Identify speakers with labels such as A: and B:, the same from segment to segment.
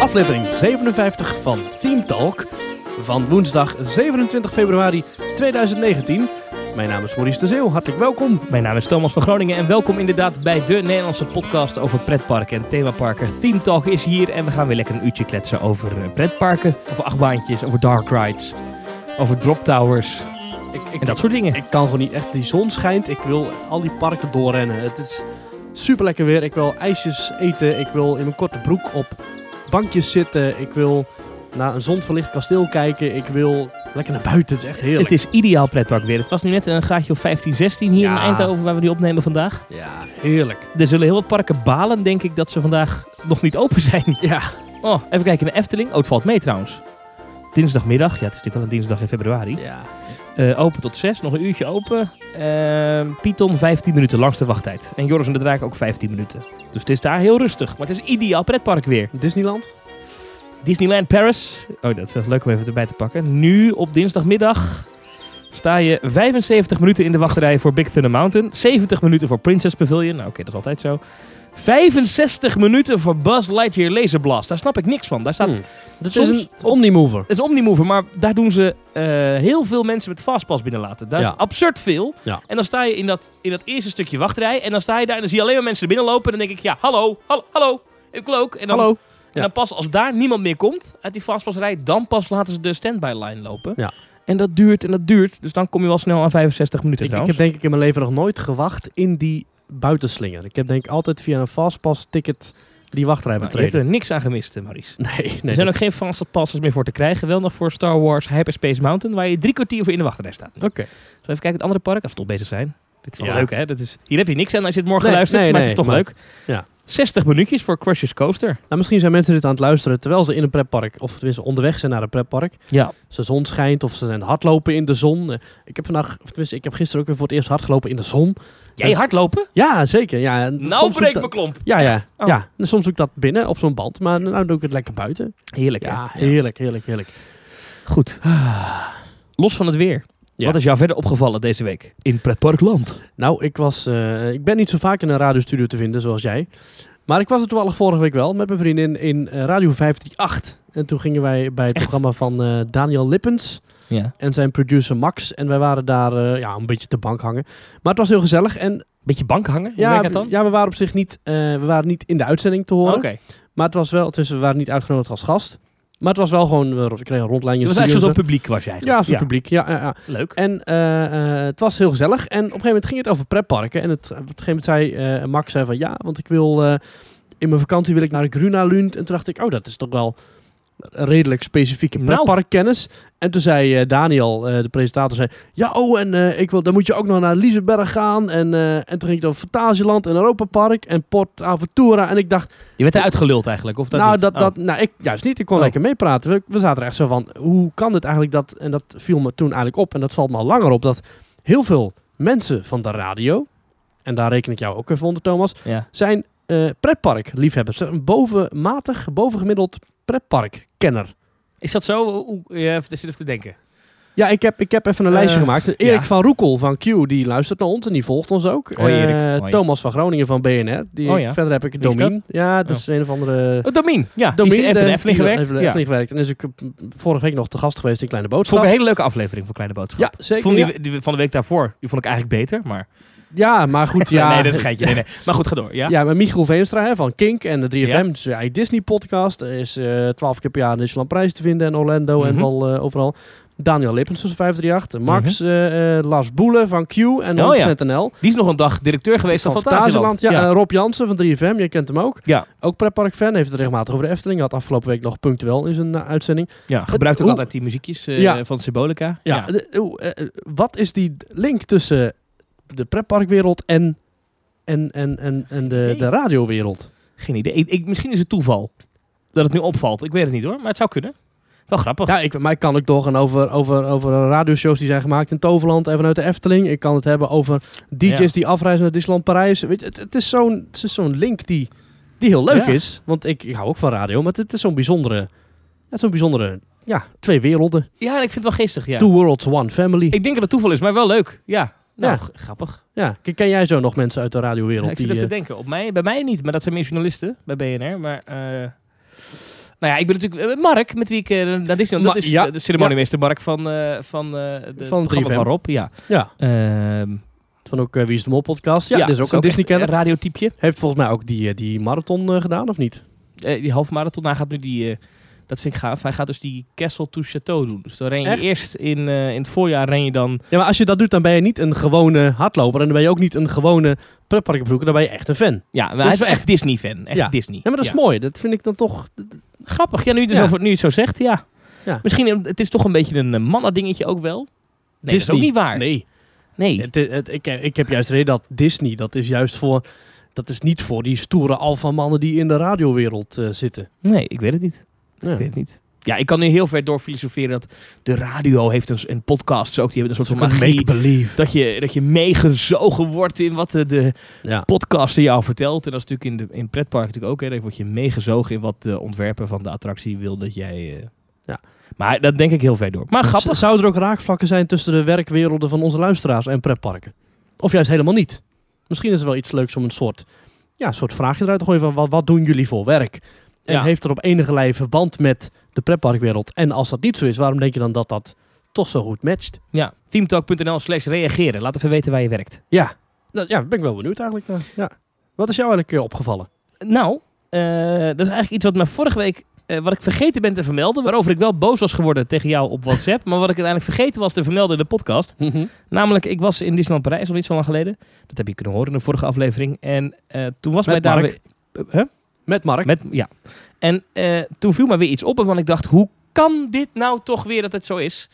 A: aflevering 57 van Theme Talk van woensdag 27 februari 2019. Mijn naam is Maurice de Zeeuw, hartelijk welkom.
B: Mijn naam is Thomas van Groningen en welkom inderdaad bij de Nederlandse podcast over pretparken en themaparken. Theme Talk is hier en we gaan weer lekker een uurtje kletsen over eh, pretparken, over achtbaantjes, over dark rides, over drop towers
A: Ik, ik,
B: en dat soort dingen.
A: ik kan gewoon niet echt, die zon schijnt, ik wil al die parken doorrennen. Het is super lekker weer, ik wil ijsjes eten, ik wil in mijn korte broek op bankjes zitten, ik wil naar een zonverlicht kasteel kijken, ik wil lekker naar buiten, het is echt heerlijk.
B: Het is ideaal pretpark weer. Het was nu net een graadje of 15, 16 hier in
A: Ja.
B: Eindhoven waar we die opnemen vandaag.
A: Ja, heerlijk.
B: Er zullen heel wat parken balen denk ik dat ze vandaag nog niet open zijn.
A: Ja,
B: Oh, even kijken naar Efteling. Oh, het valt mee trouwens. Dinsdagmiddag, ja het is natuurlijk wel een dinsdag in februari.
A: ja.
B: Eh, open tot 6, nog een uurtje open. Ehm Python 15 minuten langste wachttijd. En Joris en de Draak ook 15 minuten. Dus het is daar heel rustig. Maar het is ideaal pretpark weer.
A: Disneyland?
B: Disneyland Paris. Oh, dat is leuk om even erbij te pakken. Nu op dinsdagmiddag sta je 75 minuten in de wachtrij voor Big Thunder Mountain. 70 minuten voor Princess Pavilion. Nou, oké, dat is altijd zo. 65 minuten voor Buzz Lightyear Laser Blast. Daar snap ik niks van. Daar staat
A: Hmm. Dat
B: soms
A: is een omnimover.
B: het is een Omnimover, maar daar doen ze eh, heel veel mensen met Fastpass binnenlaten. Daar
A: Ja.
B: is absurd veel.
A: Ja.
B: En dan sta je in dat, in dat eerste stukje wachtrij. En dan sta je daar en dan zie je alleen maar mensen binnenlopen. En dan denk ik, ja, hallo, hallo, hallo. Ik wil ook. En dan,
A: Hallo.
B: En dan pas als daar niemand meer komt uit die Fastpassrij, dan pas laten ze de standby line lopen.
A: Ja.
B: En dat duurt en dat duurt. Dus dan kom je wel snel aan 65 minuten
A: Ik, ik
B: trouwens.
A: heb denk ik in mijn leven nog nooit gewacht in die buitenslinger. Ik heb denk ik altijd via een fastpass ticket die wachtrij
B: Nou, je hebt
A: betreden.
B: er niks aan gemist, hè, Maurice.
A: Nee,
B: er
A: nee.
B: zijn
A: dat-
B: ook geen Fastpassers meer voor te krijgen. Wel nog voor Star Wars Hyperspace Mountain, waar je drie kwartier voor in de wachtrij staat.
A: Oké.
B: Zal even kijken het andere park? Als we toch bezig zijn. Dit is wel
A: Ja.
B: leuk, hè? Dat is, hier heb je niks aan als je het morgen
A: Nee,
B: luistert,
A: nee,
B: maar
A: nee,
B: het is toch
A: maar-
B: leuk.
A: ja.
B: 60 minuutjes voor Crush's Coaster.
A: Nou, misschien zijn mensen dit aan het luisteren terwijl ze in een pretpark, of tenminste onderweg zijn naar een pretpark.
B: Ja.
A: Ze zon schijnt of ze zijn aan het hardlopen in de zon. Eh, Ik heb vandaag, of tenminste, ik heb gisteren ook weer voor het eerst hardgelopen in de zon.
B: Jij
A: Dat is-
B: hardlopen?
A: Ja, zeker. Ja, en soms
B: Nou
A: doe ik
B: breek
A: dat-
B: mijn klomp.
A: Ja, ja.
B: Echt? Oh.
A: ja. En soms doe ik dat binnen op zo'n band, maar nu doe ik het lekker buiten.
B: Heerlijk, hè?
A: Ja, heerlijk, heerlijk, heerlijk.
B: Goed. Ah. Los van het weer.
A: Ja.
B: Wat is jou verder opgevallen deze week? In pretparkland.
A: Nou, ik, was, eh, ik ben niet zo vaak in een radiostudio te vinden zoals jij. Maar ik was er toevallig vorige week wel met mijn vriendin in eh, Radio 538. En toen gingen wij bij het
B: Echt?
A: programma van eh, Daniel Lippens
B: Ja.
A: en zijn producer Max. En wij waren daar eh, ja, een beetje te bank hangen. Maar het was heel gezellig. En
B: Beetje bank hangen? Hoe
A: ja,
B: werkt dat dan?
A: ja, we waren op zich niet, eh, we waren niet in de uitzending te horen.
B: Oké.
A: Maar het was wel, tussen we waren niet uitgenodigd als gast. Maar het was wel gewoon, eh, we kregen een rondleiding.
B: Je
A: in
B: was
A: de
B: eigenlijk
A: studio
B: zo'n
A: en zo.
B: publiek was jij
A: Ja,
B: eigenlijk.
A: zo'n publiek. Ja, ja, ja.
B: Leuk.
A: En eh, eh, het was heel gezellig. En op een gegeven moment ging het over pretparken. En het, op een gegeven moment zei eh, Max zei van ja, want ik wil eh, in mijn vakantie wil ik naar de Grunalund. En toen dacht ik, oh, dat is toch wel een redelijk specifieke
B: Nou.
A: pretparkkennis. En toen zei eh, Daniel, eh, de presentator, zei ja, oh, en eh, ik wil, dan moet je ook nog naar Liseberg gaan. En, eh, en toen ging het over Fantasieland en Europa Park en Port Aventura. En ik dacht,
B: Je werd eruit geluld eigenlijk, of dat
A: nou,
B: niet?
A: dat,
B: Oh.
A: dat, nou, ik juist niet. Ik kon
B: Oh.
A: lekker meepraten. We, we zaten er echt zo van, hoe kan dit eigenlijk dat... En dat viel me toen eigenlijk op. En dat valt me al langer op. Dat heel veel mensen van de radio... En daar reken ik jou ook even onder, Thomas.
B: Ja.
A: Zijn eh pretparkliefhebbers. Een bovenmatig, bovengemiddeld pretparkkenner.
B: Is dat zo? Oeh, je zit even te denken.
A: Ja, ik heb, ik heb even een
B: Eh,
A: lijstje gemaakt. Erik
B: ja.
A: van Roekel van Q, die luistert naar ons en die volgt ons ook.
B: Hoi, Erik.
A: Eh,
B: Hoi.
A: Thomas van Groningen van BNR. Die,
B: Oh, ja.
A: Verder heb ik
B: Wie is dat?
A: Domien. Ja, dat
B: Oh.
A: is een of andere...
B: Oh, Domien. Ja, die
A: Domien
B: heeft
A: de-
B: in de Efteling
A: eh, die
B: gewerkt.
A: heeft in de
B: ja.
A: Efteling gewerkt. En is ik eh, vorige week nog te gast geweest in Kleine
B: Vond
A: Boodschap.
B: ik een hele leuke aflevering voor Kleine Boodschap.
A: ja, zeker.
B: vond
A: ja.
B: die, die van de week daarvoor, die vond ik eigenlijk beter, maar...
A: Ja, maar goed, ja.
B: nee, dat is een geintje. Nee, nee. Maar goed, ga door. Ja?
A: Ja, maar Michiel Veenstra hè, van Kink en de 3FM,
B: Ja.
A: dus ja, die Disney-podcast, Er is eh, twaalf keer per jaar National Prijs te vinden en Orlando en
B: Mhm.
A: wel eh, overal. Daniel Lippens van 538, Max, eh, eh, Lars Boelen van Q en
B: Mhm. Oh, ja.
A: 100.nl.
B: Die is nog een dag directeur geweest van, Fantasieland.
A: Ja, en Rob Jansen van 3FM, jij kent hem ook.
B: Ja.
A: Ook pretpark-fan, heeft het regelmatig over de Efteling. Had afgelopen week nog punctueel in zijn eh, uitzending.
B: Ja, gebruikt ook
A: hoe-
B: altijd die muziekjes eh,
A: Ja.
B: van Symbolica.
A: Ja. de- oeh, eh, eh, wat is die link tussen de pretparkwereld en, en, en, en, en de,
B: Nee.
A: de radiowereld?
B: Geen idee. Ik, ik- misschien is het toeval dat het nu opvalt. Ik weet het niet hoor, maar het zou kunnen. Wel grappig.
A: Ja, ik, maar ik kan ook doorgaan over, over, over radioshows die zijn gemaakt in Toverland en vanuit de Efteling. Ik kan het hebben over DJ's
B: Ja.
A: die afreizen naar Disneyland Parijs. Weet je, het, het is zo'n het is zo'n link die, die heel leuk
B: Ja.
A: is. Want ik, ik hou ook van radio, maar het is zo'n bijzondere... Het is zo'n bijzondere... Ja, twee werelden.
B: Ja, ik vind het wel geestig. Ja.
A: Two worlds, one family.
B: Ik denk dat het toeval is, maar wel leuk. Ja, nou,
A: Ja.
B: g- grappig.
A: ja, ken- ken jij zo nog mensen uit de radiowereld?
B: Ja, ik zit
A: die,
B: even
A: eh,
B: te denken. Op mij, bij mij niet, maar dat zijn meer journalisten bij BNR. Maar eh, Nou ja, ik ben natuurlijk eh, Mark, met wie ik eh, naar Disneyland...
A: Ma-
B: dat is
A: ja,
B: eh, de ceremoniemeester Mark van, eh, van eh de het
A: Van
B: programma
A: 3FM.
B: van Rob. Ja.
A: Ja,
B: Ehm,
A: van ook eh, Wie is de Mol podcast. Ja,
B: ja,
A: dit is ook een
B: echt
A: Disney-kenner.
B: Een radiotypje.
A: Heeft volgens mij ook die, eh, die marathon eh, gedaan, of niet?
B: Eh, die halve marathon, hij gaat nu die... eh, dat vind ik gaaf. Hij gaat dus die Kessel to Chateau doen. Dus dan ren je
A: Echt?
B: eerst in, eh, in het voorjaar ren je dan...
A: Ja, maar als je dat doet, dan ben je niet een gewone hardloper. En dan ben je ook niet een gewone pretparkbezoeker. Dan ben je echt een fan.
B: Ja, maar
A: Dat
B: hij
A: is
B: is wel echt Disney-fan. Echt
A: Dus Ja.
B: Disney.
A: Ja, maar dat is mooi. Dat vind ik dan toch...
B: Grappig. Ja, nu je, het
A: Ja.
B: zo- nu je het zo zegt, ja.
A: Ja.
B: Misschien, eh, het is toch een beetje een eh, mannendingetje ook wel. Nee, dat is ook
A: Disney.
B: niet waar.
A: Nee.
B: Nee.
A: Het, eh, het- ik, ik heb juist de reden dat Disney, dat is juist voor... Dat is niet voor die stoere alfamannen die in de radiowereld eh, zitten.
B: Nee, ik weet het niet. Ik weet het niet. Ja, ik kan nu heel ver door filosoferen dat de radio heeft een, een podcast ook. Die hebben een soort van magie.
A: make-believe.
B: Dat je, dat je meegezogen wordt in wat eh, de, de
A: Ja.
B: podcaster jou vertelt. En dat is natuurlijk in, de, in pretpark natuurlijk ook. Hè. Dan word je meegezogen in wat de ontwerper van de attractie wil dat jij... eh,
A: Ja.
B: Maar dat denk ik heel ver door. Maar grappig.
A: Z- Zouden er ook raakvlakken zijn tussen de werkwerelden van onze luisteraars en pretparken? Of juist helemaal niet? Misschien is er wel iets leuks om een soort, ja, een soort vraagje eruit te gooien van wat, wat doen jullie voor werk? En
B: Ja.
A: heeft er op enige lijn verband met de pretparkwereld? En als dat niet zo is, waarom denk je dan dat dat toch zo goed matcht?
B: Ja, teamtalk.nl slash reageren. Laat even weten waar je werkt.
A: Ja, nou, ja, ben ik wel benieuwd eigenlijk. naar. Ja. Wat is jou eigenlijk eh, opgevallen?
B: Nou, eh, dat is eigenlijk iets wat me vorige week... eh, wat ik vergeten ben te vermelden. Waarover ik wel boos was geworden tegen jou op WhatsApp. maar wat ik uiteindelijk vergeten was te vermelden in de podcast.
A: Mhm.
B: Namelijk, ik was in Disneyland Parijs al niet zo lang geleden. Dat heb je kunnen horen in de vorige aflevering. En eh, toen was
A: Met
B: mij daar...
A: Mark.
B: weer- Eh, huh?
A: Met Mark.
B: Met, ja. En eh, toen viel mij weer iets op, want ik dacht, hoe kan dit nou toch weer dat het zo is?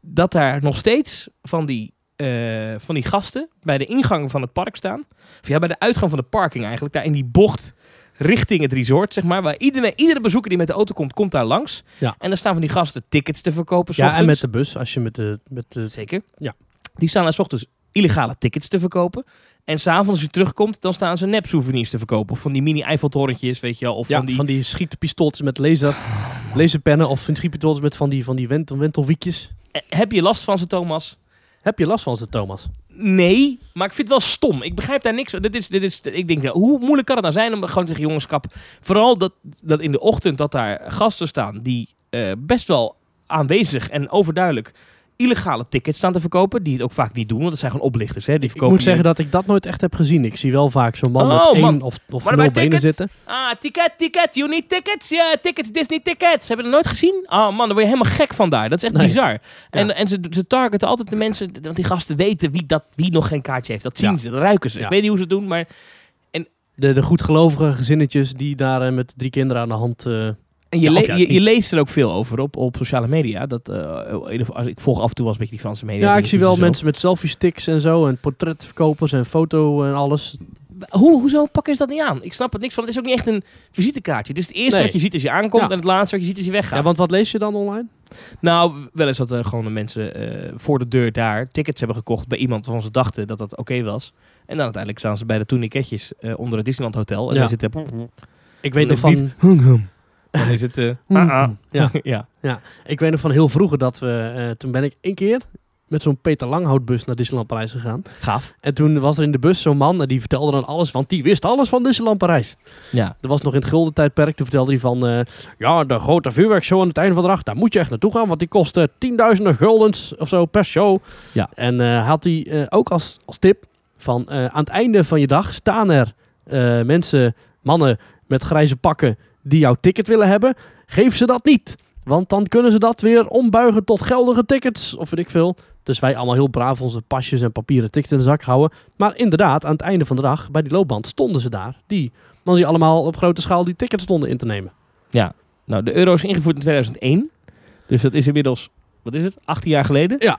B: Dat daar nog steeds van die, eh, van die gasten bij de ingang van het park staan. Of ja, bij de uitgang van de parking eigenlijk. Daar in die bocht richting het resort, zeg maar. Waar iedereen, iedere bezoeker die met de auto komt, komt daar langs.
A: Ja.
B: En daar staan van die gasten tickets te verkopen. 's
A: ja, en
B: ochtends.
A: met de bus. Als je met de, met de
B: Zeker.
A: Ja.
B: Die staan daar 's ochtends illegale tickets te verkopen. En s'avonds als je terugkomt, dan staan ze nep souvenirs te verkopen. Of van die mini Eiffeltorentjes, weet je wel. Of
A: Ja,
B: van die...
A: schietpistooltjes met laser, laserpennen of van schietpistooltjes met van die, van die wentel, wentelwiekjes.
B: Eh, Heb je last van ze, Thomas?
A: Heb je last van ze, Thomas?
B: Nee, maar ik vind het wel stom. Ik begrijp daar niks van. Dit is, dit is, ik denk, ja, hoe moeilijk kan het nou zijn om gewoon te zeggen, jongenskap. Vooral dat, dat in de ochtend dat daar gasten staan die eh, best wel aanwezig en overduidelijk illegale tickets staan te verkopen. Die het ook vaak niet doen, want dat zijn gewoon oplichters. Hè? Die
A: Ik
B: verkopen
A: moet zeggen
B: je-
A: dat ik dat nooit echt heb gezien. Ik zie wel vaak zo'n man
B: Oh,
A: met één
B: man.
A: of, of
B: Maar
A: nul
B: bij
A: benen
B: tickets?
A: zitten.
B: Ah, ticket, ticket, you need tickets. Ja, tickets, Disney tickets. Heb je dat nooit gezien? Ah man, daar word je helemaal gek van daar. Dat is echt
A: Nee.
B: bizar. En, en ze, ze targeten altijd de mensen, want die gasten weten wie, dat, wie nog geen kaartje heeft. Dat zien
A: Ja.
B: ze, dat ruiken ze.
A: Ja.
B: Ik weet niet hoe ze het doen, maar
A: De, de goedgelovige gezinnetjes die daar eh, met drie kinderen aan de hand... eh,
B: En je,
A: Ja, of
B: le-
A: juist
B: je, je
A: niet.
B: leest er ook veel over op, op sociale media. Dat, eh, in ieder geval, als ik volg af en toe wel eens een beetje die Franse media.
A: ja, ik
B: dingetjes
A: zie wel
B: en zo.
A: mensen met selfie sticks en zo. En portretverkopers en foto en alles.
B: Hoe, hoezo pakken ze dat niet aan? Ik snap het niks van. Het is ook niet echt een visitekaartje. Dus het eerste
A: Nee.
B: wat je ziet als je aankomt
A: Ja.
B: en het laatste wat je ziet als je weggaat.
A: Ja, want wat lees je dan online?
B: Nou, wel eens dat er gewoon de mensen eh, voor de deur daar tickets hebben gekocht bij iemand waarvan ze dachten dat dat oké was. En dan uiteindelijk staan ze bij de tourniquetjes eh, onder het Disneyland Hotel. En
A: Ja.
B: dan zitten...
A: Ik weet
B: Dan
A: nog
B: is
A: van... Hmm.
B: het Hum, hum. Dan is het... eh,
A: Mm.
B: ah, ah.
A: Ja.
B: ja.
A: Ik weet nog van heel vroeger dat we... eh, toen ben ik één keer met zo'n Peter Langhoutbus naar Disneyland Parijs gegaan.
B: Gaaf.
A: En toen was er in de bus zo'n man en die vertelde dan alles, want die wist alles van Disneyland Parijs.
B: Ja.
A: Er was nog in het gulden tijdperk, toen vertelde hij van, eh, ja, de grote vuurwerkshow aan het einde van de dag, daar moet je echt naartoe gaan, want die kost eh, tienduizenden guldens of zo per show.
B: Ja.
A: En eh, had hij eh, ook als, als tip van, eh, aan het einde van je dag staan er eh, mensen, mannen met grijze pakken die jouw ticket willen hebben, geef ze dat niet. Want dan kunnen ze dat weer ombuigen tot geldige tickets, of weet ik veel. Dus wij allemaal heel braaf onze pasjes en papieren tickets in de zak houden. Maar inderdaad, aan het einde van de dag, bij die loopband, stonden ze daar. Die mannen die allemaal op grote schaal die tickets stonden in te nemen.
B: Nou, de euro is ingevoerd in 2001. Dus dat is inmiddels, wat is het, 18 jaar geleden?
A: Ja.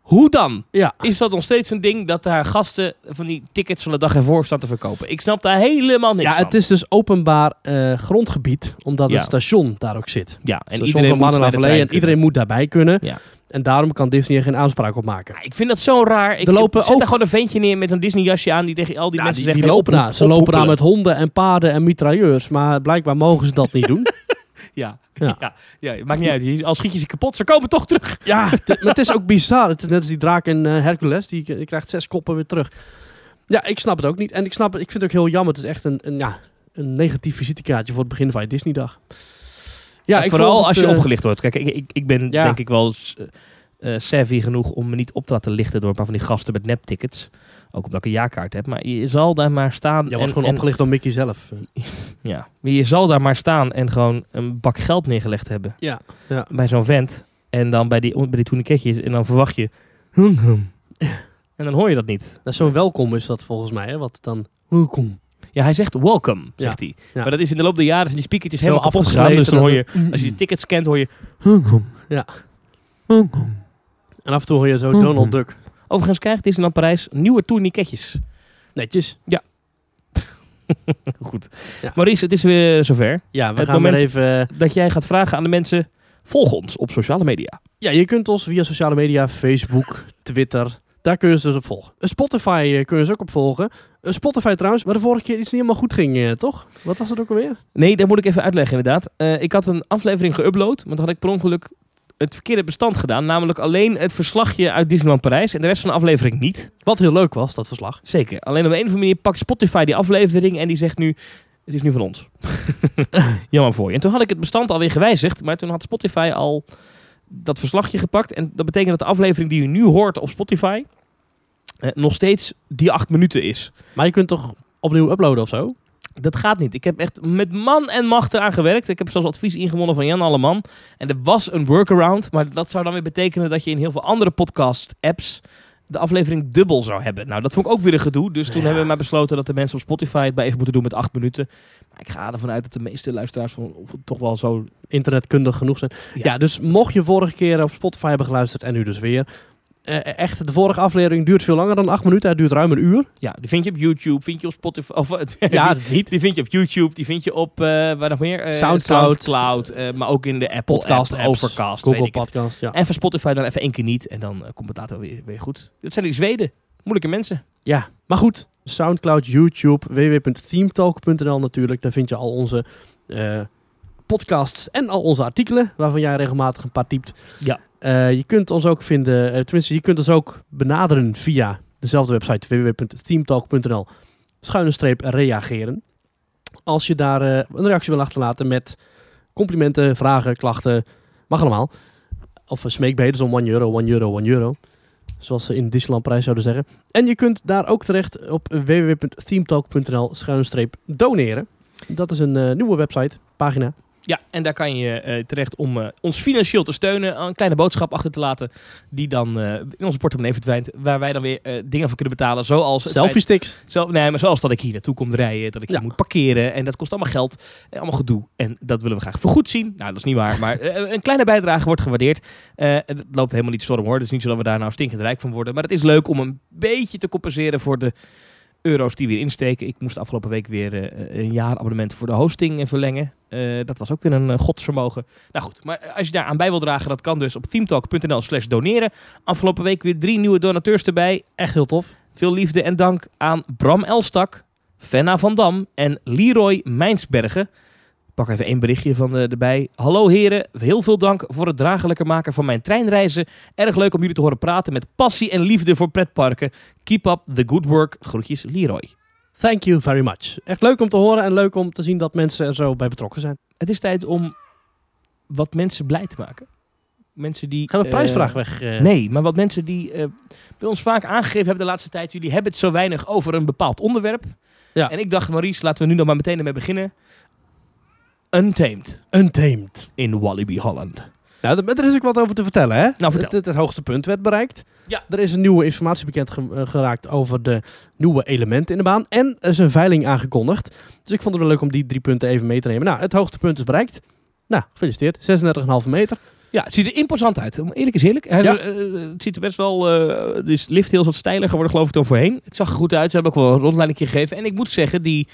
B: Hoe dan?
A: Ja.
B: Is dat nog steeds een ding dat daar gasten van die tickets van de dag ervoor staan te verkopen? Ik snap daar helemaal niks
A: Ja,
B: van.
A: het is dus openbaar eh, grondgebied, omdat
B: Ja.
A: het station daar ook zit.
B: ja,
A: En iedereen,
B: moet bij de
A: en
B: trein
A: iedereen moet daarbij kunnen.
B: Ja.
A: En daarom kan Disney er geen aanspraak op maken.
B: kunnen. Ik vind dat zo raar. Ik
A: Er lopen
B: zet daar
A: ook-
B: gewoon een ventje neer met een Disney jasje aan die tegen al die
A: Ja,
B: mensen
A: die,
B: zegt...
A: die
B: hey,
A: lopen
B: op-
A: daar. Ze lopen daar
B: ophoepelen.
A: met honden en paarden en mitrailleurs. Maar blijkbaar mogen ze dat niet doen.
B: Ja. Ja.
A: Ja.
B: ja. maakt niet uit. Je- Al schiet je ze kapot, ze komen toch terug.
A: Ja, het- maar het is ook bizar. Het is net als die draak in eh, Hercules. Die, die krijgt zes koppen weer terug. Ja, ik snap het ook niet. En ik snap het, ik vind het ook heel jammer. Het is echt een, een, ja, een negatief visitekaartje voor het begin van je Disney-dag. Ja,
B: En
A: ik
B: vooral
A: vond het,
B: als je
A: eh,
B: opgelicht wordt. Kijk, ik, ik, ik ben
A: Ja.
B: denk ik wel s- eh, savvy genoeg om me niet op te laten lichten door een paar van die gasten met neptickets. Ook omdat ik een jaarkaart heb. Maar je zal daar maar staan.
A: Jij wordt
B: en-
A: gewoon
B: en-
A: opgelicht door Mickey zelf.
B: Ja, maar je zal daar maar staan en gewoon een bak geld neergelegd hebben.
A: Ja, ja.
B: Bij zo'n vent. En dan bij die, bij die tourniquetjes. En dan verwacht je... Hum, hum. En dan hoor je dat niet.
A: Dat is zo'n welkom is dat volgens mij, hè? Wat dan... Welkom.
B: Ja, hij zegt welcome, zegt hij.
A: ja.
B: Maar dat is in de loop der jaren zijn die speakertjes
A: Zo
B: helemaal kapot gegaan. Dus
A: afgesleten
B: dan hoor je,
A: dat-
B: als je de tickets scant, hoor je...
A: En af en toe hoor je zo Donald Duck.
B: Overigens krijgt Disneyland Parijs nieuwe tourniquetjes.
A: Netjes.
B: Goed.
A: Ja.
B: Maurice, het is weer zover
A: Ja, we
B: Het
A: gaan
B: moment-
A: weer even... eh,
B: dat jij gaat vragen aan de mensen... Volg ons op sociale media.
A: Ja, je kunt ons via sociale media, Facebook, Twitter... Daar kun je ze dus op volgen. Eh, Spotify eh, kun je ze ook op volgen. Eh, Spotify trouwens, waar de vorige keer iets niet helemaal goed ging, eh, toch? Wat was dat ook alweer?
B: Nee, dat moet ik even uitleggen inderdaad. Eh, ik had een aflevering geüpload, maar toen had ik per ongeluk het verkeerde bestand gedaan. Namelijk alleen het verslagje uit Disneyland Parijs en de rest van de aflevering niet.
A: Wat heel leuk was, dat verslag.
B: Zeker. Alleen op een of andere manier pakt Spotify die aflevering en die zegt nu... Het is nu van ons. Jammer voor je. En toen had ik het bestand alweer gewijzigd, maar toen had Spotify al dat verslagje gepakt. En dat betekent dat de aflevering die u nu hoort op Spotify eh, nog steeds die acht minuten is.
A: Maar je kunt toch opnieuw uploaden of zo?
B: Dat gaat niet. Ik heb echt met man en macht eraan gewerkt. Ik heb zelfs advies ingewonnen van Jan Alleman. En er was een workaround. Maar dat zou dan weer betekenen dat je in heel veel andere podcast-apps de aflevering dubbel zou hebben. Nou, dat vond ik ook weer een gedoe. Dus toen
A: Ja.
B: hebben we maar besloten dat de mensen op Spotify het bij even moeten doen met acht minuten. Maar ik ga ervan uit dat de meeste luisteraars van, of toch wel zo...
A: Internetkundig genoeg zijn.
B: Ja.
A: Ja, dus mocht je vorige keer op Spotify hebben geluisterd en nu dus weer... eh, echt, de vorige aflevering duurt veel langer dan acht minuten. Het duurt ruim een uur.
B: Ja, die vind je op YouTube, vind je op Spotify... Of,
A: Ja,
B: ja, niet. Die vind je op YouTube, die vind je op, eh, waar nog meer? Eh,
A: Soundcloud.
B: Soundcloud, eh, maar ook in de Apple
A: Podcast,
B: app,
A: apps,
B: Overcast, weet
A: Google
B: ik het.
A: Podcast, ja.
B: En van Spotify dan even één keer niet. En dan eh, komt het later weer, weer goed. Dat zijn die Zweden. Moeilijke mensen.
A: Ja, maar goed. Soundcloud, YouTube, www.themetalk.nl natuurlijk. Daar vind je al onze eh, podcasts en al onze artikelen, waarvan jij regelmatig een paar typt.
B: Ja.
A: Eh, je kunt ons ook vinden, eh, tenminste, je kunt ons ook benaderen via dezelfde website www.themetalk.nl. Schuine streep reageren. Als je daar eh, een reactie wil achterlaten met complimenten, vragen, klachten, mag allemaal. Of eh, smeekbeden, om 1 euro, 1 euro, 1 euro. Zoals ze in Disneyland Prijs zouden zeggen. En je kunt daar ook terecht op www.themetalk.nl schuinstreep doneren. Dat is een eh, nieuwe website, pagina.
B: Ja, en daar kan je eh, terecht om eh, ons financieel te steunen. Een kleine boodschap achter te laten. Die dan eh, in onze portemonnee verdwijnt. Waar wij dan weer eh, dingen voor kunnen betalen. Zoals het
A: Selfie sticks.
B: feit- Zo, nee, maar zoals dat ik hier naartoe kom rijden. Dat ik
A: Ja.
B: hier moet parkeren. En dat kost allemaal geld. En allemaal gedoe. En dat willen we graag vergoed zien. Nou, dat is niet waar. Maar eh, een kleine bijdrage wordt gewaardeerd. Eh, en het loopt helemaal niet storm hoor. Dus niet zo dat we daar nou stinkend rijk van worden. Maar het is leuk om een beetje te compenseren voor de euro's die weer insteken. Ik moest afgelopen week weer eh, een jaarabonnement voor de hosting eh, verlengen. Eh, dat was ook weer een eh, godsvermogen. Nou goed, maar eh, als je daar aan bij wil dragen, dat kan dus op themetalk.nl slash doneren. Afgelopen week weer drie nieuwe donateurs erbij.
A: Echt heel tof.
B: Veel liefde en dank aan Bram Elstak, Fenna van Dam en Leroy Mijnsbergen. Ik Pak even één berichtje van eh, erbij. Hallo heren, heel veel dank voor het draaglijker maken van mijn treinreizen. Erg leuk om jullie te horen praten met passie en liefde voor pretparken. Keep up the good work. Groetjes Leroy.
A: Thank you very much. Echt leuk om te horen en leuk om te zien dat mensen er zo bij betrokken zijn.
B: Het is tijd om wat mensen blij te maken. Mensen die.
A: Gaan we
B: eh,
A: prijsvraag weg? eh?
B: Nee, maar wat mensen die eh, bij ons vaak aangegeven hebben de laatste tijd. Jullie hebben het zo weinig over een bepaald onderwerp.
A: Ja.
B: En ik dacht, Maries, laten we nu dan maar meteen ermee beginnen. Untamed
A: Untamed.
B: in Walibi Holland.
A: Nou, dat- er is ook wat over te vertellen, hè?
B: Nou, vertel.
A: Het, het, het hoogste punt werd bereikt.
B: Ja.
A: Er is een nieuwe informatie bekend ge- eh, geraakt over de nieuwe elementen in de baan. En er is een veiling aangekondigd. Dus ik vond het wel leuk om die drie punten even mee te nemen. Nou, het hoogtepunt is bereikt. Nou, gefeliciteerd. 36,5 meter.
B: Ja, het ziet er imposant uit. Om Eerlijk is eerlijk. Hij-
A: Ja.
B: eh, het ziet er best wel... eh dus lift heel wat steiler geworden, geloof ik, dan voorheen. Het zag er goed uit. Ze hebben ook wel een rondleiding gegeven. En ik moet zeggen, die...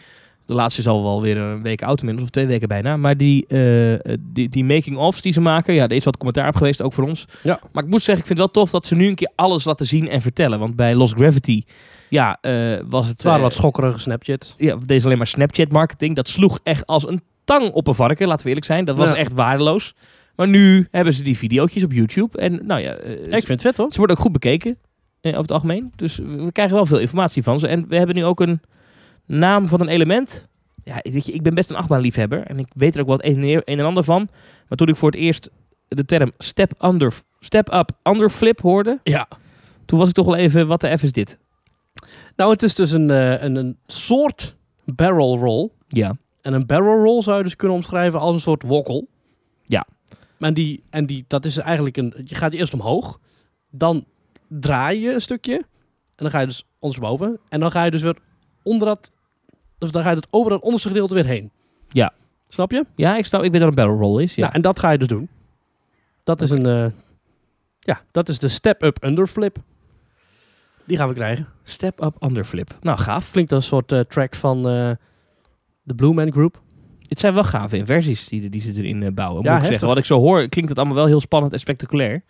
B: De laatste is al wel weer een week oud inmiddels, of twee weken bijna. Maar die, eh, die, die making-ofs die ze maken... Ja, er is wat commentaar op geweest, ook voor ons.
A: Ja.
B: Maar ik moet zeggen, ik vind het wel tof dat ze nu een keer alles laten zien en vertellen. Want bij Lost Gravity, ja, eh, was het...
A: Het waren
B: eh,
A: wat schokkerige Snapchats.
B: ja, deze is alleen maar Snapchat marketing. Dat sloeg echt als een tang op een varken, laten we eerlijk zijn. Dat was
A: Ja.
B: echt waardeloos. Maar nu hebben ze die videootjes op YouTube. En nou ja, eh,
A: Ik
B: ze,
A: vind het vet hoor.
B: ze worden ook goed bekeken eh, over het algemeen. Dus we we krijgen wel veel informatie van ze. En we hebben nu ook een naam van een element. ja, weet je, ik ben best een achtbaanliefhebber en ik weet er ook wel het een, een en ander van. Maar toen ik voor het eerst de term step, under, step up, underflip hoorde,
A: Ja.
B: toen was ik toch wel even, wat de F is dit?
A: Nou, het is dus een, eh, een, een soort barrel roll.
B: Ja.
A: En een barrel roll zou je dus kunnen omschrijven als een soort wokkel.
B: Ja.
A: En, die, en die, dat is eigenlijk een... Je gaat eerst omhoog. Dan draai je een stukje. En dan ga je dus ondersteboven. En dan ga je dus weer onder dat... Dus dan ga je het over dat onderste gedeelte weer heen.
B: Ja.
A: Snap je?
B: Ja, ik snap, ik weet dat een barrel roll is. Ja.
A: Nou, en dat ga je dus doen. Dat is een... eh, ja, dat is de step-up underflip. Die gaan we krijgen.
B: Step up, underflip. Nou, gaaf.
A: Klinkt als een soort eh, track van eh, de Blue Man Group.
B: Het zijn wel gave inversies die, die ze erin eh,
A: Ja,
B: bouwen, moet ik
A: heftig.
B: zeggen. Wat ik zo hoor, klinkt het allemaal wel heel spannend en spectaculair.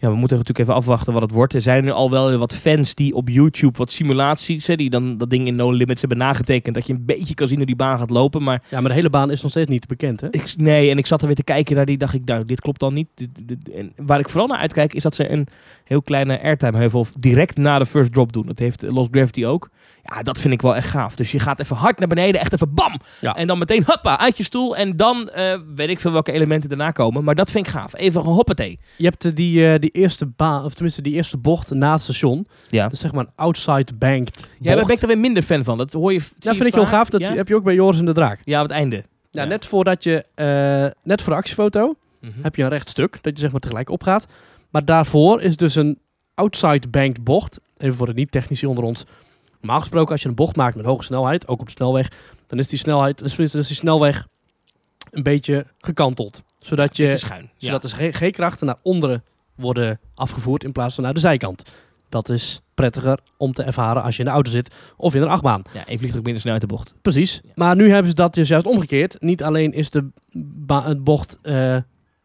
B: Ja, we moeten natuurlijk even afwachten wat het wordt. Er zijn nu al wel wat fans die op YouTube wat simulaties... Hè, die dan dat ding in No Limits hebben nagetekend... dat je een beetje kan zien hoe die baan gaat lopen. Maar
A: Ja, maar de hele baan is nog steeds niet bekend, hè?
B: ik, nee, en ik zat er weer te kijken naar die... dacht ik, nou, dit klopt dan niet. Dit- dit- en waar ik vooral naar uitkijk is dat ze een heel kleine airtime heuvel... direct na de first drop doen. Dat heeft eh, Lost Gravity ook. Ja, dat vind ik wel echt gaaf. Dus je gaat even hard naar beneden, echt even bam!
A: Ja.
B: En dan meteen hoppa, uit je stoel. En dan eh, weet ik veel welke elementen daarna komen. Maar dat vind ik gaaf. Even gewoon hoppatee.
A: Je hebt eh, die, eh, die eerste baan, of tenminste die eerste bocht na het station.
B: Ja.
A: Dat is zeg maar een outside banked bocht.
B: Ja, daar ben ik er weer minder fan van. Dat hoor je. zie
A: Ja,
B: je
A: vind ik heel
B: vaak.
A: gaaf. Dat
B: ja?
A: heb je ook bij Joris en de Draak.
B: Ja, op het einde.
A: Ja,
B: Ja.
A: Net voordat je, eh, net voor de actiefoto,
B: Mhm.
A: heb je een recht stuk. Dat je zeg maar tegelijk opgaat. Maar daarvoor is dus een outside banked bocht. Even voor de niet-technici onder ons. Normaal gesproken als je een bocht maakt met hoge snelheid, ook op de snelweg. Dan is die snelheid, tenminste dan is die snelweg een beetje gekanteld. Zodat je
B: Beetje schuin. Ja.
A: Zodat de G-krachten naar onderen worden afgevoerd in plaats van naar de zijkant. Dat is prettiger om te ervaren als je in de auto zit of in een achtbaan.
B: ja, en je vliegt ook minder snel uit de bocht.
A: Precies.
B: Ja.
A: Maar nu hebben ze dat dus juist omgekeerd. Niet alleen is de ba- het bocht eh,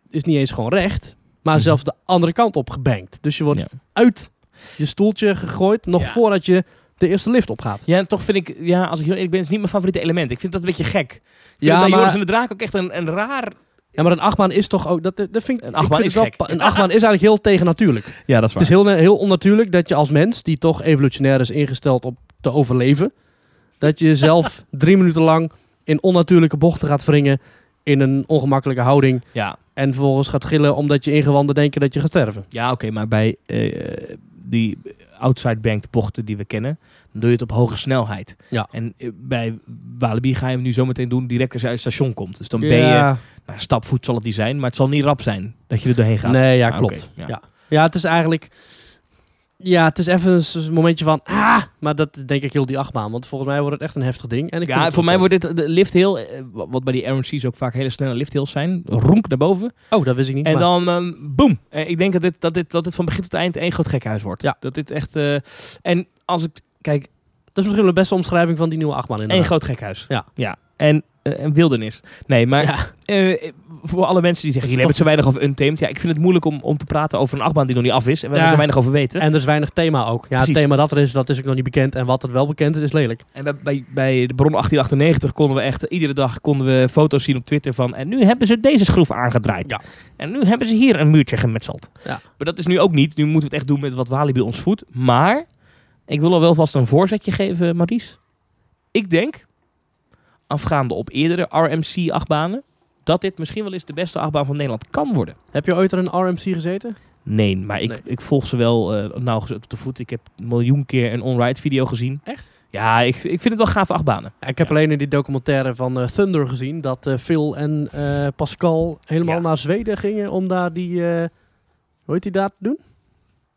A: is niet eens gewoon recht, maar
B: Mhm.
A: zelfs de andere kant op gebankt. Dus je wordt
B: Ja.
A: uit je stoeltje gegooid nog
B: Ja.
A: voordat je de eerste lift opgaat.
B: Ja, en toch vind ik, ja, als ik heel eerlijk ben, het is niet mijn favoriete element. Ik vind dat een beetje gek. Ik vind
A: Ja,
B: ja, bij
A: maar-
B: Joris en de Draak ook echt een, een raar...
A: Ja, maar een achtbaan is toch ook... Dat, dat vind, ik-
B: Een
A: ik
B: achtbaan
A: vind het
B: is
A: wel
B: gek.
A: pa- Een achtbaan is eigenlijk heel tegennatuurlijk.
B: Ja, dat is
A: Het is heel, eh, heel onnatuurlijk dat je als mens, die toch evolutionair is ingesteld op te overleven, dat je jezelf drie minuten lang in onnatuurlijke bochten gaat wringen in een ongemakkelijke houding
B: Ja,
A: en vervolgens gaat gillen omdat je ingewanden denken dat je gaat sterven.
B: ja oké, maar bij eh, die outside banked bochten die we kennen, dan doe je het op hoge snelheid.
A: Ja.
B: En eh, bij Walibi ga je hem nu zometeen doen direct als je uit het station komt. Dus dan ben je... Nou, stapvoet zal het niet zijn, maar het zal niet rap zijn dat je er doorheen gaat.
A: Nee, ja,
B: Ah,
A: klopt.
B: oké, ja.
A: ja. Ja, het is eigenlijk... Ja, het is even een s- momentje van... Ah, maar dat denk ik heel die achtbaan. Want volgens mij wordt het echt een heftig ding. En ik vind
B: ja,
A: het
B: voor mij
A: wel
B: wordt dit de lift heel, eh, wa- wat bij die RMC's ook vaak hele snelle lift hills zijn, ronk naar boven.
A: tof. Oh, dat wist ik niet.
B: En
A: maar-
B: dan, ehm boem. Eh, ik denk dat dit, dat, dit, dat dit van begin tot eind één groot gekhuis wordt.
A: Ja.
B: Dat dit echt, eh, en als ik, kijk,
A: Dat is misschien wel de beste omschrijving van die nieuwe achtbaan
B: één
A: inderdaad.
B: groot gekhuis.
A: Ja.
B: ja. En, eh, en wildernis. Nee, maar
A: Ja.
B: eh, voor alle mensen die zeggen, jullie hebben het zo weinig over Untamed. Ja, ik vind het moeilijk om, om te praten over een achtbaan die nog niet af is en waar
A: Ja.
B: we zo weinig over weten.
A: En er is weinig thema ook. Ja, het
B: Precies.
A: thema dat er is, dat is ook nog niet bekend. En wat er wel bekend is, is lelijk.
B: En bij, bij, bij de Bron 1898 konden we echt eh, iedere dag konden we foto's zien op Twitter van. En nu hebben ze deze schroef aangedraaid.
A: Ja.
B: En nu hebben ze hier een muurtje gemetseld.
A: Ja.
B: Maar dat is nu ook niet. Nu moeten we het echt doen met wat Walibi ons voedt. Maar ik wil al wel vast een voorzetje geven, Maries. Ik denk, afgaande op eerdere RMC-achtbanen, dat dit misschien wel eens de beste achtbaan van Nederland kan worden.
A: Heb je ooit er een RMC gezeten?
B: Nee, maar ik,
A: Nee.
B: ik volg ze wel eh nauwgezet op de voet. Ik heb een miljoen keer een on-ride video gezien.
A: Echt?
B: Ja, ik, ik vind het wel gaaf achtbanen.
A: Ik heb alleen in die documentaire van eh, Thunder gezien dat eh, Phil en eh, Pascal helemaal
B: Ja.
A: naar Zweden gingen om daar die, eh, hoe heet die daar te doen?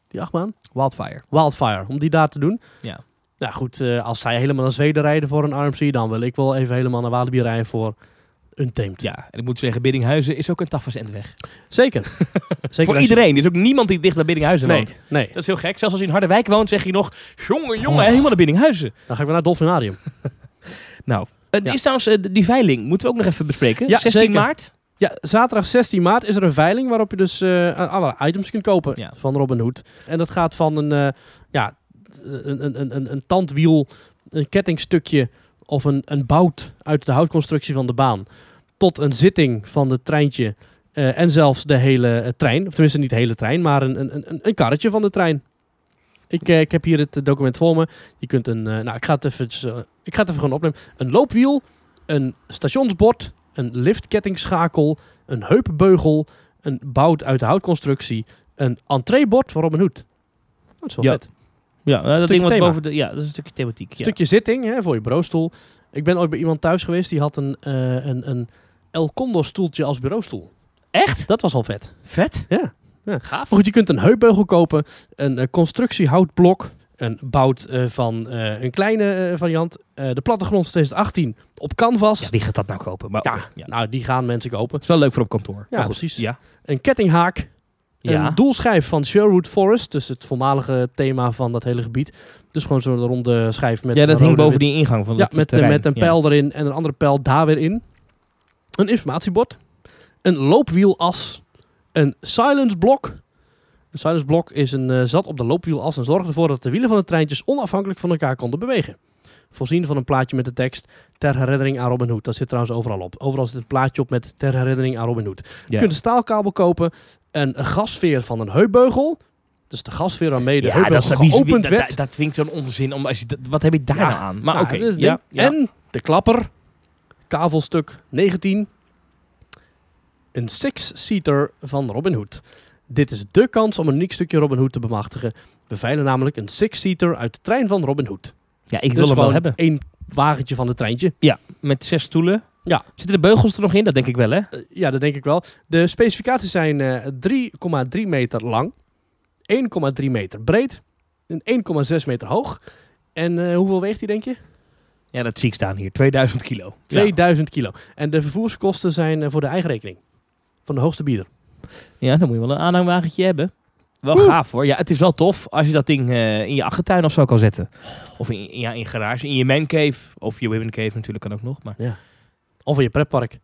A: Die achtbaan?
B: Wildfire.
A: Wildfire, om die daar te doen.
B: Ja.
A: Nou goed, eh, als zij helemaal naar Zweden rijden voor een RMC, dan wil ik wel even helemaal naar Walibi rijden voor een teamt.
B: Ja, en ik moet zeggen, Biddinghuizen is ook een tafelsend weg.
A: Zeker. Zeker als
B: Voor
A: je-
B: iedereen. Er is ook niemand die dicht bij Biddinghuizen
A: Nee,
B: woont.
A: nee.
B: Dat is heel gek. Zelfs als je in Harderwijk woont, zeg je nog... Jongen, jongen,
A: Oh.
B: helemaal naar Biddinghuizen.
A: Dan ga ik weer naar het Dolfinarium.
B: Nou, het
A: Ja.
B: is trouwens eh, die veiling. Moeten we ook nog even bespreken.
A: Ja,
B: 16
A: zeker.
B: maart.
A: Ja, zaterdag 16 maart is er een veiling waarop je dus eh, allerlei items kunt kopen
B: Ja.
A: van Robin Hood. En dat gaat van een, eh, ja, een, een, een- een, een tandwiel, een kettingstukje of een, een bout uit de houtconstructie van de baan. Tot een zitting van het treintje. eh, en zelfs de hele eh, trein. Of tenminste niet de hele trein, maar een, een, een, een karretje van de trein. Ik, eh, ik heb hier het eh, document voor me. Je kunt een, eh, nou ik ga het even, eh, ik ga het even gewoon opnemen. Een loopwiel, een stationsbord, een liftkettingschakel, een heupbeugel, een bout uit de houtconstructie, een entreebord voor Robin Hood. Dat is wel
B: Ja.
A: vet.
B: Ja, nou, dat
A: Stukje
B: ding wat
A: thema.
B: boven de... Ja, dat is een stukje thematiek. Ja.
A: Stukje zitting hè, voor je bureaustoel. Ik ben ooit bij iemand thuis geweest die had een, eh, een, een El Condo stoeltje als bureaustoel.
B: Echt?
A: Dat was al vet.
B: Vet?
A: Ja.
B: Gaaf.
A: Maar goed, je kunt een heupbeugel kopen, een eh, constructiehoutblok, een bout eh, van eh, een kleine eh, variant. Eh, de plattegrond van 2018 op canvas.
B: Ja, wie gaat dat nou kopen? Maar
A: Ja,
B: oké, ja.
A: Nou, die gaan mensen kopen.
B: Het is wel leuk voor op kantoor.
A: Ja,
B: Maar goed,
A: precies.
B: Ja.
A: Een kettinghaak,
B: ja.
A: een doelschijf van Sherwood Forest, dus het voormalige thema van dat hele gebied. Dus gewoon zo'n ronde schijf met
B: ja,
A: een
B: dat hing
A: rode
B: boven die ingang van
A: Ja,
B: het
A: met,
B: terrein.
A: met een
B: Ja.
A: pijl erin en een andere pijl daar weer in. Een informatiebord. Een loopwielas. Een silence blok. Een silence blok is een eh, zat op de loopwielas en zorgde ervoor dat de wielen van de treintjes onafhankelijk van elkaar konden bewegen. Voorzien van een plaatje met de tekst ter herinnering aan Robin Hood. Dat zit trouwens overal op. Overal zit een plaatje op met ter herinnering aan Robin Hood. Je
B: Ja.
A: kunt een staalkabel kopen, een gasveer van een heupbeugel. Dus de gasveer waarmee de
B: Ja, dat,
A: heupbeugel
B: is, wie- wie-
A: geopend
B: dat,
A: werd.
B: dat, dat dwingt zo'n onzin. Om, als je, dat- wat heb je daar
A: Ja.
B: nou aan? Maar
A: Nou,
B: oké.
A: dat is het
B: ja,
A: ding.
B: ja.
A: En de klapper, kavelstuk 19, een six-seater van Robin Hood. Dit is de kans om een uniek stukje Robin Hood te bemachtigen. We veilen namelijk een six-seater uit de trein van Robin Hood.
B: ja, ik
A: Dus
B: wil hem wel
A: gewoon
B: hebben.
A: één wagentje van het treintje.
B: Met zes stoelen.
A: Ja.
B: Zitten de beugels er nog in? Dat denk ik wel, hè?
A: Eh, ja, dat denk ik wel. De specificaties zijn eh, 3,3 meter lang, 1,3 meter breed en 1,6 meter hoog. En eh, hoeveel weegt die, denk je?
B: Ja, dat zie ik staan hier. 2000 kilo. Ja.
A: 2000 kilo. En de vervoerskosten zijn eh, voor de eigen rekening. Van de hoogste bieder.
B: Ja, dan moet je wel een aanhangwagentje hebben. Wel
A: Woe.
B: gaaf hoor. Ja, het is wel tof als je dat ding eh, in je achtertuin of zo kan zetten. Of in, ja, in je garage, in je mancave. Of je women cave natuurlijk kan ook nog. Maar...
A: Of in je pretpark.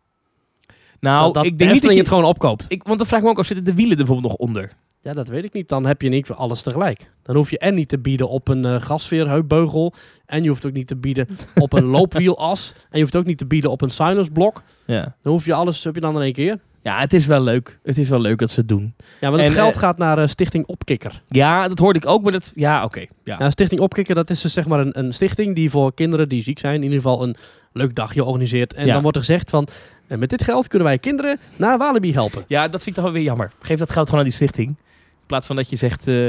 B: Nou,
A: dat, dat
B: ik denk niet dat je
A: het gewoon opkoopt.
B: Ik, want dan vraag ik me ook af, zitten de wielen er bijvoorbeeld nog onder?
A: Ja, dat weet ik niet. Dan heb je niet voor alles tegelijk. Dan hoef je en niet te bieden op een eh gasveerheupbeugel. En je hoeft ook niet te bieden op een loopwielas. En je hoeft ook niet te bieden op een silenceblok.
B: Ja.
A: Dan hoef je alles, heb je dan in één keer.
B: ja, het is wel leuk. Het is wel leuk dat ze het doen.
A: Ja, maar het
B: En,
A: geld
B: eh,
A: gaat naar eh, Stichting Opkikker.
B: Ja, dat hoorde ik ook, maar dat... Ja, oké. Ja.
A: Nou, Stichting Opkikker, dat is dus zeg maar een, een stichting die voor kinderen die ziek zijn in ieder geval een leuk dagje organiseert. En
B: Ja.
A: dan wordt er gezegd van, eh, met dit geld kunnen wij kinderen naar Walibi helpen.
B: ja, dat vind ik toch wel weer jammer. Geef dat geld gewoon aan die stichting. In plaats van dat je zegt... eh,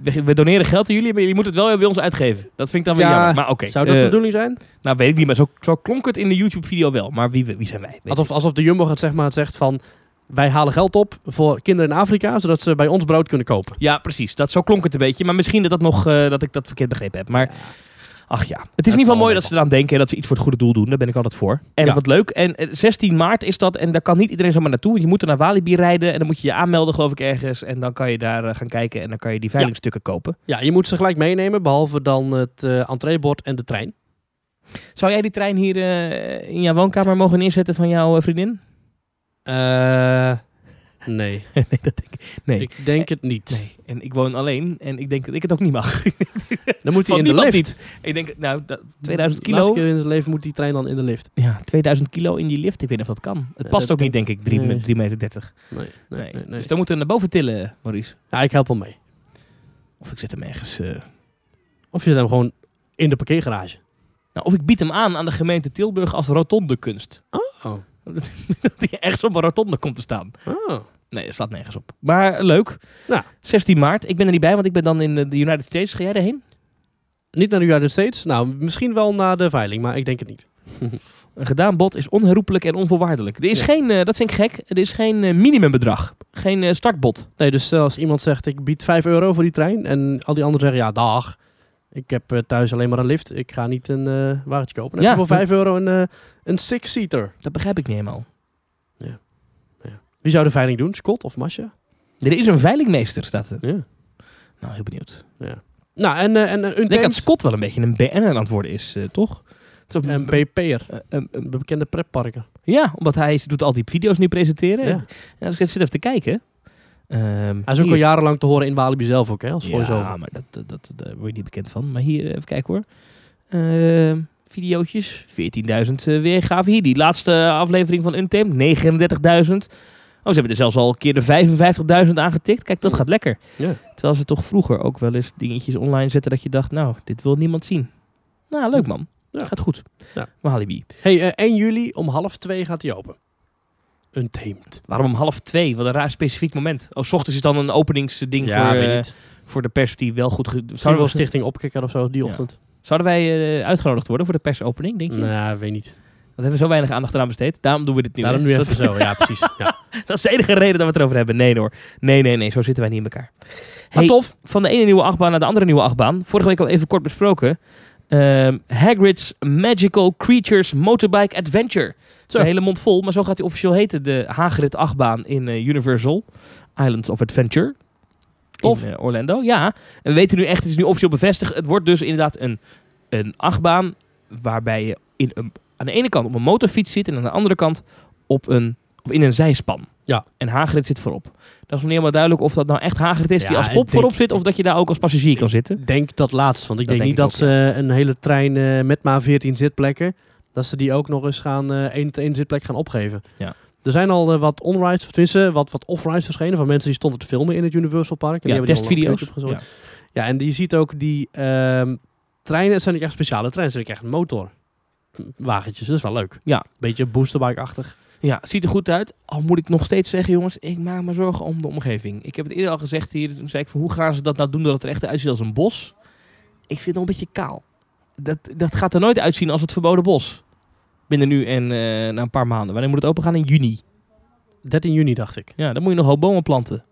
B: we we doneren geld aan jullie, maar jullie moeten het wel bij ons uitgeven. Dat vind ik dan weer
A: Ja,
B: jammer. Maar oké.
A: Zou dat
B: eh,
A: de bedoeling zijn?
B: Nou, weet ik niet, maar zo, zo klonk het in de YouTube-video wel. Maar wie, wie zijn wij? Weet ik
A: Alsof, alsof de Jumbo het, zeg maar, zegt van, wij halen geld op voor kinderen in Afrika, zodat ze bij ons brood kunnen kopen.
B: Ja, precies. Dat, zo klonk het een beetje. Maar misschien dat, dat, nog, eh, dat ik dat verkeerd begrepen heb. Maar ach ja, het is in ieder geval
A: zal
B: mooi
A: wel.
B: dat ze eraan denken en dat ze iets voor het goede doel doen. Daar ben ik altijd voor. En
A: Ja.
B: wat leuk. En eh, 16 maart is dat. En daar kan niet iedereen zomaar naartoe. Want je moet er naar Walibi rijden. En dan moet je je aanmelden, geloof ik, ergens. En dan kan je daar eh, gaan kijken. En dan kan je die veilingstukken kopen.
A: Ja, je moet ze gelijk meenemen, behalve dan het eh entreebord en de trein.
B: Zou jij die trein hier eh, in jouw woonkamer mogen neerzetten van jouw eh, vriendin?
A: Eh, nee,
B: nee, dat denk ik. Nee.
A: ik denk het niet.
B: Nee, en ik woon alleen en ik denk dat ik het ook niet mag.
A: Dan moet hij
B: Van
A: in de
B: niemand
A: lift.
B: niet. Ik denk, nou, dat- 2000
A: De laatste
B: kilo.
A: keer in zijn leven moet die trein dan in de lift.
B: Ja, 2000 kilo in die lift. Ik weet niet of dat kan. Het
A: Ja,
B: past
A: dat
B: ook niet,
A: denk
B: denk ik, 3
A: nee.
B: meter 30.
A: Nee, nee, nee. nee.
B: Dus dan moeten we naar boven tillen, Maurice.
A: Ja, ik help hem mee.
B: Of ik zet hem ergens... eh,
A: Of je zet hem gewoon in de parkeergarage.
B: Nou, of ik bied hem aan aan de gemeente Tilburg als rotondekunst.
A: Oh.
B: Dat hij ergens op een rotonde komt te staan.
A: Oh.
B: Nee, dat staat nergens op. Maar leuk.
A: Ja. 16
B: 16 maart. Ik ben er niet bij, want ik ben dan in eh, de United States. Ga jij daarheen?
A: Niet naar de United States? Nou, misschien wel naar de veiling, maar ik denk het niet.
B: Een gedaan bod is onherroepelijk en onvoorwaardelijk. Er is
A: Ja.
B: geen, eh, dat vind ik gek, er is geen eh, minimumbedrag. Geen eh, startbod.
A: Nee, dus als iemand zegt, ik bied 5 euro voor die trein. En al die anderen zeggen, ja, dag. Ik heb eh, thuis alleen maar een lift. Ik ga niet een eh wagentje kopen. Dan
B: Ja,
A: heb je voor
B: dat-
A: 5 euro een, eh, een six-seater.
B: Dat begrijp ik niet helemaal.
A: Wie zou de veiling doen? Scott of Masha?
B: Er is een veilingmeester, staat er.
A: Ja.
B: Nou, heel benieuwd.
A: Nou, en, eh, en een
B: Ik denk dat
A: untamed
B: Scott wel een beetje een BN'er aan het worden is, eh, toch? Het is ook-
A: en BP'er.
B: eh, eh, eh,
A: Bekende pretparken.
B: ja, omdat hij is- doet al die video's nu presenteren.
A: Ja.
B: En als ik het zit even te kijken... ehm,
A: Hij is ook
B: hier-
A: al jarenlang te horen in Walibi zelf ook, hè, als voice-over.
B: Ja, maar dat, dat, dat, daar word je niet bekend van. Maar hier, eh, even kijken hoor. Ehm videootjes, 14.000 eh, weergaven. Hier, die laatste aflevering van Untamed, 39.000. Oh, ze hebben er zelfs al een keer de 55.000 aangetikt. Kijk, dat gaat lekker.
A: Ja.
B: Terwijl ze toch vroeger ook wel eens dingetjes online zetten dat je dacht, nou, dit wil niemand zien. Nou, leuk man.
A: Ja.
B: Gaat goed.
A: Ja.
B: Walibi.
A: hey, eh, 1 juli om half 2 gaat die open. Untamed.
B: Waarom om half twee? Wat een raar specifiek moment. Oh, s ochtends is dan een openingsding voor,
A: weet
B: eh,
A: niet.
B: voor de pers die wel goed... ge-
A: Zou
B: Zouden,
A: wel
B: we,
A: stichting opkikken of zo die
B: Ja.
A: ochtend?
B: zouden wij eh, uitgenodigd worden voor de persopening, denk je?
A: Nou,
B: Want
A: weet niet.
B: we hebben zo weinig aandacht eraan besteed. Daarom doen we dit nu.
A: Daarom
B: hè?
A: nu
B: Zodat-
A: even zo. Ja, precies. Ja.
B: Dat is de enige reden dat we het erover hebben. Nee hoor. Nee, nee, nee. Zo zitten wij niet in elkaar.
A: Maar
B: Hey,
A: tof.
B: Van de ene nieuwe achtbaan naar de andere nieuwe achtbaan. Vorige week al even kort besproken. Ehm, Hagrid's Magical Creatures Motorbike Adventure. Het is
A: Zo.
B: een hele mond vol, maar zo gaat hij officieel heten. De Hagrid achtbaan in eh, Universal Islands of Adventure.
A: Tof.
B: In eh, Orlando, ja. En we weten nu echt, het is nu officieel bevestigd. Het wordt dus inderdaad een, een achtbaan waarbij je in een, aan de ene kant op een motorfiets zit en aan de andere kant op een, of in een zijspan.
A: Ja.
B: En Hagrid zit voorop. Dat is nog niet helemaal duidelijk of dat nou echt Hagrid is die
A: Ja,
B: als
A: ik
B: pop
A: denk-
B: voorop zit of dat je daar ook als passagier kan zitten.
A: Ik denk dat laatst. Want ik
B: Dat
A: denk niet
B: denk
A: dat
B: ik
A: ze eh, een hele trein eh, met maar 14 zitplekken... dat ze die ook nog eens gaan eh, één één zitplek gaan opgeven.
B: Ja.
A: Er zijn al eh, wat onrides, of tenminste wat, wat offrides verschenen... van mensen die stonden te filmen in het Universal Park. En
B: Ja,
A: die hebben die allemaal op
B: testvideo's.
A: YouTube gezet. Ja, en die ziet ook die ehm, treinen. Het zijn niet echt speciale treinen, het zijn ook echt motorwagentjes. Dat is wel leuk.
B: Ja.
A: Beetje boosterbike-achtig.
B: Ja, ziet er goed uit. Al moet ik nog steeds zeggen, jongens, ik maak me zorgen om de omgeving. Ik heb het eerder al gezegd hier. Toen zei ik van, hoe gaan ze dat nou doen dat het er echt uitziet als een bos? Ik vind het nog een beetje kaal. Dat, dat gaat er nooit uitzien als het verboden bos. Binnen nu en eh, na een paar maanden. Wanneer moet het open gaan? In juni.
A: 13 juni, dacht ik.
B: Ja, dan moet je nog hoop bomen planten.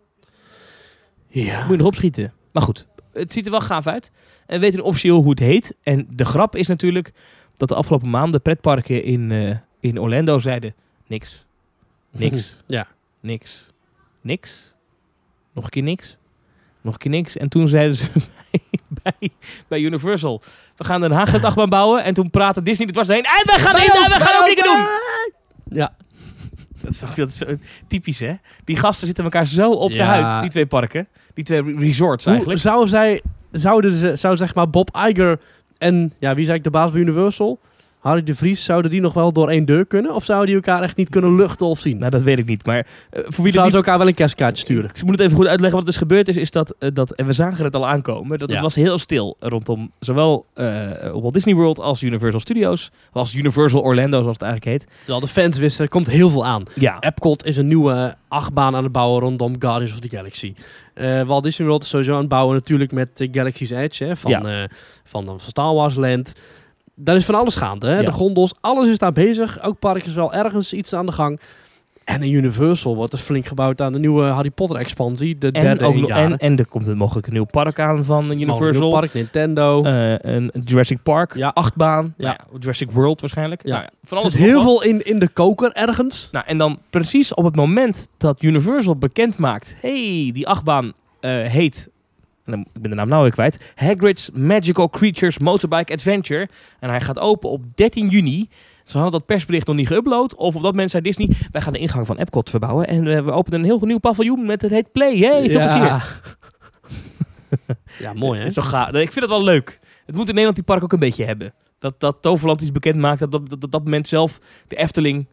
A: Ja.
B: Moet je erop schieten. Maar goed, het ziet er wel gaaf uit. En we weten officieel hoe het heet. En de grap is natuurlijk dat de afgelopen maanden pretparken in, eh, in Orlando zeiden... Niks, niks,
A: Ja.
B: niks, niks, nog een keer niks, nog een keer niks. En toen zeiden ze bij, bij, bij Universal... We gaan Den Haag een dagman bouwen. En toen praatte Disney er dwars heen. En we gaan, niet, en we gaan ook dingen doen.
A: Ja.
B: Dat is, ook, dat is zo typisch, hè? Die gasten zitten elkaar zo op de
A: Ja.
B: huid, die twee parken. Die twee re- resorts
A: Hoe
B: eigenlijk.
A: zou zij, zouden ze, zou zeg maar Bob Iger en, ja, wie zei ik, de baas bij Universal? Harry de Vries, zouden die nog wel door één deur kunnen? Of zouden die elkaar echt niet kunnen luchten of zien?
B: Nou, dat weet ik niet. Maar eh, voor wie dat
A: zouden
B: niet...
A: ze elkaar wel een kerstkaartje sturen?
B: Ik moet het even goed uitleggen. Wat er dus gebeurd is, is dat, eh, dat en we zagen het al aankomen, dat
A: Ja.
B: het was heel stil rondom zowel eh, Walt Disney World als Universal Studios. Of als Universal Orlando, zoals het eigenlijk heet.
A: Terwijl de fans wisten, er komt heel veel aan.
B: Ja.
A: Epcot is een nieuwe achtbaan aan het bouwen rondom Guardians of the Galaxy. Eh Walt Disney World is sowieso aan het bouwen natuurlijk met eh, Galaxy's Edge. Hè, van,
B: Ja.
A: eh, van, van Star Wars Land. Daar is van alles gaande. Hè?
B: Ja.
A: De gondels, alles is daar bezig. Ook park is wel ergens iets aan de gang. En in Universal wordt er flink gebouwd aan de nieuwe Harry Potter expansie. De
B: En,
A: derde
B: ook,
A: in
B: nog-
A: jaren.
B: en, en er komt een mogelijk een nieuw park aan van
A: Mogelijk
B: Universal.
A: nieuw park, Nintendo.
B: Eh, een Jurassic Park,
A: Ja.
B: achtbaan,
A: Ja.
B: Nou ja, Jurassic World waarschijnlijk.
A: Ja.
B: Nou van
A: er
B: alles
A: zit
B: en nog
A: heel
B: wat.
A: veel in, in de koker ergens.
B: Nou, en dan precies op het moment dat Universal bekend maakt... hey, die achtbaan eh, heet... En dan, ik ben de naam nou weer kwijt... Hagrid's Magical Creatures Motorbike Adventure. En hij gaat open op 13 juni. Ze hadden dat persbericht nog niet geüpload. Of op dat moment zei Disney... wij gaan de ingang van Epcot verbouwen... en eh, we openen een heel nieuw paviljoen met het heet Play. Hey, veel plezier.
A: ja, mooi hè?
B: Zo ga, ik vind het wel leuk. Het moet in Nederland die park ook een beetje hebben. Dat, dat Toverland iets bekend maakt. Dat dat, dat, dat dat moment zelf de Efteling...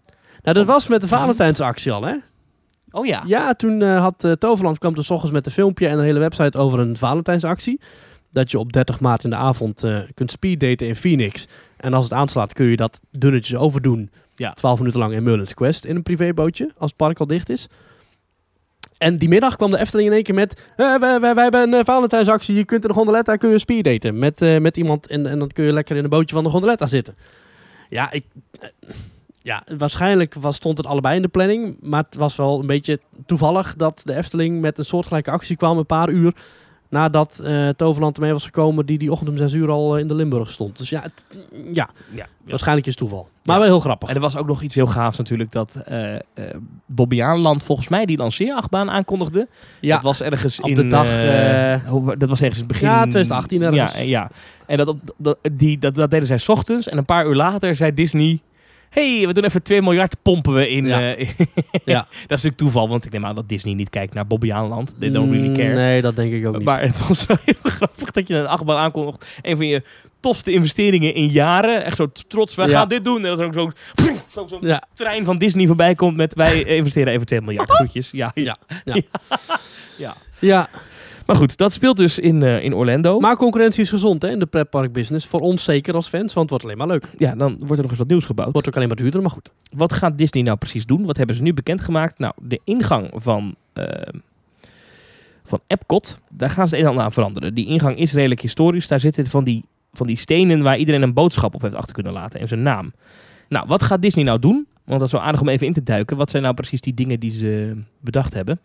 A: Nou, dat was met de Valentijnsactie al hè?
B: Oh ja.
A: Ja, toen eh, had eh, Toverland kwam dus 's ochtends met een filmpje en een hele website over een Valentijnsactie. Dat je op 30 maart in de avond eh, kunt speeddaten in Phoenix. En als het aanslaat kun je dat dunnetjes overdoen.
B: Ja.
A: 12 minuten lang in Merlin's Quest in een privébootje, als het park al dicht is. En die middag kwam de Efteling in één keer met... eh, wij, wij, wij hebben een eh, Valentijnsactie, je kunt in de gondoletta kun je speeddaten met, eh, met iemand. En, en dan kun je lekker in een bootje van de gondoletta zitten. Ja, ik... eh, ja, waarschijnlijk was, stond het allebei in de planning. Maar het was wel een beetje toevallig dat de Efteling met een soortgelijke actie kwam een paar uur nadat eh, Toverland ermee was gekomen die die ochtend om zes uur al eh, in de Limburg stond. Dus ja, het- ja,
B: ja.
A: waarschijnlijk is het toeval. Maar wel heel grappig.
B: En er was ook nog iets heel gaafs natuurlijk dat eh eh, Bobbejaanland volgens mij die lanceerachtbaan aankondigde.
A: Ja.
B: Dat was ergens
A: Op
B: in...
A: de dag,
B: eh,
A: eh,
B: hoe- dat was ergens in het begin...
A: Ja, 2018 ergens.
B: Ja, en ja. En dat, op, dat, die, dat, dat deden zij 's ochtends en een paar uur later zei Disney... hey, we doen even 2 miljard pompen we in...
A: Ja.
B: eh,
A: Ja.
B: dat is natuurlijk toeval, want ik neem aan dat Disney niet kijkt naar Bobbejaanland. They don't really
A: Mm,
B: care.
A: Nee, dat denk ik ook niet.
B: Maar het was wel heel grappig dat je een achtbaan aankondigt. Een van je tofste investeringen in jaren. Echt zo trots, wij
A: Ja.
B: gaan dit doen. En dat er ook zo'n zo, zo'n
A: ja,
B: trein van Disney voorbij komt met wij investeren even 2 miljard. Groetjes. Ja, ja.
A: ja.
B: Maar goed, dat speelt dus in, eh, in Orlando.
A: Maar concurrentie is gezond hè, in de pretpark business. Voor ons zeker als fans, want het wordt alleen maar leuk.
B: ja, dan wordt er nog eens wat nieuws gebouwd.
A: Het wordt ook alleen maar duurder, maar goed.
B: Wat gaat Disney nou precies doen? Wat hebben ze nu bekendgemaakt? Nou, de ingang van, eh, van Epcot, daar gaan ze het een en ander aan veranderen. Die ingang is redelijk historisch. Daar zitten van die, van die stenen waar iedereen een boodschap op heeft achter kunnen laten en zijn naam. Nou, wat gaat Disney nou doen? Want dat is wel aardig om even in te duiken. Wat zijn nou precies die dingen die ze bedacht hebben?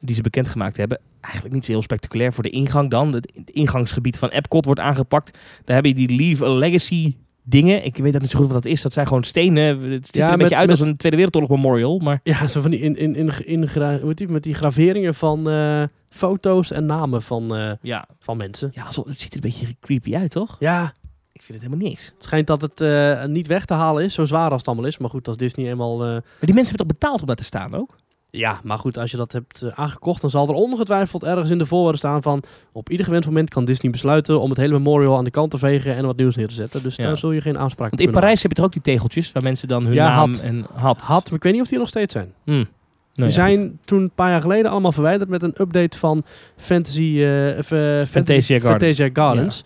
B: Die ze bekendgemaakt hebben? Eigenlijk niet zo heel spectaculair voor de ingang dan. Het ingangsgebied van Epcot wordt aangepakt. Daar heb je die Leave a Legacy dingen. Ik weet dat niet zo goed wat dat is. Dat zijn gewoon stenen. Het ziet
A: Ja,
B: er een
A: met-
B: beetje uit
A: met-
B: als een Tweede Wereldoorlog memorial. Maar
A: Ja, zo van die in, in, in, in, gra- hoe heet die, met die graveringen van eh, foto's en namen van, eh,
B: ja,
A: van mensen.
B: ja zo- het ziet er een beetje creepy uit, toch?
A: Ja,
B: Ik vind het helemaal niks.
A: het schijnt dat het eh, niet weg te halen is, zo zwaar als het allemaal is. Maar goed, als Disney eenmaal... eh,
B: Maar die mensen hebben toch betaald om daar te staan ook?
A: ja, maar goed, als je dat hebt eh, aangekocht, dan zal er ongetwijfeld ergens in de voorwaarden staan van... Op ieder gewend moment kan Disney besluiten om het hele memorial aan de kant te vegen en wat nieuws neer te zetten. Dus
B: Ja.
A: daar zul je geen aanspraak op
B: Want in
A: kunnen
B: Parijs heb je toch ook die tegeltjes waar mensen dan hun
A: Ja,
B: naam
A: had.
B: en had.
A: maken. Had, maar ik weet niet of die er nog steeds zijn.
B: Hm. Nou ja,
A: die
B: goed.
A: zijn toen een paar jaar geleden allemaal verwijderd met een update van Fantasy, eh, of, eh,
B: Fantasia Gardens.
A: Fantasia Gardens.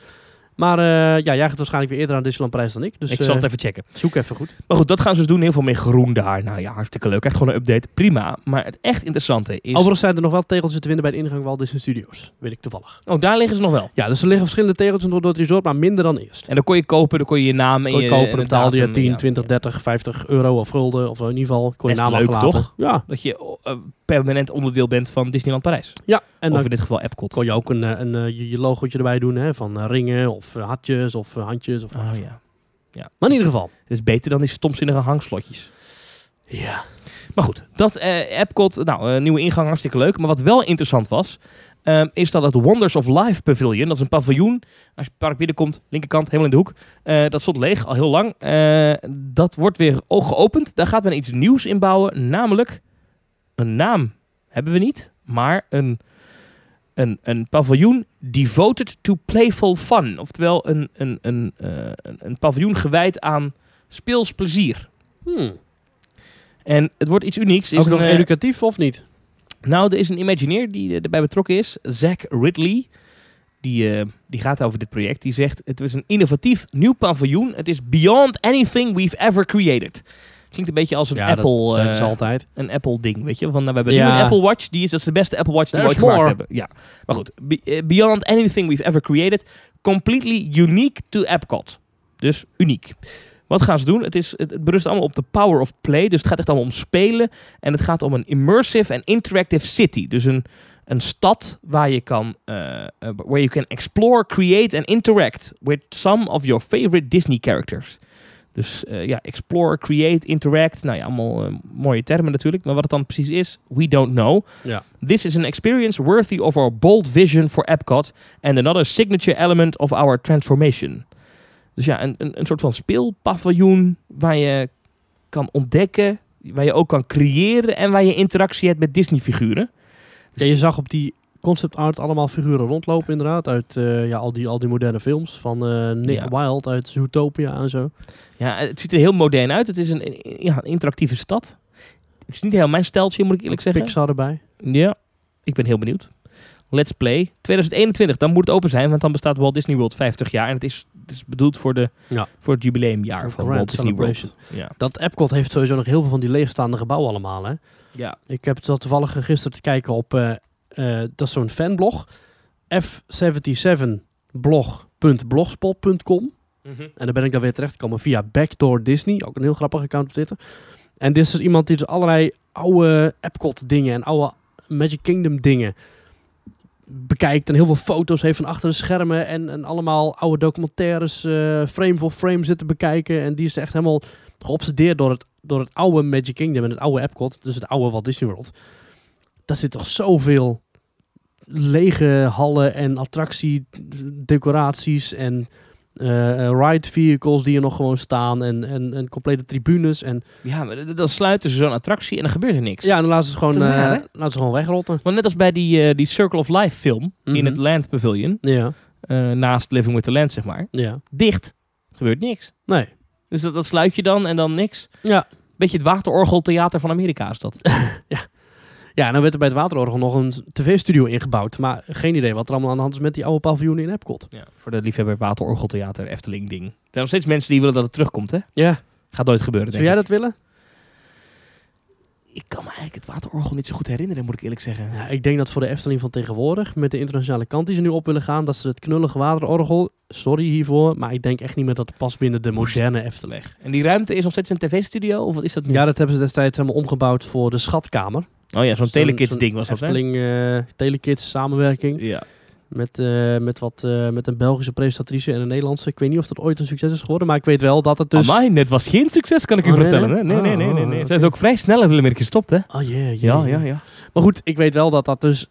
A: Maar eh, ja, jij gaat waarschijnlijk weer eerder aan Disneyland Parijs dan ik. Dus
B: ik zal
A: eh,
B: het even checken.
A: zoek even goed.
B: Maar goed, dat gaan ze dus doen. Heel veel meer groen daar. Nou ja, hartstikke leuk. Echt gewoon een update. Prima. Maar het echt interessante is...
A: Overigens zijn er nog wel tegeltjes te winnen bij de ingang Walt Disney Studios. Weet ik toevallig.
B: Oh, daar liggen ze nog wel.
A: Ja, dus er liggen verschillende tegeltjes door door het resort, maar minder dan eerst.
B: En dan kon je kopen, dan kon je je naam en
A: Kon je
B: je
A: kopen,
B: en een
A: betaalde je
B: datum.
A: 10,
B: Ja,
A: 20,
B: ja.
A: 30, 50 euro of gulden. Of in ieder geval, kon je
B: Best
A: naam
B: leuk,
A: achterlaten.
B: toch?
A: Ja,
B: Dat je oh, eh, permanent onderdeel bent van Disneyland Parijs.
A: ja. En
B: of
A: dan
B: in dit geval Epcot.
A: kon je ook een, eh, een, eh, je, je logootje erbij doen hè, van eh, ringen of eh, hartjes of eh, handjes. Of,
B: Oh ja.
A: Maar in ieder geval.
B: Dat is beter dan die stomzinnige hangslotjes.
A: Ja.
B: Maar goed, dat eh, Epcot, nou, eh, nieuwe ingang, hartstikke leuk. Maar wat wel interessant was, ehm, is dat het Wonders of Life Pavilion, dat is een paviljoen, als je het park binnenkomt, linkerkant, helemaal in de hoek, eh, dat stond leeg, al heel lang. Eh, dat wordt weer oog geopend, daar gaat men iets nieuws in bouwen, namelijk een naam hebben we niet, maar een, een, een paviljoen devoted to playful fun. Oftewel een, een, een, eh, een, een paviljoen gewijd aan speels plezier.
A: Hmm.
B: En het wordt iets unieks. Is
A: Is ook
B: een,
A: nog
B: eh,
A: educatief of niet?
B: Nou, er is een Imagineer die eh, erbij betrokken is, Zach Ridley. Die, eh, die gaat over dit project. Die zegt: Het is een innovatief nieuw paviljoen. Het is beyond anything we've ever created. Klinkt een beetje als een Apple.
A: dat
B: eh,
A: altijd.
B: een Apple ding, weet je. Want nou, we hebben nu
A: Ja.
B: een Apple Watch, die is, dat is de beste Apple Watch die we
A: There's
B: ooit gemaakt
A: more.
B: hebben. Ja. Maar goed, be- eh, beyond anything we've ever created, completely unique to Epcot. Dus uniek. Wat gaan ze doen? Het, is, het, het berust allemaal op de power of play, dus het gaat echt allemaal om spelen. En het gaat om een immersive en interactive city. Dus een, een stad waar je kan, eh, eh, where you can explore, create and interact with some of your favorite Disney characters. Dus eh, ja, explore, create, interact. Nou ja, allemaal eh, mooie termen natuurlijk. Maar wat het dan precies is, we don't know.
A: Ja.
B: This is an experience worthy of our bold vision for Epcot and another signature element of our transformation. Dus ja, een, een, een soort van speelpaviljoen waar je kan ontdekken, waar je ook kan creëren en waar je interactie hebt met Disney-figuren. dus
A: Ja, je zag op die concept art allemaal figuren rondlopen inderdaad. Uit eh, ja, al, die, al die moderne films van eh, Nick
B: Ja.
A: Wilde uit Zootopia en zo.
B: Ja, het ziet er heel modern uit. Het is een, een- ja, een interactieve stad. Het is niet heel mijn steltje, moet ik eerlijk zeggen.
A: Pixar erbij.
B: Ja, ik ben heel benieuwd. Let's Play 2021, dan moet het open zijn, want dan bestaat Walt Disney World 50 jaar. En het is, het is bedoeld voor, de,
A: Ja.
B: voor het jubileumjaar
A: Een
B: van
A: grand
B: Walt Disney World.
A: celebration.
B: Ja.
A: Dat Epcot heeft sowieso nog heel veel van die leegstaande gebouwen allemaal. Hè?
B: Ja.
A: Ik heb dat toevallig eh, gisteren te kijken op, eh, eh, dat is zo'n fanblog. f77blog.blogspot.com
B: Mhm.
A: En daar ben ik dan weer terechtgekomen via Backdoor Disney. Ook een heel grappig account op Twitter. En dit is dus iemand die dus allerlei oude Epcot dingen en oude Magic Kingdom dingen bekijkt. En heel veel foto's heeft van achter de schermen. En, en allemaal oude documentaires eh, frame voor frame zitten bekijken. En die is echt helemaal geobsedeerd door het, door het oude Magic Kingdom en het oude Epcot. Dus het oude Walt Disney World. Daar zit toch zoveel lege hallen en attractie decoraties en eh, eh, ride vehicles die er nog gewoon staan en, en, en complete tribunes. En,
B: ja, maar d- dan sluiten ze zo'n attractie en dan gebeurt er niks.
A: ja, en dan laten ze het gewoon,
B: Dat is raar,
A: eh,
B: hè?
A: laten ze gewoon wegrotten.
B: Want net als bij die, eh, die Circle of Life film in
A: Mhm.
B: het Land Pavilion,
A: Ja,
B: eh, naast Living with the Land zeg maar,
A: ja.
B: dicht, gebeurt niks.
A: Nee.
B: Dus dat, dat sluit je dan en dan niks.
A: Ja.
B: Beetje het waterorgeltheater van Amerika is dat.
A: Ja, nou werd er bij het waterorgel nog een tv-studio ingebouwd. Maar geen idee wat er allemaal aan de hand is met die oude paviljoen in Epcot.
B: Ja, voor de liefhebber waterorgeltheater, Efteling ding. Er zijn nog steeds mensen die willen dat het terugkomt, hè?
A: Ja,
B: Gaat nooit gebeuren,
A: zou
B: denk
A: jij
B: ik.
A: dat willen?
B: Ik kan me eigenlijk het waterorgel niet zo goed herinneren, moet ik eerlijk zeggen.
A: Ja, ik denk dat voor de Efteling van tegenwoordig, met de internationale kant die ze nu op willen gaan, dat ze het knullige waterorgel, sorry hiervoor, maar ik denk echt niet meer dat het past binnen de moderne Efteling.
B: En die ruimte is nog steeds een tv-studio, of wat is dat nu?
A: Ja, dat hebben ze destijds helemaal omgebouwd voor de schatkamer.
B: oh ja, zo'n
A: Zo'n-
B: telekids
A: zo'n
B: ding was dat, hè?
A: Efteling, eh, Telekids samenwerking.
B: Ja.
A: Met, eh, met, wat, eh, met een Belgische presentatrice en een Nederlandse. Ik weet niet of dat ooit een succes is geworden, maar ik weet wel dat het dus...
B: Amai, net was geen succes, kan ik u
A: Oh, nee,
B: vertellen.
A: hè?
B: hè? Nee,
A: Ah,
B: nee, nee, nee. nee.
A: ah,
B: Zijn ze ook vrij snel in weer gestopt, hè?
A: Oh jee, jee,
B: Ja,
A: jee.
B: ja, ja.
A: Maar goed, ik weet wel dat dat dus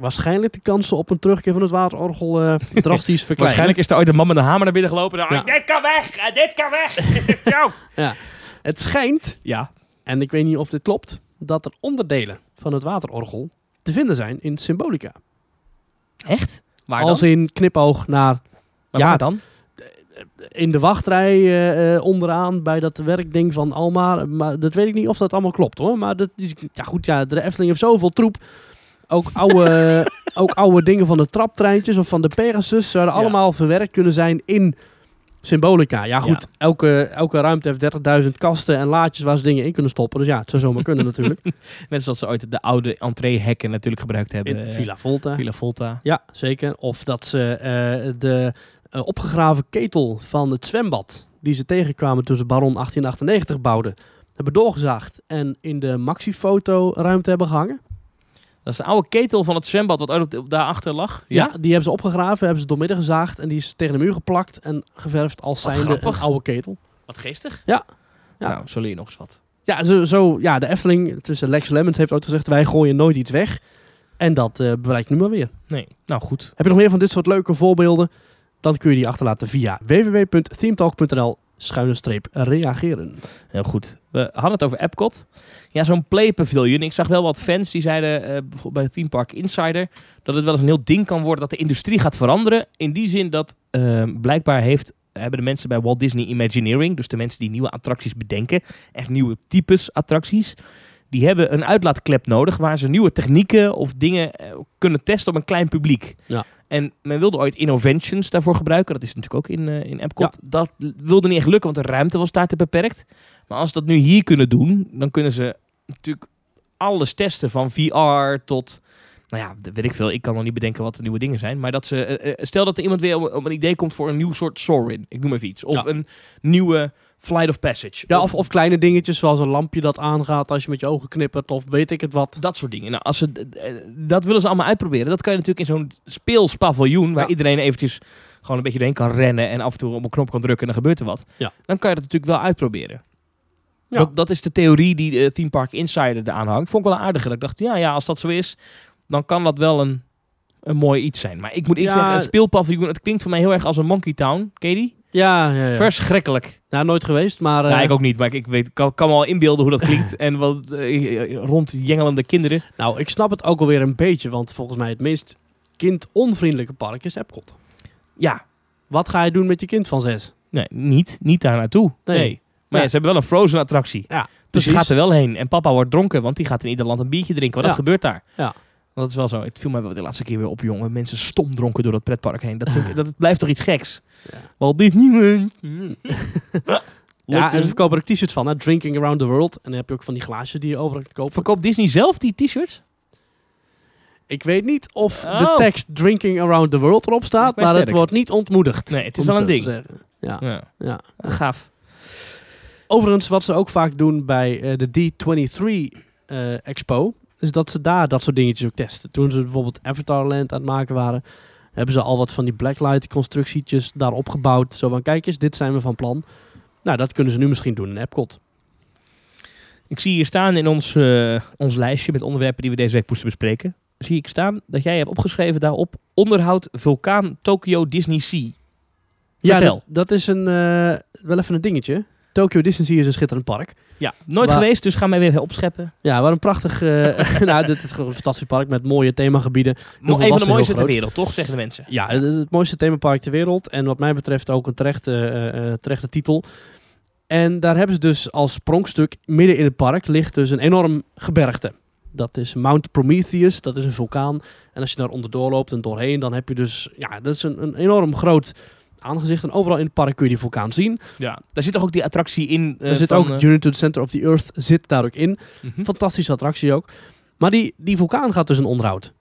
A: waarschijnlijk de kansen op een terugkeer van het waterorgel eh, drastisch verkleinen.
B: Waarschijnlijk is er ooit een man met een hamer naar binnen gelopen. en dan,
A: Ja.
B: Dit kan weg, eh, dit kan weg. Zo.
A: Het schijnt,
B: Ja.
A: en ik weet niet of dit klopt, dat er onderdelen van het waterorgel te vinden zijn in Symbolica.
B: Echt? Waar
A: Als in knipoog naar Ja.
B: waar dan?
A: in de wachtrij eh, eh, onderaan bij dat werkding van Alma. Maar dat weet ik niet of dat allemaal klopt hoor. Maar dat is, ja goed, ja, de Efteling heeft zoveel troep. Ook oude, ook oude dingen van de traptreintjes of van de Pegasus zouden
B: Ja.
A: allemaal verwerkt kunnen zijn in Symbolica. Ja goed, Elke, elke ruimte heeft 30.000 kasten en laadjes waar ze dingen in kunnen stoppen. Dus ja, het zou zomaar kunnen natuurlijk.
B: Net zoals ze ooit de oude entreehekken natuurlijk gebruikt hebben.
A: In
B: eh,
A: Villa Volta.
B: Villa Volta.
A: Ja, zeker. Of dat ze eh, de eh, opgegraven ketel van het zwembad, die ze tegenkwamen toen ze Baron 1898 bouwden, hebben doorgezaagd en in de Maxi-foto-ruimte hebben gehangen.
B: Dat is de oude ketel van het zwembad wat ooit op de- op daarachter lag.
A: die hebben ze opgegraven, hebben ze doormidden gezaagd en die is tegen de muur geplakt en geverfd als
B: Wat
A: zijnde een
B: grappig.
A: oude ketel.
B: Wat geestig.
A: Ja. Ja.
B: Nou, zo leer je nog eens wat.
A: Ja, zo, zo, ja, de Efteling, tussen Lex Lemmens heeft ooit gezegd, wij gooien nooit iets weg. En dat eh blijkt nu maar weer.
B: Nee. Nou, goed.
A: Heb je nog meer van dit soort leuke voorbeelden? Dan kun je die achterlaten via www.themetalk.nl schuine streep reageren.
B: Heel goed. We hadden het over Epcot. Ja, zo'n playpaviljoen. Ik zag wel wat fans die zeiden eh, bijvoorbeeld bij Theme Park Insider... dat het wel eens een heel ding kan worden dat de industrie gaat veranderen. In die zin dat eh, blijkbaar heeft, hebben de mensen bij Walt Disney Imagineering... dus de mensen die nieuwe attracties bedenken... echt nieuwe types attracties... die hebben een uitlaatklep nodig... waar ze nieuwe technieken of dingen eh, kunnen testen op een klein publiek.
A: Ja.
B: En men wilde ooit Innoventions daarvoor gebruiken. Dat is natuurlijk ook in, eh, in Epcot. Dat wilde niet echt lukken, want de ruimte was daar te beperkt... Maar als ze dat nu hier kunnen doen, dan kunnen ze natuurlijk alles testen. Van VR tot, nou ja, dat weet ik veel. Ik kan nog niet bedenken wat de nieuwe dingen zijn. Maar dat ze, eh, eh, stel dat er iemand weer op, op een idee komt voor een nieuw soort Sorin. Ik noem even iets. Of
A: Ja.
B: een nieuwe Flight of Passage.
A: Ja, of, of kleine dingetjes zoals een lampje dat aangaat als je met je ogen knippert of weet ik het wat.
B: dat soort dingen. Nou, als ze, eh, eh, dat willen ze allemaal uitproberen. Dat kan je natuurlijk in zo'n speelspaviljoen, waar
A: Ja.
B: iedereen eventjes gewoon een beetje doorheen kan rennen en af en toe op een knop kan drukken en dan gebeurt er wat.
A: Ja.
B: Dan kan je dat natuurlijk wel uitproberen.
A: Ja.
B: Dat, dat is de theorie die eh, Theme Park Insider eraan hangt. Vond ik wel aardig. Dat ik dacht, ja, ja, als dat zo is, dan kan dat wel een, een mooi iets zijn. Maar ik moet eerlijk
A: Ja.
B: zeggen, een speelpaviljoen, het klinkt voor mij heel erg als een Monkey Town. Ken je die?
A: Ja, ja, ja.
B: Verschrikkelijk.
A: Nou, nooit geweest, maar... eh,
B: ja, ik ook niet, maar ik, ik weet, kan, kan me al inbeelden hoe dat klinkt. en wat eh, rondjengelende kinderen.
A: Nou, ik snap het ook alweer een beetje, want volgens mij het meest kindonvriendelijke park is Epcot.
B: Ja,
A: Wat ga je doen met je kind van zes?
B: Nee, niet, niet daar naartoe. Nee.
A: Nee.
B: Maar ja,
A: Ja.
B: ze hebben wel een Frozen attractie.
A: Ja,
B: Dus je
A: precies.
B: gaat er wel heen. En papa wordt dronken, want die gaat in ieder land een biertje drinken. Wat
A: Ja.
B: dat gebeurt daar.
A: Ja.
B: Want dat is wel zo. Het viel mij wel de laatste keer weer op, jongen. Mensen stom dronken door dat pretpark heen. Dat, vind ik, dat blijft toch iets geks?
A: Ja.
B: Walt Disney.
A: Ja, en ze
B: Lekker.
A: verkopen er ook t-shirts van, hè? Drinking Around the World. En dan heb je ook van die glaasjes die je overal kunt kopen.
B: Verkoopt Disney zelf die t-shirts?
A: Ik weet niet of
B: Oh.
A: de tekst Drinking Around the World erop staat,
B: Lijkt mij
A: maar het
B: sterk.
A: wordt niet ontmoedigd.
B: Nee, het is
A: om
B: wel
A: zo
B: een
A: te
B: ding.
A: zeggen. Ja.
B: Ja.
A: Ja.
B: Gaaf.
A: Overigens, wat ze ook vaak doen bij eh, de D23 eh, Expo, is dat ze daar dat soort dingetjes ook testen. Toen ze bijvoorbeeld Avatar Land aan het maken waren, hebben ze al wat van die blacklight constructietjes daarop gebouwd. Zo van, kijk eens, dit zijn we van plan. Nou, dat kunnen ze nu misschien doen in Epcot.
B: Ik zie hier staan in ons, eh, ons lijstje met onderwerpen die we deze week moesten bespreken. Zie ik staan dat jij hebt opgeschreven daarop onderhoud vulkaan Tokyo Disney Sea.
A: Ja,
B: Vertel.
A: dat, dat is een, eh, wel even een dingetje. Tokyo Disney is een schitterend park.
B: Ja, nooit
A: Maar-
B: geweest, dus ga mij weer even opscheppen.
A: Ja, wat een prachtig... eh, nou, dit is gewoon een fantastisch park met mooie themagebieden.
B: Nog
A: veel
B: een van de
A: was
B: mooiste
A: heel
B: ter
A: groot.
B: wereld, toch? Zeggen de mensen.
A: Ja, het, het mooiste themapark ter wereld. En wat mij betreft ook een terechte, eh, eh, terechte titel. En daar hebben ze dus als pronkstuk midden in het park ligt dus een enorm gebergte. Dat is Mount Prometheus, dat is een vulkaan. En als je daar onderdoor loopt en doorheen, dan heb je dus... Ja, dat is een, een enorm groot aangezicht. En overal in het park kun je die vulkaan zien.
B: Ja. Daar zit toch ook die attractie in? eh,
A: Er zit
B: van,
A: ook
B: eh,
A: Journey to the Center of the Earth zit daar ook in.
B: mhm.
A: Fantastische attractie ook. Maar die, die vulkaan gaat dus in onderhoud.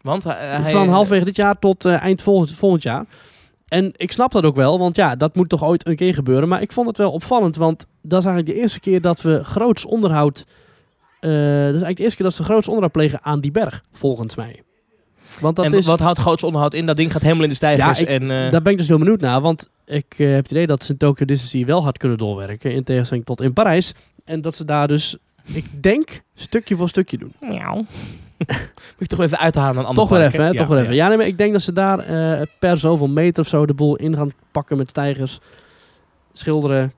B: Want hij- Eh, hij...
A: Van halverwege dit jaar tot eh, eind volgend, volgend jaar. En ik snap dat ook wel, want ja, dat moet toch ooit een keer gebeuren. Maar ik vond het wel opvallend, want dat is eigenlijk de eerste keer dat we groots onderhoud... eh, dat is eigenlijk de eerste keer dat ze groots onderhoud plegen aan die berg, volgens mij. Want dat
B: en
A: is,
B: wat houdt groots onderhoud in? Dat ding gaat helemaal in de stijgers.
A: Ja, ik-
B: en, eh,
A: daar ben ik dus heel benieuwd naar, want ik eh, heb het idee dat ze in Tokyo Disney wel hard kunnen doorwerken. In tegenstelling tot in Parijs. En dat ze daar dus, ik denk, stukje voor stukje doen.
B: Miauw. Moet ik toch even uithalen aan een ander
A: Toch weer
B: park,
A: even, hè?
B: hè?
A: toch
B: Ja,
A: weer even.
B: ja.
A: Ja, nee, maar ik denk dat ze daar eh, per zoveel meter of zo de boel in gaan pakken met tijgers. Schilderen,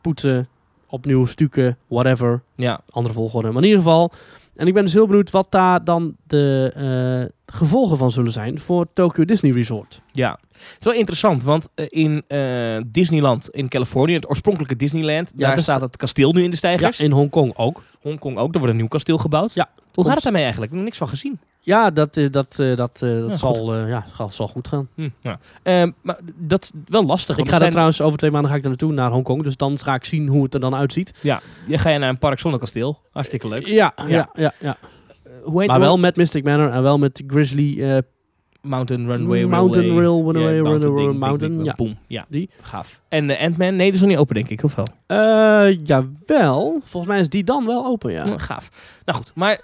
A: poetsen, opnieuw stukken, whatever.
B: Ja.
A: Andere volgorde. Maar in ieder geval. En ik ben dus heel benieuwd wat daar dan de eh, gevolgen van zullen zijn voor Tokyo Disney Resort.
B: Ja. Het is wel interessant, want eh, in eh, Disneyland in Californië, het oorspronkelijke Disneyland,
A: Ja,
B: daar
A: dat-
B: staat het kasteel nu in de
A: Ja,
B: stijgers.
A: in Hongkong ook.
B: Hongkong ook, er wordt een nieuw kasteel gebouwd.
A: Ja.
B: Hoe gaat
A: Komt-
B: het daarmee eigenlijk? Ik heb er niks van gezien.
A: Ja, dat, eh, dat, eh, dat, eh, dat
B: Ja,
A: zal, eh, ja, gaat- zal goed gaan.
B: Hm, ja. Ehm, maar dat is wel lastig.
A: Ik
B: want
A: ga
B: het
A: daar
B: zijn-
A: trouwens over twee maanden ga ik daar naartoe naar Hongkong. Dus dan ga ik zien hoe het er dan uitziet.
B: ja, ga je naar een park zonder kasteel. Hartstikke leuk.
A: Ja, ja,
B: Ja.
A: ja. ja,
B: Eh, hoe heet
A: Maar
B: het
A: wel met Mystic Manor en wel met Grizzly eh,
B: Mountain Runway
A: Mountain
B: Railway.
A: Rail, Runaway,
B: Ja,
A: Runaway,
B: ding, ding, ding,
A: Mountain,
B: ding,
A: ja.
B: boom. ja.
A: Die.
B: Gaaf. En de Ant-Man? Nee, die is nog niet open, denk ik. Of wel?
A: Eh, jawel. Volgens mij is die dan wel open, ja.
B: Hm, gaaf. Nou goed, maar eh,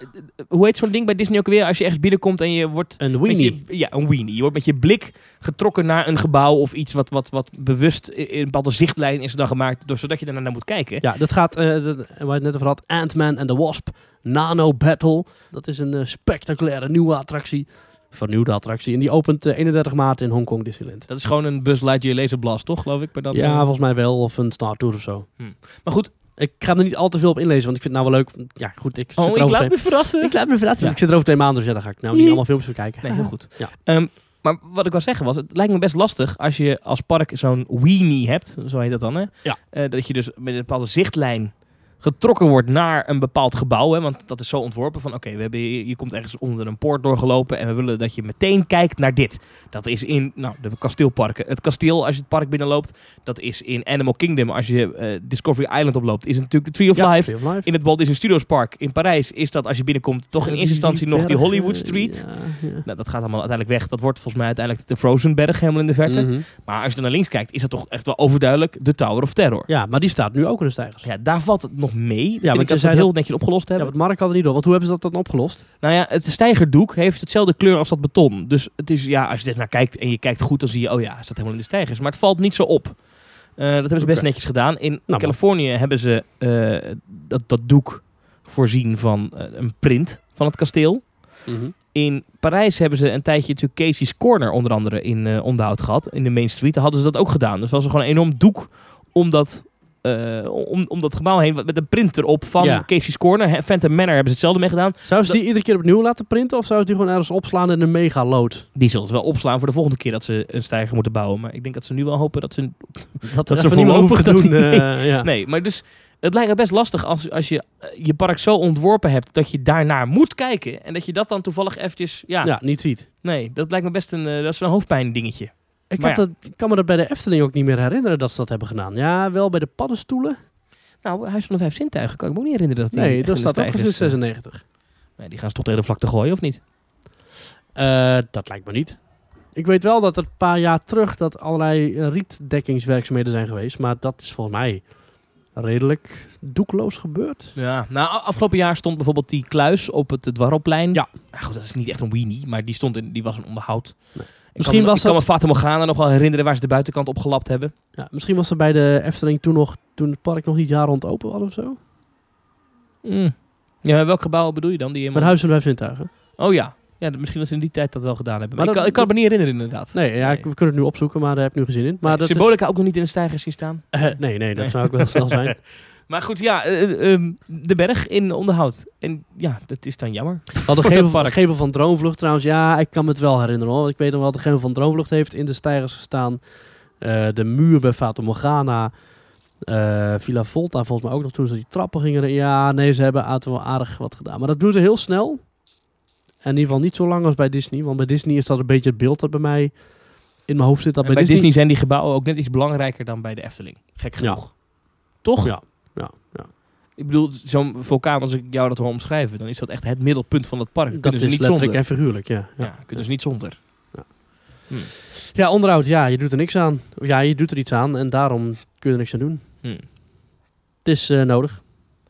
B: hoe heet zo'n ding bij Disney ook weer? Als je ergens binnenkomt en je wordt...
A: En
B: met
A: Weenie.
B: je- ja, een weenie. Je wordt met je blik getrokken naar een gebouw of iets wat, wat, wat bewust in in een bepaalde zichtlijn is dan gemaakt, door, zodat je daarna naar moet kijken.
A: Ja, dat gaat, eh dat, waar je het net over had, Ant-Man and the Wasp, Nano Battle. Dat is een eh, spectaculaire nieuwe attractie. Vernieuwde attractie. En die opent eh, 31 maart in Hongkong Disneyland.
B: Dat is gewoon een Buzz Lightyear laser blast, toch, geloof ik? Maar, dan,
A: ja,
B: eh,
A: volgens mij wel. Of een Star Tour of zo.
B: maar goed,
A: Ik ga er niet al te veel op inlezen, want ik vind het nou wel leuk. Ja, goed, ik zit
B: oh,
A: er
B: ik
A: over
B: laat
A: twee...
B: me verrassen.
A: Ik laat me verrassen.
B: Ja.
A: Ik zit er over twee maanden, dus ja, dan ga ik nou niet
B: Ie.
A: allemaal filmpjes bekijken.
B: Nee, heel goed.
A: Ja.
B: Ehm, maar wat ik wil zeggen was, het lijkt me best lastig als je als park zo'n weenie hebt, zo heet dat dan, hè?
A: Ja.
B: Eh, dat je dus met een bepaalde zichtlijn getrokken wordt naar een bepaald gebouw, hè? Want dat is zo ontworpen van, oké, we hebben je, je komt ergens onder een poort doorgelopen en we willen dat je meteen kijkt naar dit. Dat is in, nou, de kasteelparken. Het kasteel als je het park binnenloopt, dat is in Animal Kingdom als je eh, Discovery Island oploopt, is natuurlijk de Tree of
A: Ja,
B: Life.
A: Tree of Life.
B: In het Walt Disney Studios Park in Parijs is dat als je binnenkomt toch in
A: Ja,
B: eerste instantie nog die
A: bergen,
B: Hollywood Street.
A: ja, ja.
B: Nou, dat gaat allemaal uiteindelijk weg. Dat wordt volgens mij uiteindelijk de Frozenberg helemaal in de verte.
A: Mhm.
B: Maar als je dan naar links kijkt, is dat toch echt wel overduidelijk de Tower of Terror. Ja,
A: Ja, maar die staat nu ook in de stijgers.
B: daar valt het nog mee. Ja,
A: want
B: Vind
A: je
B: ik dat ze
A: zei
B: het heel
A: dat-
B: netjes opgelost
A: Ja,
B: hebben.
A: want Mark had het niet door. Want hoe hebben ze dat dan opgelost?
B: Nou ja, het stijgerdoek heeft hetzelfde kleur als dat beton. Dus het is, ja, als je er naar kijkt en je kijkt goed, dan zie je, oh ja, het staat helemaal in de stijgers. Maar het valt niet zo op. Eh, dat hebben ze best
A: Oké. Nou,
B: netjes gedaan. In
A: maar-
B: Californië hebben ze eh, dat, dat doek voorzien van eh, een print van het kasteel.
A: Mhm.
B: In Parijs hebben ze een tijdje natuurlijk Casey's Corner onder andere in eh, onderhoud gehad. In de Main Street. Daar hadden ze dat ook gedaan. Dus was er gewoon een enorm doek om dat, eh, om, om dat gebouw heen. wat- Met een print erop van
A: Ja.
B: Casey's Corner. Hè, Phantom Manor hebben ze hetzelfde mee gedaan.
A: Zou ze die iedere keer opnieuw laten printen? Of zou ze die gewoon ergens opslaan in een mega lood?
B: Die zullen ze wel opslaan voor de volgende keer dat ze een stijger moeten bouwen. Maar ik denk dat ze nu wel hopen dat ze...
A: Dat,
B: ze voorlopig dat niet-
A: eh, ja.
B: Nee, maar dus... Het lijkt me best lastig als, als je eh, je park zo ontworpen hebt dat je daarnaar moet kijken. En dat je dat dan toevallig eventjes... Ja,
A: ja, niet ziet.
B: nee, dat lijkt me best een, eh, dat is een hoofdpijn dingetje.
A: Ik,
B: Maar
A: had dat, ik kan me dat bij de Efteling ook niet meer herinneren dat ze dat hebben gedaan. Ja, wel bij de paddenstoelen.
B: Nou, Huis van de Vijf Zintuigen kan ik me ook niet herinneren dat die
A: Nee,
B: echt
A: dat
B: in de
A: staat ook
B: stijgers,
A: precies 96.
B: eh, nee, die gaan ze toch tegen de vlakte gooien, of niet?
A: Eh, dat lijkt me niet. Ik weet wel dat er een paar jaar terug dat allerlei eh, rietdekkingswerkzaamheden zijn geweest. Maar dat is volgens mij redelijk doekloos gebeurd.
B: Ja. Nou, a- afgelopen jaar stond bijvoorbeeld die kluis op het Dwarrelplein.
A: Ja.
B: Nou, goed, dat is niet echt een weenie, maar die, stond in, die was een onderhoud. Ik
A: Misschien
B: kan me,
A: was
B: ik kan
A: dat-
B: me Fata Morgana nog wel herinneren waar ze de buitenkant opgelapt hebben.
A: Ja, misschien was er bij de Efteling toen nog, toen het park nog niet jaar rond open was of zo.
B: Mm. Ja, maar welk gebouw bedoel je dan? Die
A: Met
B: helemaal...
A: Huis en Vijf Zintuigen.
B: Oh ja. ja, d- misschien dat ze in die tijd dat wel gedaan hebben. Maar,
A: Maar
B: ik, kan,
A: dat-
B: ik kan het me niet herinneren inderdaad.
A: Nee, ja,
B: Nee.
A: ik- we kunnen het nu opzoeken, maar daar heb ik nu geen zin in. Maar dat is-
B: Symbolica ook nog niet in de stijgers zien staan.
A: Eh, nee, nee, dat zou ook wel snel zijn.
B: Maar goed, ja, eh, eh, ehm, de berg in onderhoud. En ja, dat is dan jammer.
A: Wat de
B: Voor
A: gevel,
B: dat park.
A: gevel van Droomvlucht trouwens, ja, ik kan me het wel herinneren hoor. Want ik weet nog wel, de gevel van Droomvlucht heeft in de stijgers gestaan. Eh, de muur bij Fata Morgana. Eh, Villa Volta volgens mij ook nog toen ze die trappen gingen. re- Ja, nee, ze hebben uit- wel aardig wat gedaan. Maar dat doen ze heel snel. En in ieder geval niet zo lang als bij Disney. Want bij Disney is dat een beetje het beeld dat bij mij in mijn hoofd zit. Dat
B: En bij Disney... zijn die gebouwen ook net iets belangrijker dan bij de Efteling. Gek
A: Ja.
B: genoeg. Toch?
A: Ja, ja, ja.
B: Ik bedoel, zo'n vulkaan, als ik jou dat hoor omschrijven, dan is dat echt het middelpunt van het park.
A: Dat
B: kunnen
A: is
B: ze niet
A: letterlijk
B: zonder.
A: en figuurlijk, ja.
B: Ja,
A: ja.
B: kunnen ze niet zonder. Hm.
A: Ja, onderhoud, ja, je doet er niks aan. Of Ja, je doet er iets aan en daarom kun je er niks aan doen.
B: Hmm.
A: Het is eh, nodig.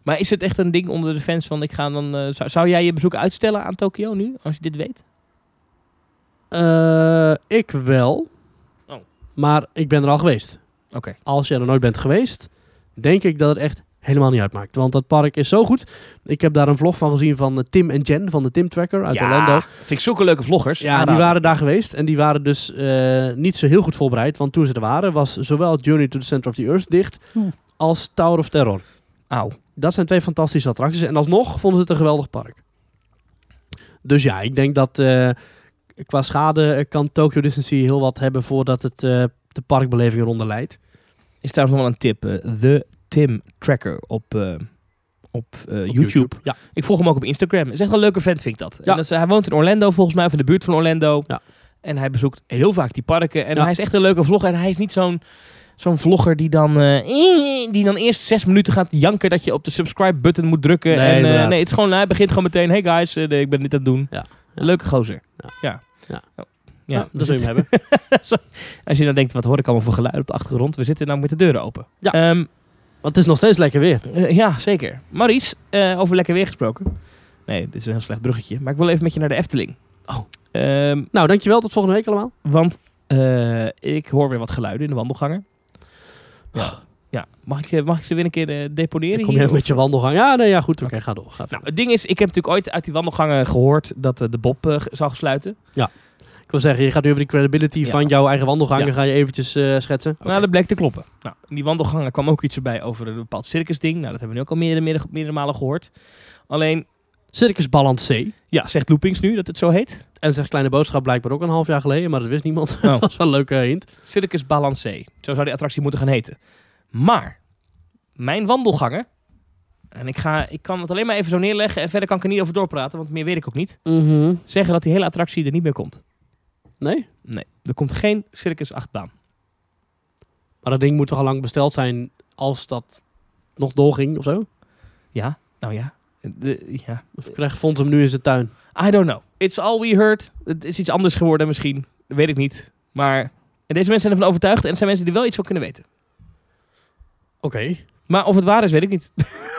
B: Maar is het echt een ding onder de fans van ik ga dan... eh, zou, zou jij je bezoek uitstellen aan Tokio nu, als je dit weet?
A: Eh, ik wel.
B: Oh.
A: Maar ik ben er al geweest.
B: Oké.
A: Als jij er nooit bent geweest, denk ik dat het echt helemaal niet uitmaakt. Want dat park is zo goed. Ik heb daar een vlog van gezien van eh, Tim en Jen van de Tim Tracker uit Orlando.
B: vind ik zulke leuke vloggers.
A: Ja, die waren daar geweest en die waren dus eh, niet zo heel goed voorbereid. Want toen ze er waren, was zowel Journey to the Center of the Earth dicht
B: Hmm.
A: als Tower of Terror.
B: Auw.
A: Dat zijn twee fantastische attracties. En alsnog vonden ze het een geweldig park. Dus ja, ik denk dat eh, qua schade eh, kan Tokyo Disney Sea heel wat hebben voordat het eh, de parkbeleving eronder leidt.
B: Is trouwens nog wel een tip. eh, The Tim Tracker op, eh, op, eh, YouTube.
A: Ja.
B: Ik volg hem ook op Instagram. Is echt een leuke vent, vind ik dat.
A: Ja.
B: En dat is- hij woont in Orlando, volgens mij, of in de buurt van Orlando.
A: Ja.
B: En hij bezoekt heel vaak die parken. En
A: Ja.
B: hij is echt een leuke vlogger. En hij is niet zo'n zo'n vlogger die dan, eh, die dan eerst zes minuten gaat janken dat je op de subscribe-button moet drukken.
A: Nee,
B: en, eh,
A: inderdaad.
B: nee, het is gewoon, hij begint gewoon meteen, hey guys, eh, nee, ik ben dit aan het doen.
A: Ja. Ja.
B: Leuke gozer.
A: Ja.
B: Ja.
A: Ja.
B: Ja.
A: Nou,
B: dus
A: dat zul je hem hebben.
B: Als je dan denkt, wat hoor ik allemaal voor geluid op de achtergrond? We zitten nou met de deuren open.
A: Ja.
B: Ehm,
A: Want het is nog steeds lekker weer.
B: eh, ja, zeker. Maries, eh, over lekker weer gesproken. Nee, dit is een heel slecht bruggetje. Maar ik wil even met je naar de Efteling.
A: Oh.
B: Ehm,
A: Nou, dankjewel. Tot volgende week allemaal.
B: want eh, ik hoor weer wat geluiden in de wandelgangen. Ja. ja. Mag, ik, eh, mag ik ze weer een keer eh, deponeren
A: Dan kom
B: hier?
A: je met je wandelgang. Ja, nee, ja, goed. Oké, ga door. Ga
B: Nou, het ding is, ik heb natuurlijk ooit uit die wandelgangen gehoord dat eh, de Bob eh, zou sluiten.
A: Ik wil zeggen, je gaat nu over de credibility
B: Ja.
A: van jouw eigen wandelgangen
B: Ja.
A: ga je eventjes eh, schetsen. Oké.
B: Nou, dat bleek te kloppen. Nou, in die wandelgangen kwam ook iets erbij over een bepaald circusding. Nou, dat hebben we nu ook al meerdere, meerdere, meerdere malen gehoord. Alleen,
A: Circus Balance C.
B: ja, zegt Loopings nu dat het zo heet.
A: En zegt Kleine Boodschap blijkbaar ook een half jaar geleden, maar dat wist niemand.
B: Oh.
A: dat was wel een leuke hint.
B: Circus Balancé. Zo zou die attractie moeten gaan heten. Maar mijn wandelgangen. En ik, ga, ik kan het alleen maar even zo neerleggen. En verder kan ik er niet over doorpraten, want meer weet ik ook niet. Zeggen dat die hele attractie er niet meer komt.
A: Mhm. Nee?
B: Nee, er komt geen Circus achtbaan.
A: Maar dat ding moet toch al lang besteld zijn als dat nog doorging of zo?
B: Ja, nou ja. De, ja.
A: Of krijgt Fons hem nu in zijn tuin?
B: I don't know. It's all we heard. Het is iets anders geworden misschien. Dat weet ik niet. Maar en deze mensen zijn ervan overtuigd. En het zijn mensen die er wel iets van kunnen weten.
A: Oké.
B: Maar of het waar is, weet ik niet.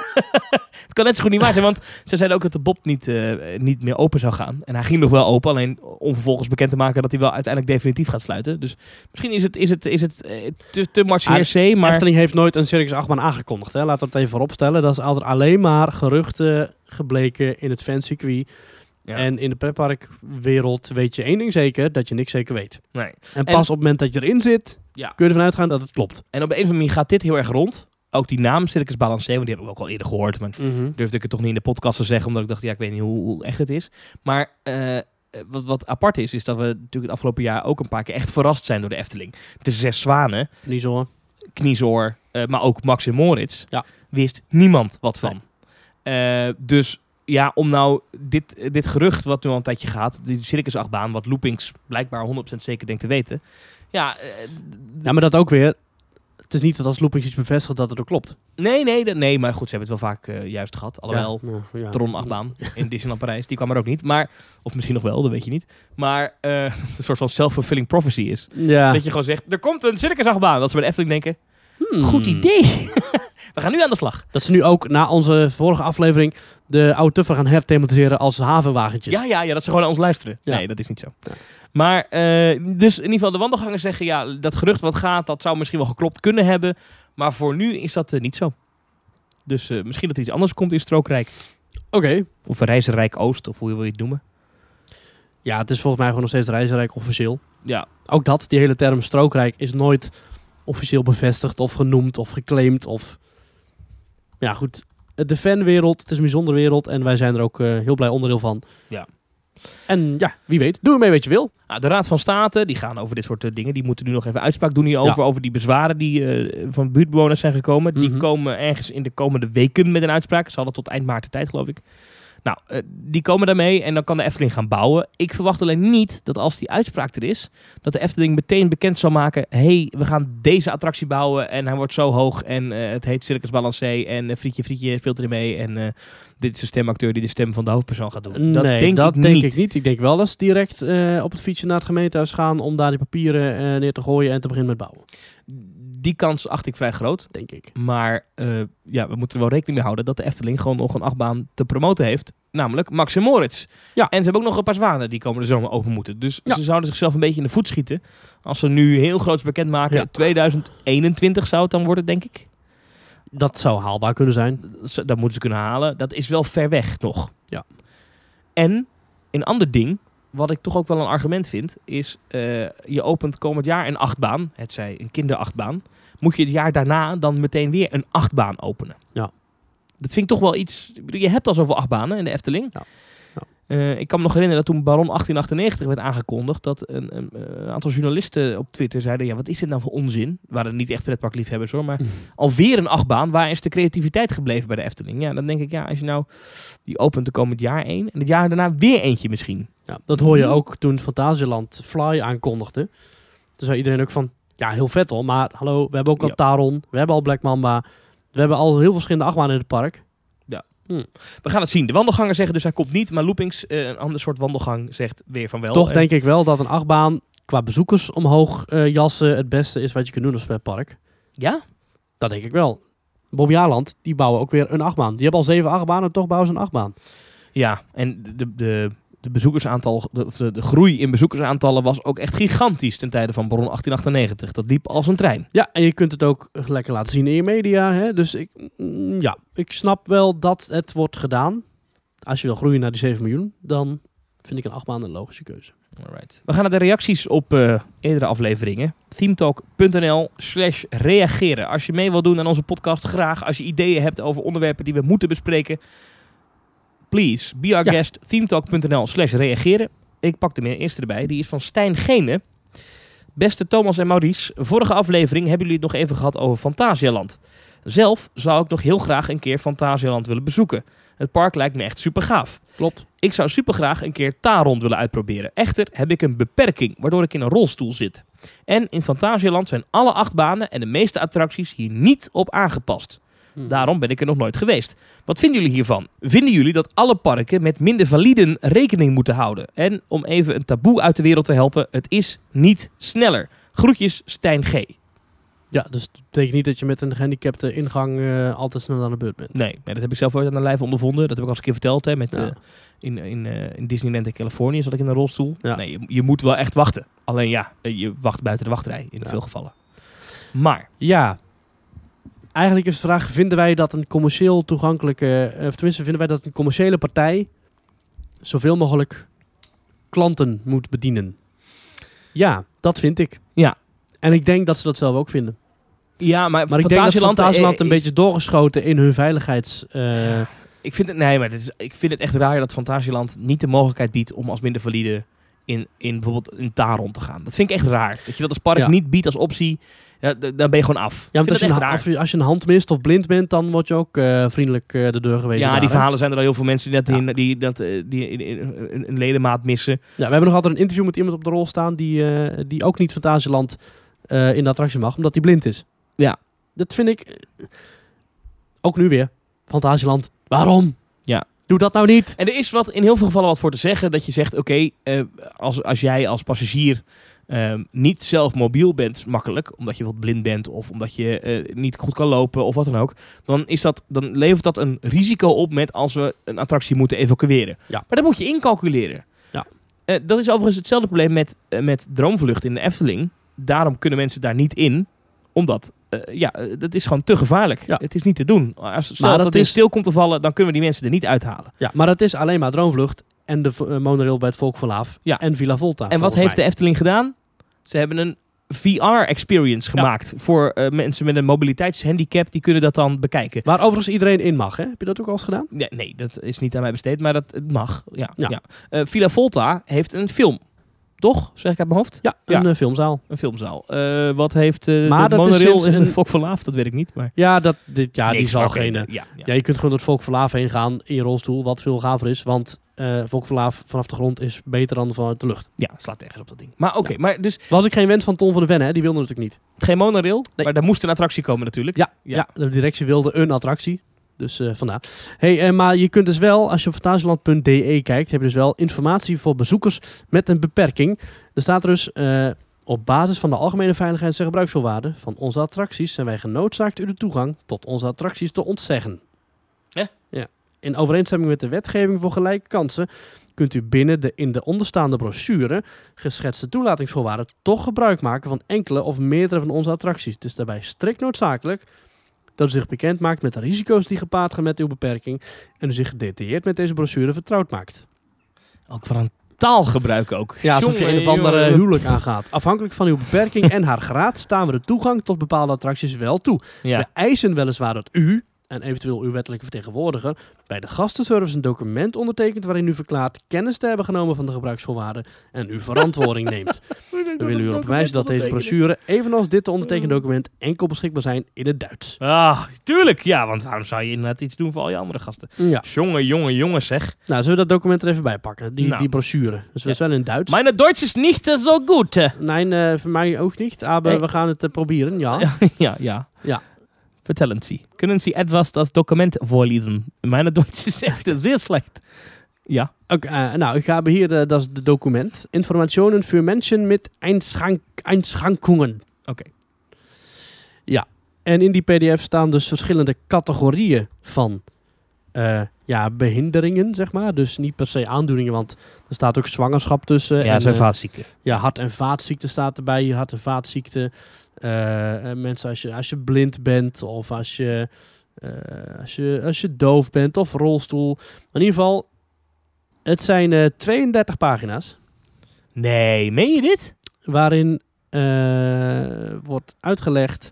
B: het kan net zo goed niet waar zijn, want ze zeiden ook dat de Bob niet, eh, niet meer open zou gaan. En hij ging nog wel open, alleen om vervolgens bekend te maken dat hij wel uiteindelijk definitief gaat sluiten. Dus misschien is het, is het, is het eh, te, te much
A: Ah,
B: hearsay, maar...
A: Efteling heeft nooit een Circus Achtbaan aangekondigd. Hè? Laten we het even vooropstellen. Dat is altijd alleen maar geruchten gebleken in het fancircuit.
B: Ja.
A: En in de pretparkwereld weet je één ding zeker, dat je niks zeker weet.
B: Nee.
A: En pas op het moment dat je erin zit,
B: Ja.
A: kun je ervan uitgaan dat het klopt.
B: En op de een of andere manier gaat dit heel erg rond. Ook die naam Circus Balancé, want die hebben we ook al eerder gehoord, maar
A: Mhm.
B: durfde ik het toch niet in de podcast te zeggen, omdat ik dacht, ja, ik weet niet hoe, hoe echt het is. Maar eh, eh, wat, wat apart is, is dat we natuurlijk het afgelopen jaar ook een paar keer echt verrast zijn door de Efteling. De Zes Zwanen,
A: Niet zo hoor.
B: Kniezoor, eh, maar ook Max en Moritz,
A: Ja.
B: wist niemand wat van. Eh, dus ja, om nou dit, eh, dit gerucht wat nu al een tijdje gaat, die circusachtbaan, wat Loopings blijkbaar 100% zeker denkt te weten. Ja, eh,
A: Ja, maar dat ook weer. Het is niet dat als Loopings iets bevestigt dat het ook klopt.
B: nee, nee, dat- nee, maar goed, ze hebben het wel vaak eh, juist gehad. Alhoewel,
A: Ja, ja.
B: Tron-achtbaan in Disneyland Parijs. Die kwam er ook niet. Maar, of misschien nog wel, dat weet je niet. Maar eh, een soort van self-fulfilling prophecy is.
A: Ja.
B: Dat je gewoon zegt, er komt een circusachtbaan. Dat ze bij de Efteling denken,
A: Hmm.
B: goed idee. We gaan nu aan de slag.
A: Dat ze nu ook na onze vorige aflevering de oude tuffer gaan herthematiseren als havenwagentjes.
B: Ja, ja, ja, dat ze gewoon naar ons luisteren.
A: Ja.
B: Nee, dat is niet zo.
A: Ja.
B: Maar, eh, dus in ieder geval, de wandelgangers zeggen, ja, dat gerucht wat gaat, dat zou misschien wel geklopt kunnen hebben. Maar voor nu is dat eh, niet zo. Dus eh, misschien dat er iets anders komt in Strookrijk.
A: Oké.
B: Of Reizenrijk Oost, of hoe wil je het noemen.
A: Ja, het is volgens mij gewoon nog steeds reizenrijk officieel.
B: Ja,
A: Ook dat, die hele term strookrijk is nooit officieel bevestigd of genoemd of geclaimd of... Ja, goed. De fanwereld, het is een bijzondere wereld en wij zijn er ook eh, heel blij onderdeel van.
B: Ja.
A: En ja, wie weet. Doe ermee wat je wil.
B: Nou, de Raad van State, die gaan over dit soort eh, dingen. Die moeten nu nog even uitspraak doen hierover. Over die bezwaren die eh, van buurtbewoners zijn gekomen.
A: Mhm.
B: Die komen ergens in de komende weken met een uitspraak. Ze hadden tot eind maart de tijd, geloof ik. Nou, eh, die komen daarmee en dan kan de Efteling gaan bouwen. Ik verwacht alleen niet dat als die uitspraak er is, dat de Efteling meteen bekend zal maken. hey, we gaan deze attractie bouwen en hij wordt zo hoog en eh, het heet Circus Balancé en eh, Frietje Frietje speelt erin mee. En eh, dit is de stemacteur die de stem van de hoofdpersoon gaat doen. dat
A: nee,
B: denk,
A: dat
B: ik,
A: denk
B: niet.
A: ik niet. Ik denk wel dat ze direct eh, op het fietsje naar het gemeentehuis gaan om daar die papieren eh, neer te gooien en te beginnen met bouwen.
B: Die kans acht ik vrij groot.
A: Denk ik.
B: Maar eh, ja, we moeten er wel rekening mee houden dat de Efteling gewoon nog een achtbaan te promoten heeft. Namelijk Max en Moritz.
A: Ja.
B: En ze hebben ook nog een paar zwanen die komende zomer open moeten. Dus
A: Ja.
B: ze zouden zichzelf een beetje in de voet schieten. Als ze nu heel groots bekend maken.
A: Ja.
B: 2021 zou het dan worden, denk ik.
A: Dat zou haalbaar kunnen zijn.
B: Dat ze- Dat moeten ze kunnen halen. Dat is wel ver weg nog.
A: Ja.
B: En een ander ding, wat ik toch ook wel een argument vind, is eh, je opent komend jaar een achtbaan, het zij een kinderachtbaan, moet je het jaar daarna dan meteen weer een achtbaan openen.
A: Ja.
B: Dat vind ik toch wel iets. ik bedoel, Je hebt al zoveel achtbanen in de Efteling.
A: Ja. Ja.
B: Eh, ik kan me nog herinneren dat toen Baron 1898 werd aangekondigd, dat een, een, eh, aantal journalisten op Twitter zeiden: ja, wat is dit nou voor onzin? We waren niet echt pretparkliefhebbers hoor, maar alweer een achtbaan. Waar is de creativiteit gebleven bij de Efteling? Ja, dan denk ik, ja, als je nou die opent de komend jaar één en het jaar daarna weer eentje misschien.
A: Ja, dat hoor je
B: Mhm.
A: ook toen Fantasieland Fly aankondigde. Toen zei iedereen ook van, ja, heel vet al, maar hallo, we hebben ook al
B: Ja.
A: Taron, we hebben al Black Mamba, we hebben al heel veel verschillende achtbanen in het park.
B: We gaan het zien. De wandelgangen zeggen dus hij komt niet, maar Loopings, eh, een ander soort wandelgang, zegt weer van wel. Eh,
A: Toch
B: En
A: denk ik wel dat een achtbaan qua bezoekers omhoog eh, jassen het beste is wat je kunt doen als park.
B: Ja?
A: Dat denk ik wel. Bobby Aland, die bouwen ook weer een achtbaan. Die hebben al zeven achtbanen, toch bouwen ze een achtbaan.
B: Ja, en de, de, de bezoekersaantal, de, of de, de groei in bezoekersaantallen was ook echt gigantisch ten tijde van Baron 1898. Dat liep als een trein.
A: Ja, en je kunt het ook lekker laten zien in je media. Hè? Dus ik, mm, ja, ik snap wel dat het wordt gedaan. Als je wil groeien naar die 7 miljoen, dan vind ik een achtbaan een logische keuze.
B: Alright. We gaan naar de reacties op eh, eerdere afleveringen. themetalk.nl slash reageren. Als je mee wilt doen aan onze podcast, graag. Als je ideeën hebt over onderwerpen die we moeten bespreken, please be our
A: Ja.
B: guest. themetalk.nl slash reageren. Ik pak de eerste erbij. Die is van Stijn Gene. Beste Thomas en Maurice, vorige aflevering hebben jullie het nog even gehad over Fantasialand. Zelf zou ik nog heel graag een keer Fantasialand willen bezoeken. Het park lijkt me echt super gaaf.
A: Klopt.
B: Ik zou supergraag een keer Taron willen uitproberen. Echter heb ik een beperking, waardoor ik in een rolstoel zit. En in Fantasieland zijn alle acht banen en de meeste attracties hier niet op aangepast. Daarom ben ik er nog nooit geweest. Wat vinden jullie hiervan? Vinden jullie dat alle parken met minder validen rekening moeten houden? En om even een taboe uit de wereld te helpen, het is niet sneller. Groetjes, Stijn G.
A: Ja, dus dat betekent niet dat je met een gehandicapte ingang eh, altijd snel aan de beurt bent.
B: Nee, nee, dat heb ik zelf ooit aan de lijf ondervonden. Dat heb ik al eens een keer verteld. Hè, met,
A: Ja.
B: eh, in, in, eh, in Disneyland in Californië zat ik in een rolstoel.
A: Ja.
B: Nee, je, je moet wel echt wachten. Alleen ja, eh, je wacht buiten de wachtrij in
A: Ja.
B: veel gevallen. Maar,
A: Ja. Eigenlijk is de vraag, vinden wij dat een commercieel toegankelijke... eh, Of tenminste, vinden wij dat een commerciële partij zoveel mogelijk klanten moet bedienen? Ja, dat vind ik.
B: Ja.
A: En ik denk dat ze dat zelf ook vinden.
B: ja, maar,
A: Maar ik denk dat Fantasieland
B: eh,
A: een
B: is-
A: beetje doorgeschoten in hun veiligheids... eh,
B: Ja. Ik vind het, nee, maar dit is, ik vind het echt raar dat Fantasieland niet de mogelijkheid biedt om als minder valide in, in bijvoorbeeld in Taron te gaan. Dat vind ik echt raar. Dat je dat als park
A: Ja.
B: niet biedt als optie, ja, d- dan ben je gewoon af.
A: Ja,
B: ik
A: want als
B: vind
A: je, een,
B: dat echt raar.
A: als je- als je een hand mist of blind bent, dan word je ook eh, vriendelijk eh, de deur gewezen.
B: ja,
A: daar,
B: die
A: hè?
B: verhalen zijn er al heel veel mensen die, dat
A: Ja.
B: in, die, dat, eh, die in- in- een- een ledemaat missen.
A: Ja, we hebben nog altijd een interview met iemand op de rol staan die, eh, die ook niet Fantasieland eh, in de attractie mag, omdat hij blind is.
B: Ja.
A: Dat vind ik... eh, Ook nu weer. Fantasieland, waarom?
B: Ja.
A: Doe dat nou niet.
B: En er is wat, in heel veel gevallen wat voor te zeggen. Dat je zegt, oké, eh, als, als jij als passagier ehm, niet zelf mobiel bent, makkelijk. Omdat je bijvoorbeeld blind bent of omdat je eh, niet goed kan lopen of wat dan ook. Dan, is dat, dan levert dat een risico op met als we een attractie moeten evacueren.
A: Ja.
B: Maar dat moet je incalculeren.
A: Ja.
B: Eh, dat is overigens hetzelfde probleem met, eh, met droomvlucht in de Efteling. Daarom kunnen mensen daar niet in, omdat... eh, ja, eh, dat is gewoon te gevaarlijk.
A: Ja.
B: Het is niet te doen. Als stel
A: Maar
B: dat,
A: dat
B: dit
A: is-
B: stil komt te vallen, dan kunnen we die mensen er niet uithalen.
A: Ja, maar dat is alleen maar Droomvlucht en de v- eh, monorail bij het Volk van Laaf
B: Ja.
A: en Villa Volta.
B: En wat
A: volgens
B: heeft
A: mij.
B: de Efteling gedaan? Ze hebben een VR-experience gemaakt voor eh, mensen met een mobiliteitshandicap. Die kunnen dat dan bekijken.
A: Waar overigens iedereen in mag, hè? Heb je dat ook al eens gedaan?
B: Nee, nee, dat is niet aan mij besteed, maar dat het mag. Ja, ja.
A: Ja.
B: Eh, Villa Volta heeft een film. Toch? Zeg ik uit mijn hoofd?
A: Ja, een eh, filmzaal.
B: Een filmzaal. Eh, wat heeft eh
A: Maar
B: de
A: dat is
B: monorail
A: sinds
B: in
A: een-
B: de Fok van Laaf? Dat weet ik niet, maar...
A: Ja, dat, dit, ja die
B: Niks,
A: zal
B: maar
A: geen...
B: oké,
A: eh,
B: Ja, ja.
A: Ja, je kunt gewoon door het Volk van Laaf heen gaan in je rolstoel, wat veel gaver is. Want eh Volk van Laaf vanaf de grond is beter dan vanuit de lucht.
B: Ja, slaat ergens op dat ding. Maar oké, maar dus
A: Was ik geen wens van Ton van de Ven, hè? Die wilde natuurlijk niet.
B: geen monorail,
A: Nee.
B: maar daar moest een attractie komen natuurlijk.
A: Ja,
B: Ja.
A: ja. de directie wilde een attractie. Dus eh, vandaar. Hey, eh, maar je kunt dus wel, als je op fantasieland.de kijkt, heb je dus wel informatie voor bezoekers met een beperking. Er staat er dus, eh, op basis van de algemene veiligheids- en gebruiksvoorwaarden van onze attracties zijn wij genoodzaakt u de toegang tot onze attracties te ontzeggen.
B: Ja?
A: Ja. In overeenstemming met de wetgeving voor gelijke kansen kunt u binnen de in de onderstaande brochure geschetste toelatingsvoorwaarden toch gebruik maken van enkele of meerdere van onze attracties. Het is daarbij strikt noodzakelijk dat u zich bekend maakt met de risico's die gepaard gaan met uw beperking en u zich gedetailleerd met deze brochure vertrouwd maakt.
B: Ook van een taalgebruik ook.
A: Ja, alsof je een
B: Jongen,
A: of andere
B: jongen.
A: huwelijk aangaat. Afhankelijk van uw beperking en haar graad staan we de toegang tot bepaalde attracties wel toe.
B: Ja.
A: We eisen weliswaar dat u, en eventueel uw wettelijke vertegenwoordiger, bij de gastenservice een document ondertekent waarin u verklaart kennis te hebben genomen van de gebruiksvoorwaarden en uw verantwoording neemt. We willen u erop wijzen dat deze brochure, evenals dit te ondertekende document, enkel beschikbaar zijn in het Duits.
B: Ah, tuurlijk. Ja, want waarom zou je inderdaad iets doen voor al je andere gasten?
A: Ja.
B: Jongen, jongen, jongen zeg.
A: Nou, zullen we dat document er even bij pakken? Die,
B: Nou.
A: die brochure. Dus we
B: Ja.
A: zijn in het Duits.
B: Mijn Duits is niet eh, zo goed. hè.
A: Nee, eh, voor mij ook niet. Maar
B: Hey.
A: we gaan het eh, proberen, ja.
B: ja, ja.
A: Ja.
B: Vertellen Sie. Kunnen Sie etwas das Dokument voorlezen? Mijn Duits is echt zeer slecht. Ja.
A: Oké, eh, nou, ik ga hier, eh, dat is het document. Informationen voor mensen met einschank, einschrankungen.
B: Oké.
A: En in die pdf staan dus verschillende categorieën van eh, ja, behinderingen, zeg maar. Dus niet per se aandoeningen, want er staat ook zwangerschap tussen.
B: Ja,
A: en,
B: zijn
A: eh,
B: vaatziekten.
A: ja, hart- en vaatziekte staat erbij. Hart- en vaatziekte. Eh, eh, mensen, als je, als je blind bent of als je, eh, als, je, als je doof bent of rolstoel. In ieder geval, het zijn eh, 32 pagina's.
B: Nee, meen je dit?
A: waarin eh, wordt uitgelegd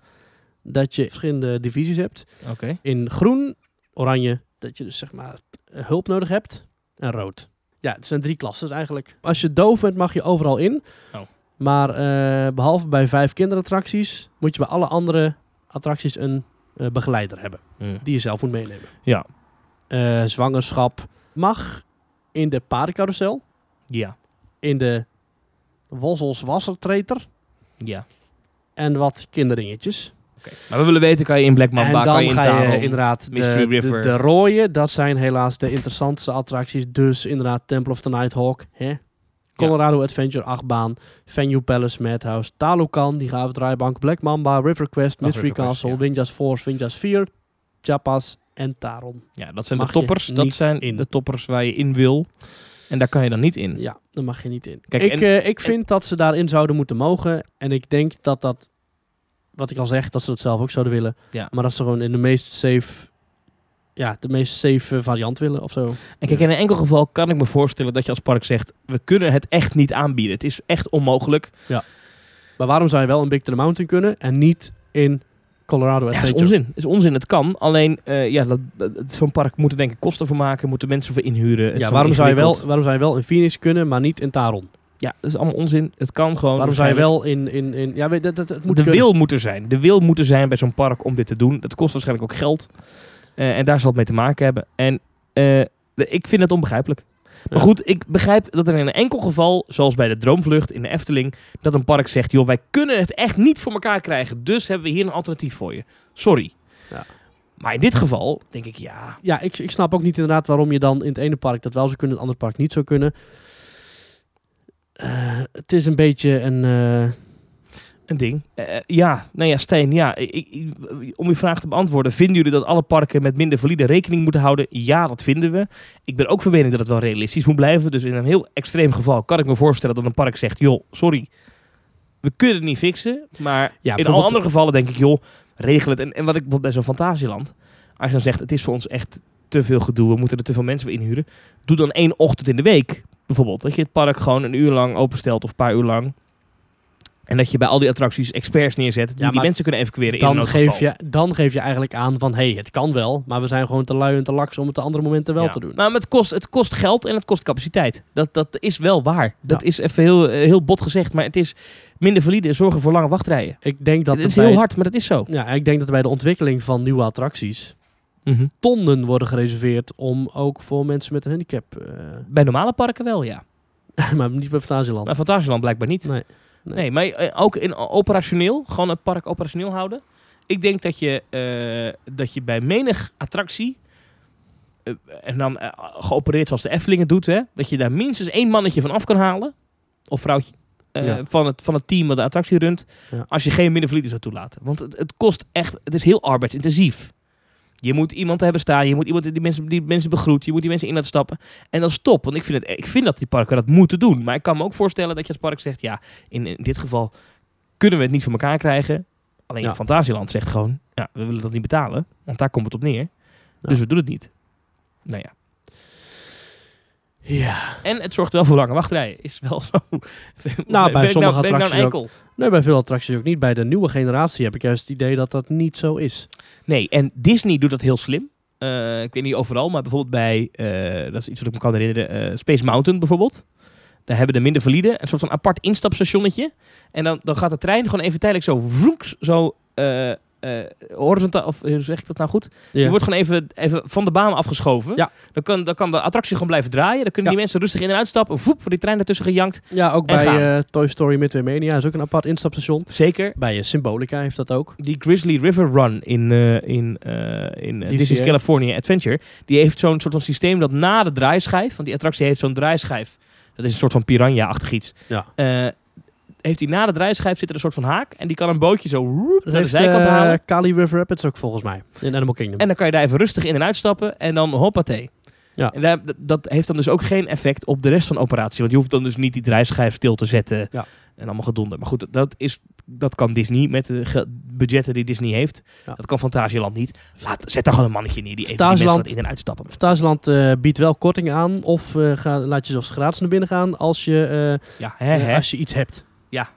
A: dat je verschillende divisies hebt.
B: Oké.
A: In groen, oranje, dat je dus zeg maar eh, hulp nodig hebt. En rood. Ja, het zijn drie klassen dus eigenlijk. Als je doof bent mag je overal in.
B: Oh.
A: Maar eh, behalve bij vijf kinderattracties moet je bij alle andere attracties een eh, begeleider hebben.
B: Hm.
A: Die je zelf moet meenemen.
B: Ja.
A: Eh, zwangerschap mag in de paardencarousel.
B: Ja.
A: In de Wolsels Wassertreter.
B: Ja.
A: en wat kinderdingetjes.
B: Maar we willen weten, kan je in Black
A: en
B: Mamba,
A: dan
B: kan je in
A: ga je
B: Taron?
A: inderdaad de,
B: Mystery
A: de,
B: River.
A: de rode. Dat zijn helaas de interessantste attracties. Dus inderdaad Temple of the Nighthawk. Hè? Colorado Adventure achtbaan. Venue Palace Madhouse. Talukan, die gaven draaibank. Black Mamba, River Quest,
B: Ach,
A: Mystery
B: River Quest,
A: Castle,
B: ja.
A: Windjars Force, Windjars 4, Chapas en Taron.
B: Ja, dat zijn de
A: mag je
B: toppers. Dat
A: niet
B: zijn
A: in.
B: de toppers waar je in wil. En daar kan je dan niet in.
A: Ja, daar mag je niet in.
B: Hm. Kijk,
A: ik,
B: en-
A: eh, ik vind dat ze daarin zouden moeten mogen. En ik denk dat dat, wat ik al zeg, dat ze dat zelf ook zouden willen.
B: Ja.
A: Maar dat ze gewoon in de meest safe, ja, de meest safe eh, variant willen of zo.
B: En kijk, in een enkel geval kan ik me voorstellen dat je als park zegt... we kunnen het echt niet aanbieden. Het is echt onmogelijk.
A: Maar waarom zou je wel in Big to the Mountain kunnen en niet in Colorado
B: Ja, dat is
A: Adventure?
B: onzin. Dat is onzin. Het kan. Alleen, eh, ja, dat, dat- zo'n park moet er denk ik kosten voor maken. Moeten mensen voor inhuren. Het is
A: Ja,
B: allemaal
A: waarom zou, je wel,
B: ingewikkeld.
A: waarom zou je wel in Phoenix kunnen, maar niet in Taron?
B: Ja, dat is allemaal onzin. Het kan gewoon.
A: waarom zou je
B: waarschijnlijk-
A: wel in... in, in ja, weet- dat, dat, dat moet
B: de
A: kunnen.
B: wil moet er zijn. De wil moet er zijn bij zo'n park om dit te doen. Dat kost waarschijnlijk ook geld. Eh, en daar zal het mee te maken hebben. En eh, de- ik vind het onbegrijpelijk. Maar
A: Ja.
B: goed, ik begrijp dat er in een enkel geval, zoals bij de Droomvlucht in de Efteling, dat een park zegt: joh, wij kunnen het echt niet voor elkaar krijgen. Dus hebben we hier een alternatief voor je. Sorry.
A: Ja.
B: Maar in dit geval denk ik ja.
A: Ja, ik, ik snap ook niet inderdaad waarom je dan in het ene park dat wel zou kunnen, in het andere park niet zou kunnen. Eh, het is een beetje een... eh,
B: Een ding. Eh, eh, ja, nou ja, Stijn, ja. Ik, ik- om uw vraag te beantwoorden, vinden jullie dat alle parken met minder valide rekening moeten houden? Ja, dat vinden we. Ik ben ook van mening dat het wel realistisch moet blijven. Dus in een heel extreem geval kan ik me voorstellen dat een park zegt, joh, sorry, we kunnen het niet fixen. Maar
A: Ja,
B: in alle
A: bijvoorbeeld-
B: andere gevallen denk ik, joh, regel het. En, en wat ik bijvoorbeeld bij zo'n fantasieland, als je dan zegt, het is voor ons echt te veel gedoe, we moeten er te veel mensen voor inhuren. Doe dan één ochtend in de week, bijvoorbeeld. Dat je het park gewoon een uur lang openstelt of een paar uur lang. En dat je bij al die attracties experts neerzet die
A: Ja,
B: die
A: maar
B: mensen kunnen evacueren in
A: Dan
B: een
A: geef,
B: noodgeval.
A: je, dan geef je eigenlijk aan van, hé, hey, het kan wel, maar we zijn gewoon te lui en te laks om het de andere momenten wel
B: Ja.
A: te doen.
B: Nou, maar het kost, het kost geld en het kost capaciteit. Dat, dat is wel waar. Dat
A: Ja.
B: is even heel, eh, heel bot gezegd, maar het is minder valide. Zorgen voor lange wachtrijen.
A: Ik denk dat
B: Dat
A: het
B: is heel hard, maar dat is zo.
A: Ja, ik denk dat er bij de ontwikkeling van nieuwe attracties Mhm. tonnen worden gereserveerd om ook voor mensen met een handicap, eh,
B: Bij normale parken wel, ja.
A: maar niet bij Fantasieland.
B: Maar Fantasieland blijkbaar niet.
A: Nee.
B: Nee, maar eh, ook in operationeel, gewoon het park operationeel houden. Ik denk dat je, eh, dat je bij menig attractie, eh, en dan eh, geopereerd zoals de Efteling het doet, hè, dat je daar minstens één mannetje van af kan halen, of vrouwtje, eh,
A: Ja.
B: van, het, van het team dat de attractie runt,
A: Ja.
B: als je geen middenvlieten zou toelaten. Want het, het kost echt, het is heel arbeidsintensief. Je moet iemand hebben staan, je moet iemand die mensen, die mensen begroet, je moet die mensen in laten stappen. En dat is top, want ik vind, het, ik vind dat die parken dat moeten doen. Maar ik kan me ook voorstellen dat je als park zegt, ja, in, in dit geval kunnen we het niet voor elkaar krijgen. Alleen
A: Ja.
B: Fantasieland zegt gewoon, ja, we willen dat niet betalen, want daar komt het op neer. Dus we doen het niet. Nou ja.
A: Ja.
B: En het zorgt wel voor lange wachtrijen. Is wel zo. Nou,
A: bij sommige
B: ben ik nou
A: attracties
B: een eikel?
A: Nee, bij veel attracties ook niet. Bij de nieuwe generatie heb ik juist het idee dat dat niet zo is.
B: Nee, en Disney doet dat heel slim. Eh, ik weet niet overal, maar bijvoorbeeld bij, eh, dat is iets wat ik me kan herinneren, eh, Space Mountain bijvoorbeeld. Daar hebben de minder valide een soort van apart instapstationnetje. En dan, dan gaat de trein gewoon even tijdelijk zo vroeks, zo eh, eh, horizontaal, of eh, hoe zeg ik dat nou goed? Je wordt gewoon even, even van de baan afgeschoven.
A: Ja.
B: Dan, kan, dan kan de attractie gewoon blijven draaien. Dan kunnen
A: Ja.
B: die mensen rustig in en uitstappen. Voep, voor die trein ertussen gejankt.
A: ja, ook
B: En
A: bij
B: gaan.
A: eh, Toy Story Midway Mania is ook een apart instapstation.
B: Zeker.
A: Bij eh, Symbolica heeft dat ook.
B: die Grizzly River Run in, eh, in, eh, in eh,
A: DCA.
B: Disney's California Adventure. Die heeft zo'n soort van systeem dat na de draaischijf, want die attractie heeft zo'n draaischijf. Dat is een soort van piranha-achtig iets.
A: Ja.
B: Eh, heeft hij na de draaischijf zit er een soort van haak en die kan een bootje zo roep,
A: Dat
B: naar de
A: heeft
B: zijkant
A: eh,
B: halen.
A: Kali River Rapids ook volgens mij. In Animal Kingdom.
B: En dan kan je daar even rustig in en uitstappen en dan hoppatee.
A: Ja.
B: En daar, dat- dat heeft dan dus ook geen effect op de rest van de operatie. Want je hoeft dan dus niet die draaischijf stil te zetten
A: Ja.
B: en allemaal gedonder. Maar goed, dat, is, dat kan Disney met de ge- budgetten die Disney heeft.
A: Ja.
B: Dat kan Fantasieland niet. Laat, zet daar gewoon een mannetje neer die even die mensen
A: Fantasieland-
B: laat in en uitstappen.
A: Fantasieland eh, biedt wel korting aan of eh, ga- laat je zelfs gratis naar binnen gaan als je, eh,
B: Ja, hè, hè.
A: eh,
B: Als
A: als je iets hebt.
B: Ja.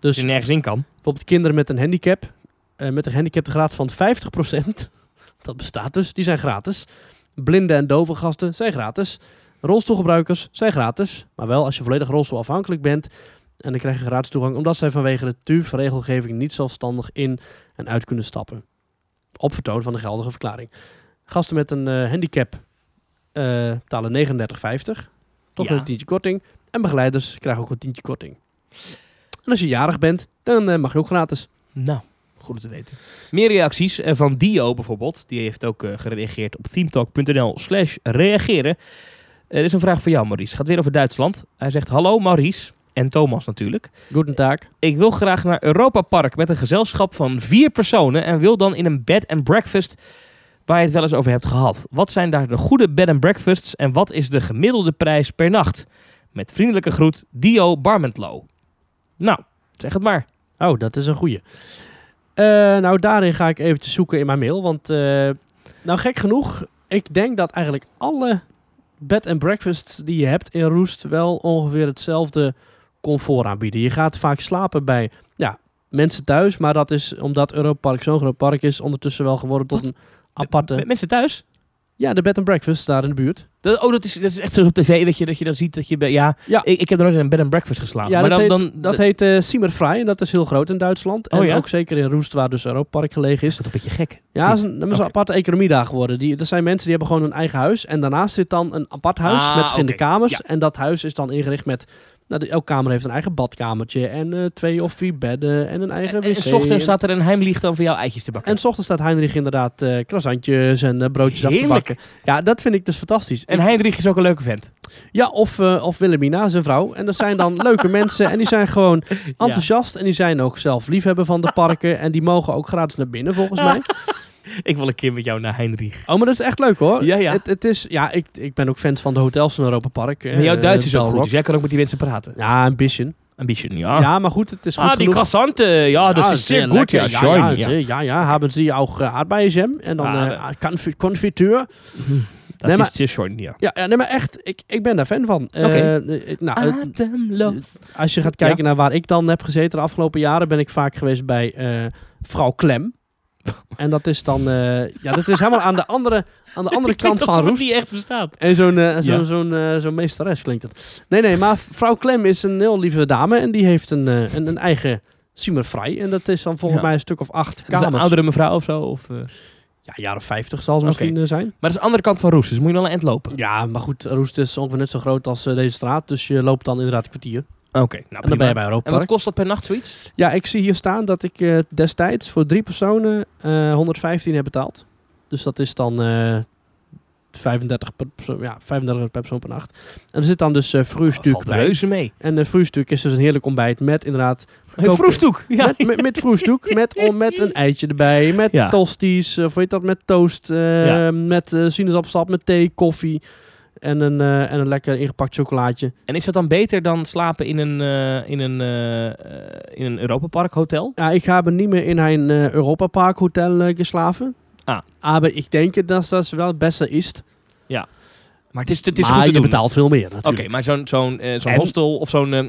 A: Dus
B: je nergens in kan.
A: bijvoorbeeld kinderen met een handicap, eh, met een handicapgraad van 50%, dat bestaat dus, die zijn gratis. Blinde en dove gasten zijn gratis. Rolstoelgebruikers zijn gratis, maar wel als je volledig rolstoelafhankelijk bent. En dan krijg je gratis toegang omdat zij vanwege de TUF-regelgeving niet zelfstandig in en uit kunnen stappen. Op vertoon van de geldige verklaring. Gasten met een eh, handicap eh, betalen 39,50. Toch
B: Ja.
A: een tientje korting. En begeleiders krijgen ook een tientje korting. En als je jarig bent, dan eh, mag je ook gratis.
B: Nou, goed om te weten. Meer reacties eh, van Dio bijvoorbeeld. Die heeft ook eh, gereageerd op themetalk.nl slash reageren. Er is een vraag voor jou, Maurice. Gaat weer over Duitsland. Hij zegt, hallo Maurice en Thomas natuurlijk.
A: Goedendag.
B: Ik wil graag naar Europa Park met een gezelschap van vier personen... en wil dan in een bed and breakfast waar je het wel eens over hebt gehad. Wat zijn daar de goede bed and breakfasts en wat is de gemiddelde prijs per nacht? Met vriendelijke groet, Dio Barmentlo. Nou, zeg het maar.
A: Oh, dat is een goeie. Eh, nou, daarin ga ik eventjes zoeken in mijn mail. Want, eh, nou gek genoeg, ik denk dat eigenlijk alle bed and breakfasts die je hebt in Roest wel ongeveer hetzelfde comfort aanbieden. Je gaat vaak slapen bij ja, mensen thuis, maar dat is omdat Europark zo'n groot park is, ondertussen wel geworden tot
B: Wat?
A: een aparte...
B: Met mensen thuis?
A: ja, de bed and breakfast daar in de buurt.
B: Dat, oh, dat is, dat is echt zo op tv, weet je, dat je dan ziet dat je... bij- Ja,
A: Ja.
B: Ik, ik heb nooit in een bed and breakfast geslapen.
A: Ja,
B: Ah, maar
A: dat
B: dan,
A: heet,
B: dan,
A: dat
B: is
A: heet eh Siemerfrei en dat is heel groot in Duitsland.
B: Oh
A: en
B: ja?
A: ook zeker in Roest, waar dus Europark gelegen is.
B: dat een beetje gek.
A: Ja, dat is een, dat is een
B: Oké.
A: aparte economie daar geworden. Die, er zijn mensen die hebben gewoon een eigen huis. En daarnaast zit dan een apart huis
B: Ah,
A: met verschillende
B: oké.
A: kamers.
B: Ja.
A: En dat huis is dan ingericht met... Nou, de- elke kamer heeft een eigen badkamertje. En eh, twee of vier bedden. En een eigen
B: En,
A: wc.
B: en s ochtends staat er een heimlieg dan voor jou eitjes te bakken.
A: en
B: En,
A: s ochtends staat Heinrich inderdaad eh croissantjes en eh, broodjes af
B: Heerlijk.
A: te bakken. Ja, dat vind ik dus fantastisch. Ik-
B: Heinrich is ook een leuke vent.
A: ja, of, eh, of Willemina, zijn vrouw. En dat zijn dan leuke mensen. En die zijn gewoon enthousiast. En die zijn ook zelf liefhebber van de parken. En die mogen ook gratis naar binnen, volgens mij.
B: Ik wil een keer met jou naar Heinrich.
A: Oh, maar dat is echt leuk hoor.
B: Ja, ja.
A: Het, het is, ja ik, ik ben ook fans van de hotels van Europa Park.
B: Maar jouw Duits is ook goed,
A: Belrock.
B: dus jij kan ook met die mensen praten.
A: Ja, een bisschen.
B: Een beetje, ja.
A: Ja, maar goed, het is goed
B: ah, die
A: genoeg.
B: croissanten, ja, dat is zeer goed, ja,
A: ja, ja,
B: schön.
A: zeer, ja, ja, hebben ze ook uh, aardbeienjam en eh, dan
B: Ah,
A: eh, confi- confituur.
B: Dat
A: Nee, maar-
B: is je short, ja.
A: Ja, ja, nee, maar echt, ik, ik ben daar fan van. Eh,
B: Oké.
A: eh, nou, eh,
B: Ademloos.
A: als je gaat kijken naar waar ik dan heb gezeten de afgelopen jaren, ben ik vaak geweest bij eh vrouw Klem. En dat is dan, eh, ja, dat is helemaal aan de andere, aan de andere kant van Roest.
B: die echt bestaat.
A: En zo'n eh, zo'n
B: Ja.
A: zo'n, eh, zo'n meesteres klinkt het. Nee, nee, maar vrouw Klem is een heel lieve dame en die heeft een, eh, een, een eigen simmervrij. En dat is dan volgens
B: Ja.
A: mij een stuk of acht
B: Dat is een
A: kamers.
B: oudere mevrouw of zo. Of, eh.
A: Ja, jaren 50 zal ze misschien eh, zijn.
B: Maar dat is de andere kant van Roes, dus moet je wel een eind lopen.
A: Ja, maar goed, Roest is ongeveer net zo groot als eh, deze straat. Dus je loopt dan inderdaad een kwartier.
B: Oké, nou
A: En dan ben je
B: prima.
A: bij
B: En
A: Europa
B: wat
A: Park.
B: kost dat per nacht zoiets?
A: Ja, ik zie hier staan dat ik eh, destijds voor drie personen eh, 115 heb betaald. Dus dat is dan eh 35, per persoon, ja, 35 euro per persoon per nacht. En er zit dan dus eh
B: Dat
A: vroegstuk
B: valt
A: bij.
B: reuze mee.
A: En een vroegstuk is dus een heerlijk ontbijt met inderdaad...
B: Een vroegstoek. Ja.
A: Met, met, met vroegstuk, met, om- met een eitje erbij, met
B: Ja.
A: tosties, of weet dat, met toast, eh,
B: Ja.
A: met eh sinaasappelsap, met thee, koffie en een, eh, en een lekker ingepakt chocolaatje.
B: En is dat dan beter dan slapen in een, eh in een, eh, eh, in een Europapark hotel?
A: Ja, ik heb niet meer in een eh, Europa Park hotel eh, geslaven.
B: Ah.
A: Maar ik denk dat dat wel het beste is.
B: Maar het is, het is
A: maar
B: goed te
A: je
B: doen.
A: betaalt veel meer
B: Oké,
A: natuurlijk.
B: maar zo'n zo'n eh, zo'n
A: En-
B: hostel of zo'n eh,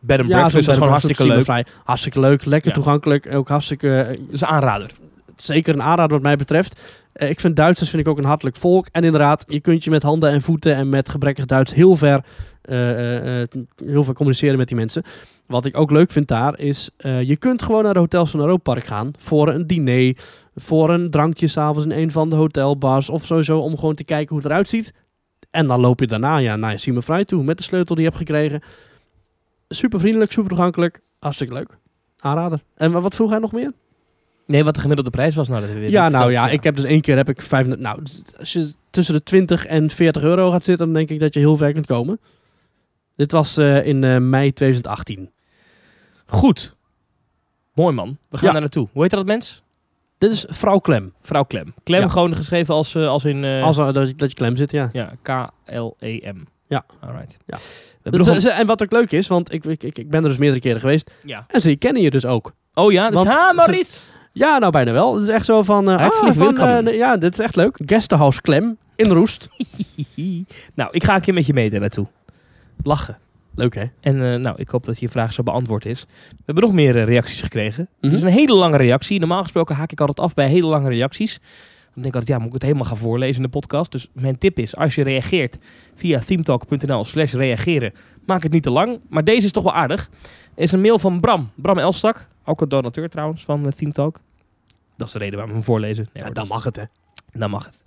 B: bed and breakfast
A: zo'n
B: dat is
A: bed and
B: gewoon
A: breakfast,
B: hartstikke leuk.
A: Vrij. Hartstikke leuk, lekker
B: Ja.
A: toegankelijk. Ook hartstikke, eh,
B: Dat is een aanrader.
A: zeker een aanrader wat mij betreft. Eh, ik vind Duitsers vind ik ook een hartelijk volk. En inderdaad, je kunt je met handen en voeten en met gebrekkig Duits heel ver, eh, eh, eh, heel ver communiceren met die mensen. Wat ik ook leuk vind daar is, eh, je kunt gewoon naar de hotels van Europa Park gaan voor een diner, voor een drankje s'avonds in een van de hotelbars of sowieso om gewoon te kijken hoe het eruit ziet. En dan loop je daarna ja, naar je Siemenvrij toe met de sleutel die je hebt gekregen. Super vriendelijk, super toegankelijk, hartstikke leuk. Aanrader. En wa- wat vroeg hij nog meer?
B: Nee, wat de gemiddelde prijs was. Nou, dat hebben we
A: Ja,
B: net
A: nou
B: verteld.
A: ja, ik heb dus één keer heb ik vijf. Nou, als je tussen de 20 en 40 euro gaat zitten, dan denk ik dat je heel ver kunt komen. Dit was eh, in eh, mei 2018.
B: Goed. Mooi man. We gaan
A: Ja.
B: daar naartoe. Hoe heet dat mens?
A: Dit is vrouw Klem.
B: Vrouw Klem. Klem
A: Ja.
B: gewoon geschreven als, eh, als in... eh,
A: Als er- dat, je- dat je klem zit, ja.
B: Ja, E K-L-E-M.
A: Ja.
B: Alright.
A: Ja.
B: We
A: Dat
B: hebben nog
A: is-
B: een-
A: is- en wat ook leuk is, want ik, ik, ik, ik ben er dus meerdere keren geweest.
B: ja.
A: En ze kennen je dus ook.
B: Oh ja, dus
A: Want-
B: ha, Maurice!
A: Ja, nou bijna wel. Het is echt zo van. eh
B: Hartelijk
A: ah, van,
B: welkom.
A: eh, ja, dit is echt leuk. Guesthouse Klem in Roest.
B: nou, ik ga een keer met je mee daar naartoe. Lachen.
A: Leuk hè?
B: En eh, nou, ik hoop dat je vraag zo beantwoord is. We hebben nog meer eh, reacties gekregen.
A: Mhm.
B: Dus een hele lange reactie. Normaal gesproken haak ik altijd af bij hele lange reacties. Dan denk ik altijd, ja, moet ik het helemaal gaan voorlezen in de podcast? Dus mijn tip is, als je reageert via themetalk.nl slash reageren, maak het niet te lang. Maar deze is toch wel aardig. Er is een mail van Bram. Bram Elstak, ook een donateur trouwens van Team Talk. Dat is de reden waarom we hem voorlezen. Nee,
A: Ja,
B: hoor,
A: dan mag het hè.
B: dan mag het.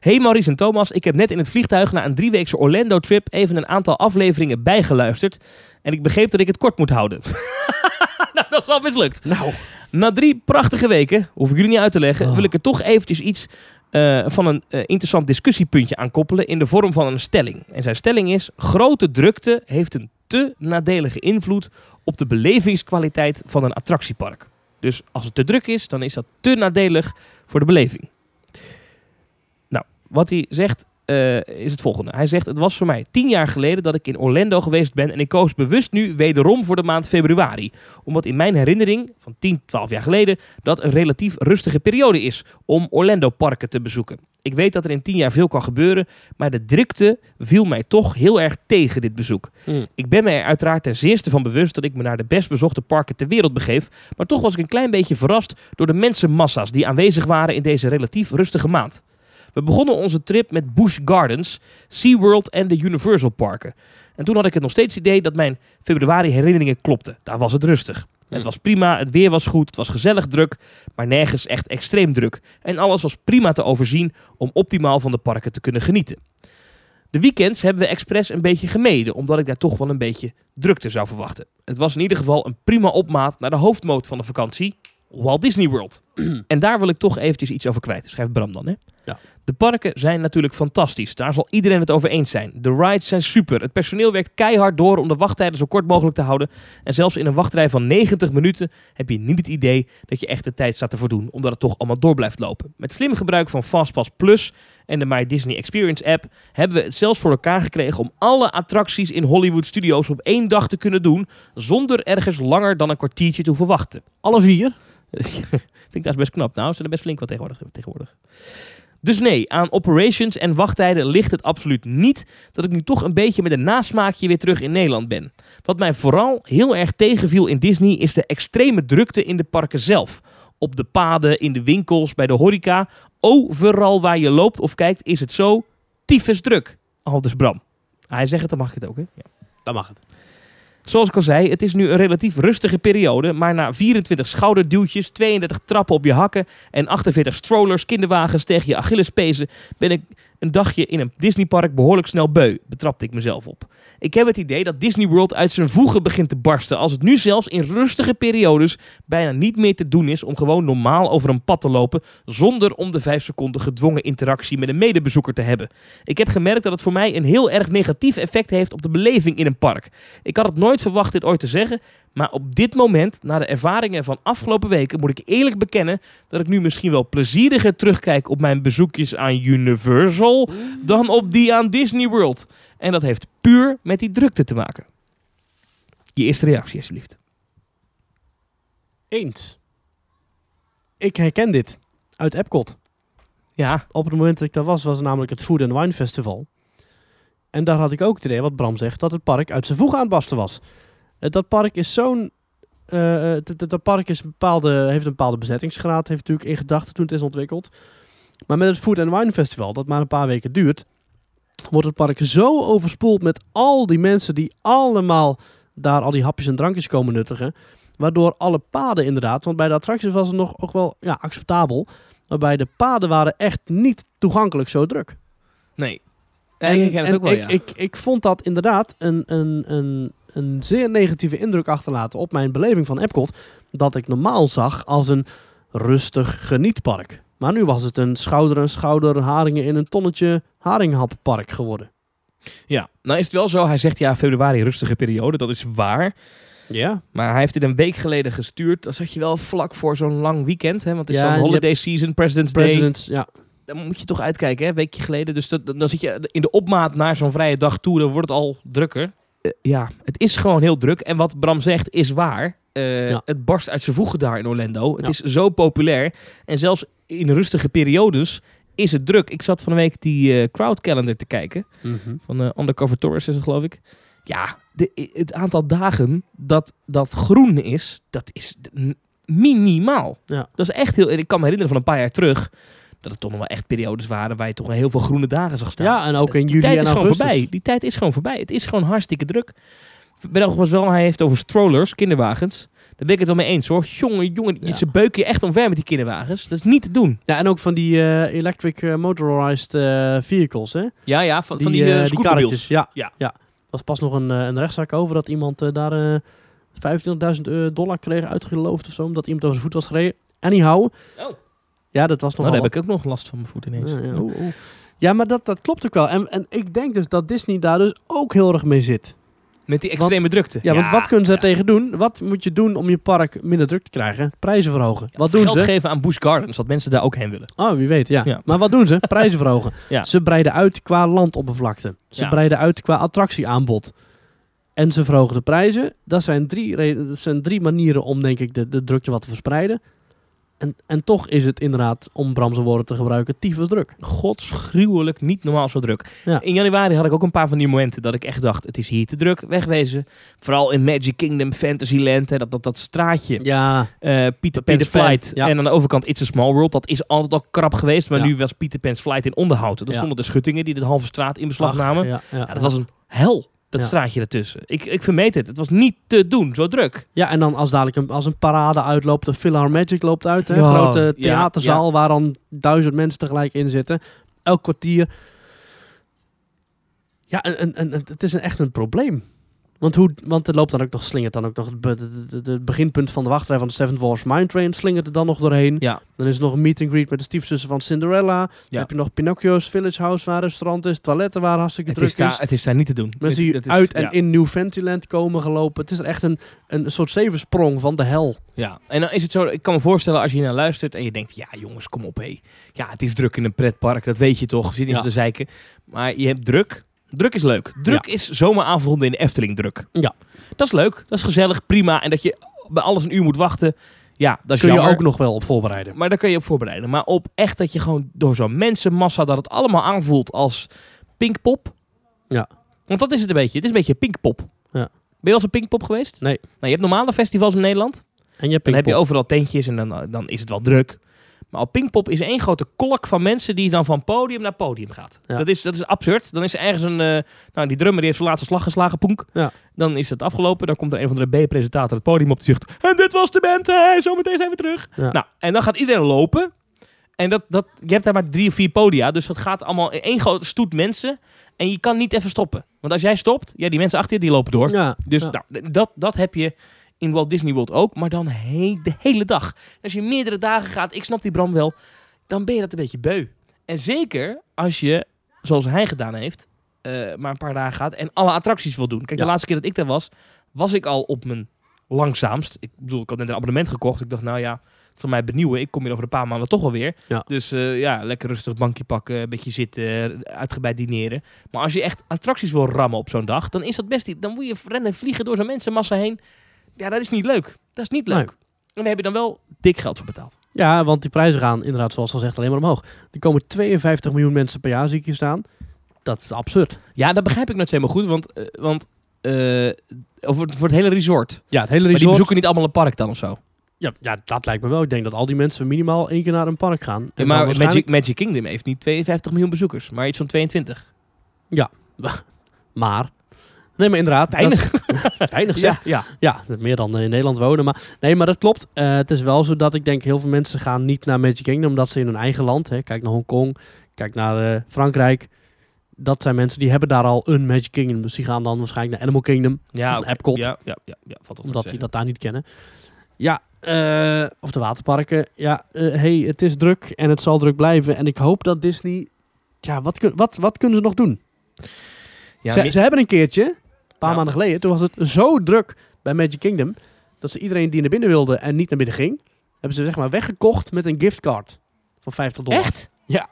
B: Hey Maurice en Thomas, ik heb net in het vliegtuig na een drieweekse Orlando-trip even een aantal afleveringen bijgeluisterd. En ik begreep dat ik het kort moet houden. nou, dat is wel mislukt.
A: Nou,
B: Na drie prachtige weken, hoef ik jullie niet uit te leggen,
A: Oh.
B: wil ik er toch eventjes iets eh, van een eh, interessant discussiepuntje aan koppelen in de vorm van een stelling. En zijn stelling is, grote drukte heeft een te nadelige invloed op de belevingskwaliteit van een attractiepark. Dus als het te druk is, dan is dat te nadelig voor de beleving. Nou, wat hij zegt eh, is het volgende. Hij zegt, het was voor mij tien jaar geleden dat ik in Orlando geweest ben en ik koos bewust nu wederom voor de maand februari omdat in mijn herinnering van 10, 12 jaar geleden dat een relatief rustige periode is om Orlando parken te bezoeken. Ik weet dat er in 10 jaar veel kan gebeuren, maar de drukte viel mij toch heel erg tegen dit bezoek.
A: Hmm.
B: Ik ben me er uiteraard ten zeerste van bewust dat ik me naar de best bezochte parken ter wereld begeef, maar toch was ik een klein beetje verrast door de mensenmassa's die aanwezig waren in deze relatief rustige maand. We begonnen onze trip met Busch Gardens, SeaWorld en de Universal parken. En toen had ik het nog steeds idee dat mijn februari herinneringen klopten. Daar was het rustig. Het was prima, het weer was goed, het was gezellig druk, maar nergens echt extreem druk. En alles was prima te overzien om optimaal van de parken te kunnen genieten. De weekends hebben we expres een beetje gemeden, omdat ik daar toch wel een beetje drukte zou verwachten. Het was in ieder geval een prima opmaat naar de hoofdmoot van de vakantie, Walt Disney World. en daar wil ik toch eventjes iets over kwijt, schrijft Bram dan. Hè?
A: Ja.
B: De parken zijn natuurlijk fantastisch, daar zal iedereen het over eens zijn. De rides zijn super, het personeel werkt keihard door om de wachttijden zo kort mogelijk te houden. En zelfs in een wachtrij van 90 minuten heb je niet het idee dat je echt de tijd staat te verdoen, omdat het toch allemaal door blijft lopen. Met slim gebruik van Fastpass Plus en de My Disney Experience app hebben we het zelfs voor elkaar gekregen om alle attracties in Hollywood Studios op één dag te kunnen doen, zonder ergens langer dan een kwartiertje te hoeven wachten.
A: alle vier.
B: Vind ik dat is best knap. Nou, ze zijn er best flink wat tegenwoordig. tegenwoordig. Dus nee, aan operations en wachttijden ligt het absoluut niet dat ik nu toch een beetje met een nasmaakje weer terug in Nederland ben. Wat mij vooral heel erg tegenviel in Disney is de extreme drukte in de parken zelf. Op de paden, in de winkels, bij de horeca. Overal waar je loopt of kijkt is het zo tyfus druk. Aldus Bram. Ah, hij zegt het, dan mag ik het ook, hè? Ja.
A: Dan mag het.
B: Zoals ik al zei, het is nu een relatief rustige periode, maar na 24 schouderduwtjes, 32 trappen op je hakken en 48 strollers, kinderwagens tegen je Achillespezen ben ik een dagje in een Disneypark behoorlijk snel beu, betrapte ik mezelf op. Ik heb het idee dat Disney World uit zijn voegen begint te barsten als het nu zelfs in rustige periodes bijna niet meer te doen is om gewoon normaal over een pad te lopen zonder om de 5 seconden gedwongen interactie met een medebezoeker te hebben. Ik heb gemerkt dat het voor mij een heel erg negatief effect heeft op de beleving in een park. Ik had het nooit verwacht dit ooit te zeggen, maar op dit moment, na de ervaringen van afgelopen weken, moet ik eerlijk bekennen dat ik nu misschien wel plezieriger terugkijk op mijn bezoekjes aan Universal
A: Hmm.
B: dan op die aan Disney World. En dat heeft puur met die drukte te maken. Je eerste reactie, alsjeblieft.
A: Eens. Ik herken dit uit Epcot.
B: Ja,
A: Op het moment dat ik daar was, was namelijk het Food and Wine Festival. En daar had ik ook het idee, wat Bram zegt, dat het park uit zijn voegen aan het barsten was. Eh, Dat park is zo'n... eh, eh, dat- dat- dat park is een bepaalde, heeft een bepaalde bezettingsgraad, heeft natuurlijk in gedachten toen het is ontwikkeld. Maar met het Food and Wine Festival, dat maar een paar weken duurt, wordt het park zo overspoeld met al die mensen die allemaal daar al die hapjes en drankjes komen nuttigen. Waardoor alle paden inderdaad, want bij de attracties was het nog ook wel ja, acceptabel. Maar bij de paden waren echt niet toegankelijk zo druk.
B: nee. Ja, ik herken het ook wel,
A: ik,
B: ja.
A: ik, ik vond dat inderdaad een, een, een, een zeer negatieve indruk achterlaten op mijn beleving van Epcot. Dat ik normaal zag als een rustig genietpark. Maar nu was het een schouder en schouder haringen in een tonnetje haringhappark geworden.
B: ja, nou is het wel zo. Hij zegt ja, februari rustige periode, dat is waar.
A: Ja,
B: Maar hij heeft dit een week geleden gestuurd. Dat zat je wel vlak voor zo'n lang weekend. Hè? Want het
A: Ja,
B: is zo'n
A: en je
B: holiday season, President's Day.
A: President, ja,
B: Daar moet je toch uitkijken, hè? Een weekje geleden. Dus dat, dan zit je in de opmaat naar zo'n vrije dag toe. Dan wordt het al drukker. Eh, ja, het is gewoon heel druk. En wat Bram zegt is waar. Eh,
A: Ja.
B: Het barst uit zijn voegen daar in Orlando. Het
A: Ja.
B: is zo populair. En zelfs in rustige periodes is het druk. Ik zat van de week die eh, crowd calendar te kijken. Van eh, Undercover Tourist is het, geloof ik. Ja, de, i- het aantal dagen dat dat groen is, dat is n- minimaal.
A: Ja.
B: Dat is echt heel... en Ik kan me herinneren van een paar jaar terug... dat er toch nog wel echt periodes waren... waar je toch wel heel veel groene dagen zag staan.
A: ja, en ook in
B: Die
A: juli
B: tijd
A: en
B: is gewoon
A: augustus.
B: voorbij. Die tijd is gewoon voorbij. Het is gewoon hartstikke druk. Belgisch wel, hij heeft over strollers, kinderwagens. Daar ben ik het wel mee eens hoor. Jongen, jongen,
A: Ja.
B: ze beuken je echt omver met die kinderwagens. Dat is niet te doen.
A: Ja, en ook van die eh, electric eh, motorized eh, vehicles, hè?
B: Ja, ja, van
A: eh, karretjes. Ja.
B: Ja.
A: ja. was pas nog een, eh, een rechtszaak over dat iemand eh, daar eh 25.000 eh, dollar kreeg uitgeloofd of zo, omdat iemand over zijn voet was gereden. Anyhow.
B: Oh.
A: Ja, dat was nog
B: Nou, daar heb ik ook nog last van mijn voet ineens. Oh.
A: ja, ja, oeh, oeh. Ja, maar dat, dat klopt ook wel. En, en ik denk dus dat Disney daar dus ook heel erg mee zit.
B: Met die extreme drukte.
A: Ja, want wat kunnen ze daar tegen doen? Wat moet je doen om je park minder druk te krijgen? Prijzen verhogen. wat doen
B: geld
A: ze?
B: geven aan Busch Gardens, dat mensen daar ook heen willen.
A: Oh, wie weet, ja.
B: Ja.
A: Maar wat doen ze? Prijzen verhogen.
B: Ja.
A: Ze breiden uit qua landoppervlakte. Ze
B: Ja.
A: breiden uit qua attractieaanbod. En ze verhogen de prijzen. Dat zijn drie, reden- dat zijn drie manieren om, denk ik, de, de drukte wat te verspreiden. En, en toch is het inderdaad, om Bramse woorden te gebruiken, tyfus druk.
B: Godsgruwelijk niet normaal zo druk.
A: Ja.
B: In januari had ik ook een paar van die momenten dat ik echt dacht, het is hier te druk, wegwezen. Vooral in Magic Kingdom, Fantasyland, hè, dat, dat, dat straatje.
A: Ja,
B: eh Peter Pan's
A: Pan,
B: Flight.
A: ja.
B: En aan de overkant It's a Small World. Dat is altijd al krap geweest. Maar
A: Ja.
B: nu was Peter Pan's Flight in onderhoud. Er
A: Ja.
B: stonden de schuttingen die de halve straat in beslag
A: Ach,
B: namen.
A: Ja, ja.
B: Ja, dat was een hel, dat
A: Ja.
B: straatje ertussen. Ik, ik vermeed het. Het was niet te doen, zo druk.
A: Ja, en dan als dadelijk een, als een parade uitloopt, de Philharmagic loopt uit. Hè?
B: Ja,
A: grote
B: ja,
A: theaterzaal waar dan duizend mensen tegelijk in zitten. Elk kwartier. Ja, en, en, en het is een, echt een probleem. Want, hoe, want er loopt dan ook nog, slingert dan ook nog het be- de- de- de- het beginpunt van de wachtrij van de Seven Dwarfs Mine Train, slingert er dan nog doorheen.
B: Ja.
A: Dan is er nog een meet and greet met de stiefzussen van Cinderella.
B: Ja.
A: Dan heb je nog Pinocchio's Village House waar een restaurant is, toiletten waar hartstikke
B: Het
A: druk
B: is, daar, het is daar niet te doen.
A: Mensen
B: Het-
A: die
B: dat is-
A: uit en
B: ja.
A: in New Fantasyland komen gelopen. Het is er echt een, een soort zevensprong van de hel.
B: Ja, en dan is het zo, ik kan me voorstellen als je hier naar luistert en je denkt, ja jongens, kom op hé. Ja, het is druk in een pretpark, dat weet je toch, zit niet
A: Ja.
B: zo te zeiken. Maar je hebt druk. Druk is leuk. Druk is zomeravonden in de Efteling druk.
A: Ja.
B: Dat is leuk, dat is gezellig, prima. En dat je bij alles een uur moet wachten, Ja, dat is
A: kun
B: jammer.
A: je ook nog wel op voorbereiden.
B: Maar daar kun je op voorbereiden. Maar op echt dat je gewoon door zo'n mensenmassa dat het allemaal aanvoelt als pinkpop.
A: Ja.
B: Want dat is het een beetje. Het is een beetje pinkpop.
A: Ja.
B: Ben je als een pinkpop geweest?
A: Nee.
B: Nou, je hebt normale festivals in Nederland.
A: En je hebt
B: Dan heb je
A: Pinkpop.
B: overal tentjes en dan, eh, dan is het wel druk. Maar op Pinkpop is één grote kolk van mensen die dan van podium naar podium gaat.
A: Ja.
B: Dat, is, dat is absurd. Dan is er ergens een... eh, nou, die drummer die heeft zijn laatste slag geslagen, Poenk.
A: Ja.
B: Dan is het afgelopen. Dan komt er een van de B-presentator het podium op die zegt... En dit was de band, hè, zometeen zijn we terug.
A: Ja.
B: Nou, en dan gaat iedereen lopen. En dat, dat, je hebt daar maar drie of vier podia. Dus dat gaat allemaal in één grote stoet mensen. En je kan niet even stoppen. Want als jij stopt, ja, die mensen achter je die lopen door.
A: Ja,
B: Dus
A: ja.
B: nou, d- dat, dat heb je in Walt Disney World ook, maar dan he- de hele dag. Als je meerdere dagen gaat, ik snap die Bram wel, dan ben je dat een beetje beu. En zeker als je, zoals hij gedaan heeft, eh, maar een paar dagen gaat en alle attracties wil doen. Kijk,
A: Ja.
B: de laatste keer dat ik daar was, was ik al op mijn langzaamst. Ik bedoel, ik had net een abonnement gekocht. Ik dacht, nou ja, het zal mij benieuwen. Ik kom hier over een paar maanden toch wel weer.
A: Ja.
B: Dus eh, ja, lekker rustig bankje pakken, een beetje zitten, uitgebreid dineren. Maar als je echt attracties wil rammen op zo'n dag, dan is dat best niet. Dan moet je rennen en vliegen door zo'n mensenmassa heen. Ja, dat is niet leuk. Dat is niet leuk.
A: Nee.
B: En daar heb je dan wel dik geld voor betaald.
A: Ja, want die prijzen gaan inderdaad, zoals gezegd, alleen maar omhoog. Er komen 52 miljoen mensen per jaar, zie ik hier staan. Dat is absurd.
B: Ja, dat begrijp ik nooit helemaal goed, want, eh, want eh, over, voor het hele resort.
A: Ja, het hele
B: Maar die
A: resort...
B: bezoeken niet allemaal een park dan of zo.
A: ja, ja, dat lijkt me wel. Ik denk dat al die mensen minimaal één keer naar een park gaan. En
B: Ja,
A: dan
B: maar
A: waarschijnlijk-
B: Magic, Magic Kingdom heeft niet 52 miljoen bezoekers, maar iets van 22.
A: Maar... Nee, maar inderdaad. dat is- Weinig, zeg.
B: Ja, ja.
A: Ja, meer dan eh, in Nederland wonen. Maar nee, maar dat klopt. Eh, het is wel zo dat ik denk heel veel mensen gaan niet naar Magic Kingdom omdat ze in hun eigen land, hè, kijk naar Hongkong, kijk naar eh, Frankrijk. Dat zijn mensen die hebben daar al een Magic Kingdom. Dus die gaan dan waarschijnlijk naar Animal Kingdom,
B: Ja,
A: Of
B: Ah, oké.
A: Epcot.
B: Ja, ja, ja, ja, valt op wat
A: omdat
B: te
A: die
B: zeggen.
A: dat daar niet kennen. Ja, eh, of de waterparken. Ja, eh, hey, het is druk en het zal druk blijven. En ik hoop dat Disney... Ja, wat, kun- wat, wat kunnen ze nog doen?
B: Ja,
A: ze,
B: mi-
A: ze hebben een keertje, een paar
B: Ja.
A: maanden geleden, toen was het zo druk bij Magic Kingdom dat ze iedereen die naar binnen wilde en niet naar binnen ging, hebben ze zeg maar weggekocht met een giftcard van 50 dollar.
B: Echt?
A: Ja.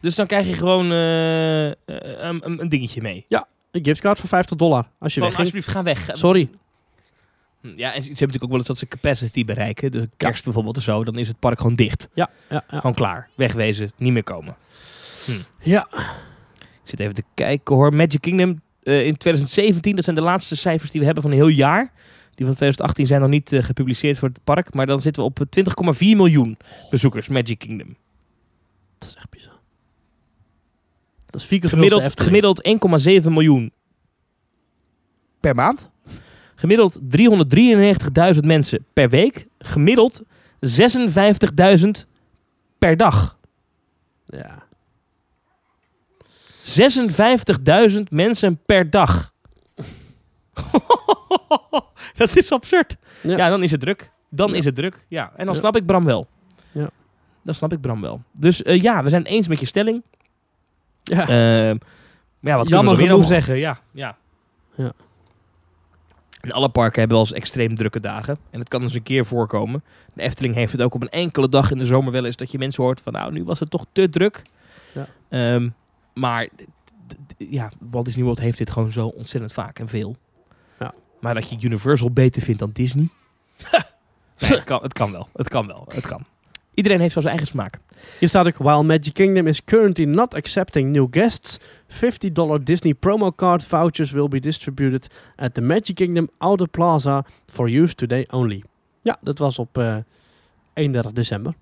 B: Dus dan krijg je gewoon eh, eh, een, een- een dingetje mee.
A: Een giftcard voor 50 dollar als je
B: Van,
A: wegging.
B: alsjeblieft, ga weg. Hm,
A: Sorry.
B: Ja, en ze ze hebben natuurlijk ook wel eens dat ze capacity bereiken. Dus kerst bijvoorbeeld of zo, dan is het park gewoon dicht.
A: Ja, ja, ja.
B: Gewoon klaar. Wegwezen, niet meer komen.
A: ja.
B: Ik zit even te kijken hoor. Magic Kingdom eh, in 2017, dat zijn de laatste cijfers die we hebben van een heel jaar. Die van 2018 zijn nog niet eh, gepubliceerd voor het park. Maar dan zitten we op eh, 20,4 miljoen bezoekers Magic Kingdom.
A: Dat is echt bizar. Dat is vier keer zoveel als de
B: Gemiddeld,
A: Efteling.
B: gemiddeld 1,7 miljoen per maand. Gemiddeld 393.000 mensen per week. Gemiddeld 56.000 per dag.
A: Ja.
B: 56.000 mensen per dag. dat is absurd. Ja.
A: Ja.
B: dan is het druk. Dan
A: Ja.
B: is het druk. Ja, en dan
A: Ja.
B: snap ik Bram wel.
A: Ja.
B: Dan snap ik Bram wel. Dus eh, ja, we zijn het eens met je stelling.
A: Ja.
B: Ehm, maar ja, wat kunnen
A: Jammer
B: we er weer
A: genoeg.
B: over zeggen? Ja, ja.
A: Ja.
B: En alle parken hebben wel eens extreem drukke dagen. En het kan eens een keer voorkomen. De Efteling heeft het ook op een enkele dag in de zomer wel eens dat je mensen hoort van nou, nu was het toch te druk.
A: Ja.
B: Ehm, maar d- d- d- ja, Walt Disney World heeft dit gewoon zo ontzettend vaak en veel.
A: Ja.
B: Maar dat je Universal beter vindt dan Disney? Nee, het, kan, het kan wel. Het kan wel. Het kan. Iedereen heeft zo zijn eigen smaak.
A: Hier staat ook, while Magic Kingdom is currently not accepting new guests, $50 Disney promo card vouchers will be distributed at the Magic Kingdom Outer Plaza for use today only. Ja, dat was op eh 31 december.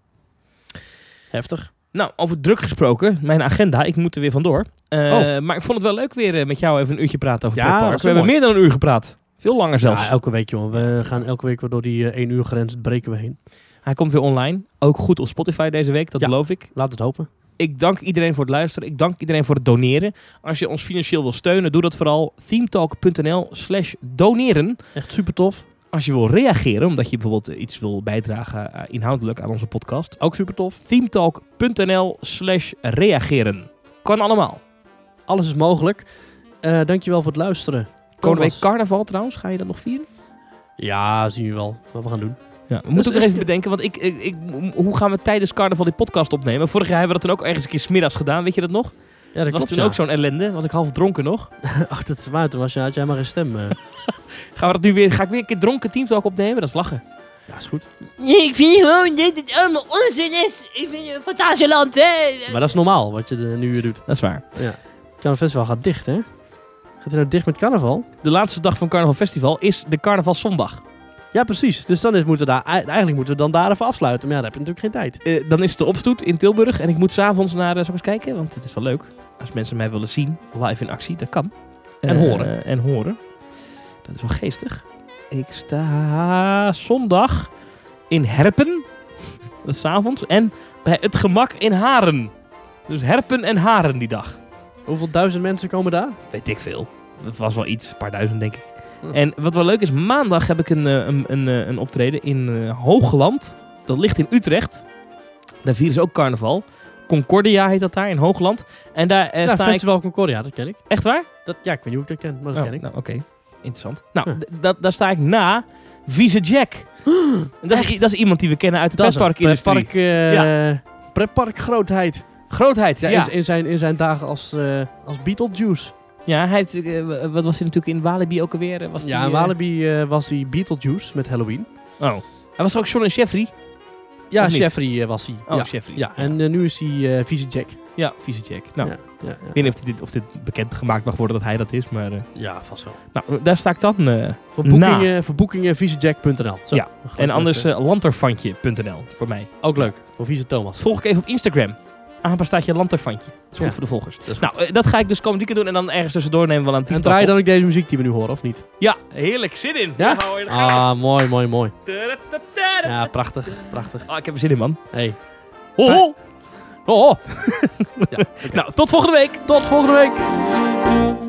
A: Heftig.
B: Nou, over druk gesproken. Mijn agenda, ik moet er weer vandoor. Eh,
A: Oh.
B: Maar ik vond het wel leuk weer eh, met jou even een uurtje praten over
A: Ja,
B: het
A: dat
B: pretpark.
A: is
B: We hebben
A: mooi.
B: meer dan een uur gepraat. Veel langer zelfs.
A: Ja, elke week jongen. We gaan elke week weer door die eh, één uur grens breken we heen.
B: Hij komt weer online. Ook goed op Spotify deze week, dat
A: Ja.
B: beloof ik.
A: Laat het hopen.
B: Ik dank iedereen voor het luisteren. Ik dank iedereen voor het doneren. Als je ons financieel wil steunen, doe dat vooral. themetalk.nl slash doneren.
A: Echt super tof.
B: Als je wil reageren, omdat je bijvoorbeeld eh, iets wil bijdragen eh, inhoudelijk aan onze podcast.
A: Ook super tof.
B: themetalk.nl slash reageren. Kan allemaal.
A: Alles is mogelijk. Eh dankjewel voor het luisteren.
B: Komende week
A: Thomas.
B: carnaval trouwens, ga je dat nog vieren?
A: Ja, zien we wel wat we gaan doen.
B: Ja, we moeten
A: is
B: ook nog even
A: de-
B: bedenken, want ik, ik, ik, hoe gaan we tijdens carnaval die podcast opnemen? Vorig jaar hebben we dat dan ook ergens een keer smiddags gedaan, weet je dat nog?
A: Ja, dat
B: was
A: klopt,
B: toen
A: ja.
B: ook zo'n ellende, was ik half dronken nog.
A: Ach, dat is waar. Toen was je, had jij maar geen stem. eh.
B: Gaan we dat nu weer, ga ik weer een keer dronken teamtalk opnemen? Dat is lachen.
A: Ja, is goed.
C: Ik vind gewoon dat het allemaal onzin is. Ik vind het fantasieland, hè.
A: Maar dat is normaal wat je er nu weer doet.
B: Dat is waar.
A: Carnaval Festival gaat dicht, hè? Gaat hij nou dicht met carnaval?
B: De laatste dag van Carnaval Festival is de Carnavalzondag.
A: Ja, precies. Dus dan is, moeten we daar, eigenlijk moeten we dan daar even afsluiten. Maar ja, dan heb je natuurlijk geen tijd.
B: Eh, dan is het de opstoet in Tilburg. En ik moet s'avonds naar... eh zal ik eens kijken? Want het is wel leuk. Als mensen mij willen zien, live in actie, dat kan.
A: En
B: Eh,
A: horen.
B: En horen. Dat is wel geestig. Ik sta zondag in Herpen. Dat is 's avonds. En bij Het Gemak in Haren. Dus Herpen en Haren die dag.
A: Hoeveel duizend mensen komen daar?
B: Weet ik veel. Het was wel iets, een paar duizend denk ik.
A: Hm.
B: En wat wel leuk is, maandag heb ik een, eh, een, een, eh, een optreden in eh, Hoogland. Dat ligt in Utrecht. Daar vieren ze ook carnaval. Concordia heet dat daar, in Hoogland. En daar eh,
A: ja,
B: sta ik...
A: Festival Concordia, dat ken ik.
B: Echt waar?
A: Dat, ja, ik weet niet hoe ik dat ken, maar dat
B: Oh,
A: ken ik.
B: Nou, oké. Interessant. Nou,
A: Ja.
B: d- dat- daar sta ik na Vieze Jack. En dat, is, i- dat is iemand die we kennen uit de
A: Dat is een
B: pretparkindustrie.
A: pretpark, eh, pretparkgrootheid.
B: Grootheid, ja.
A: Ja, In, in zijn, in zijn dagen als, eh, als Beetlejuice.
B: Ja, hij heeft, eh, w- wat was hij natuurlijk in Walibi ook alweer? eh, Was
A: ja,
B: die,
A: in
B: eh,
A: Walibi eh, was hij Beetlejuice met Halloween.
B: Oh. Hij was er ook John en Jeffrey.
A: Ja,
B: Of niet?
A: Jeffrey eh, was hij.
B: Oh,
A: ja.
B: Jeffrey.
A: ja, en eh, nu is hij eh Vieze Jack.
B: Ja, Vieze Jack. Nou,
A: Ja, ja, ja.
B: Ik weet niet of dit, of dit bekendgemaakt mag worden dat hij dat is, maar... eh,
A: Ja, vast wel.
B: nou, daar sta ik dan. eh,
A: Voor
B: Na.
A: boekingen, voor boekingen visiejack.nl. Zo,
B: Ja,
A: gelijk
B: en anders
A: even.
B: eh, lanterfantje.nl voor mij.
A: eh, ook leuk. dus, Voor vieze Thomas.
B: Volg ik even op Instagram. Aanpastaatje lanterfantje. Dat is goed
A: Ja,
B: voor de volgers.
A: is
B: nou, eh, dat ga ik dus komend weekend doen en dan ergens tussendoor nemen we wel een
A: En
B: TikTok
A: draai je
B: op.
A: dan ook deze muziek die we nu horen, of niet?
B: Ja, heerlijk. Zin in.
A: Ja?
B: Nou, hou je de gang.
A: Ah, mooi, mooi, mooi.
B: Tudutudu.
A: Ja, prachtig, prachtig.
B: Ah, ik heb er zin in, man.
A: Hey.
B: Ho, ho.
A: Oh, oh.
B: Nou, tot volgende week.
A: Tot volgende week.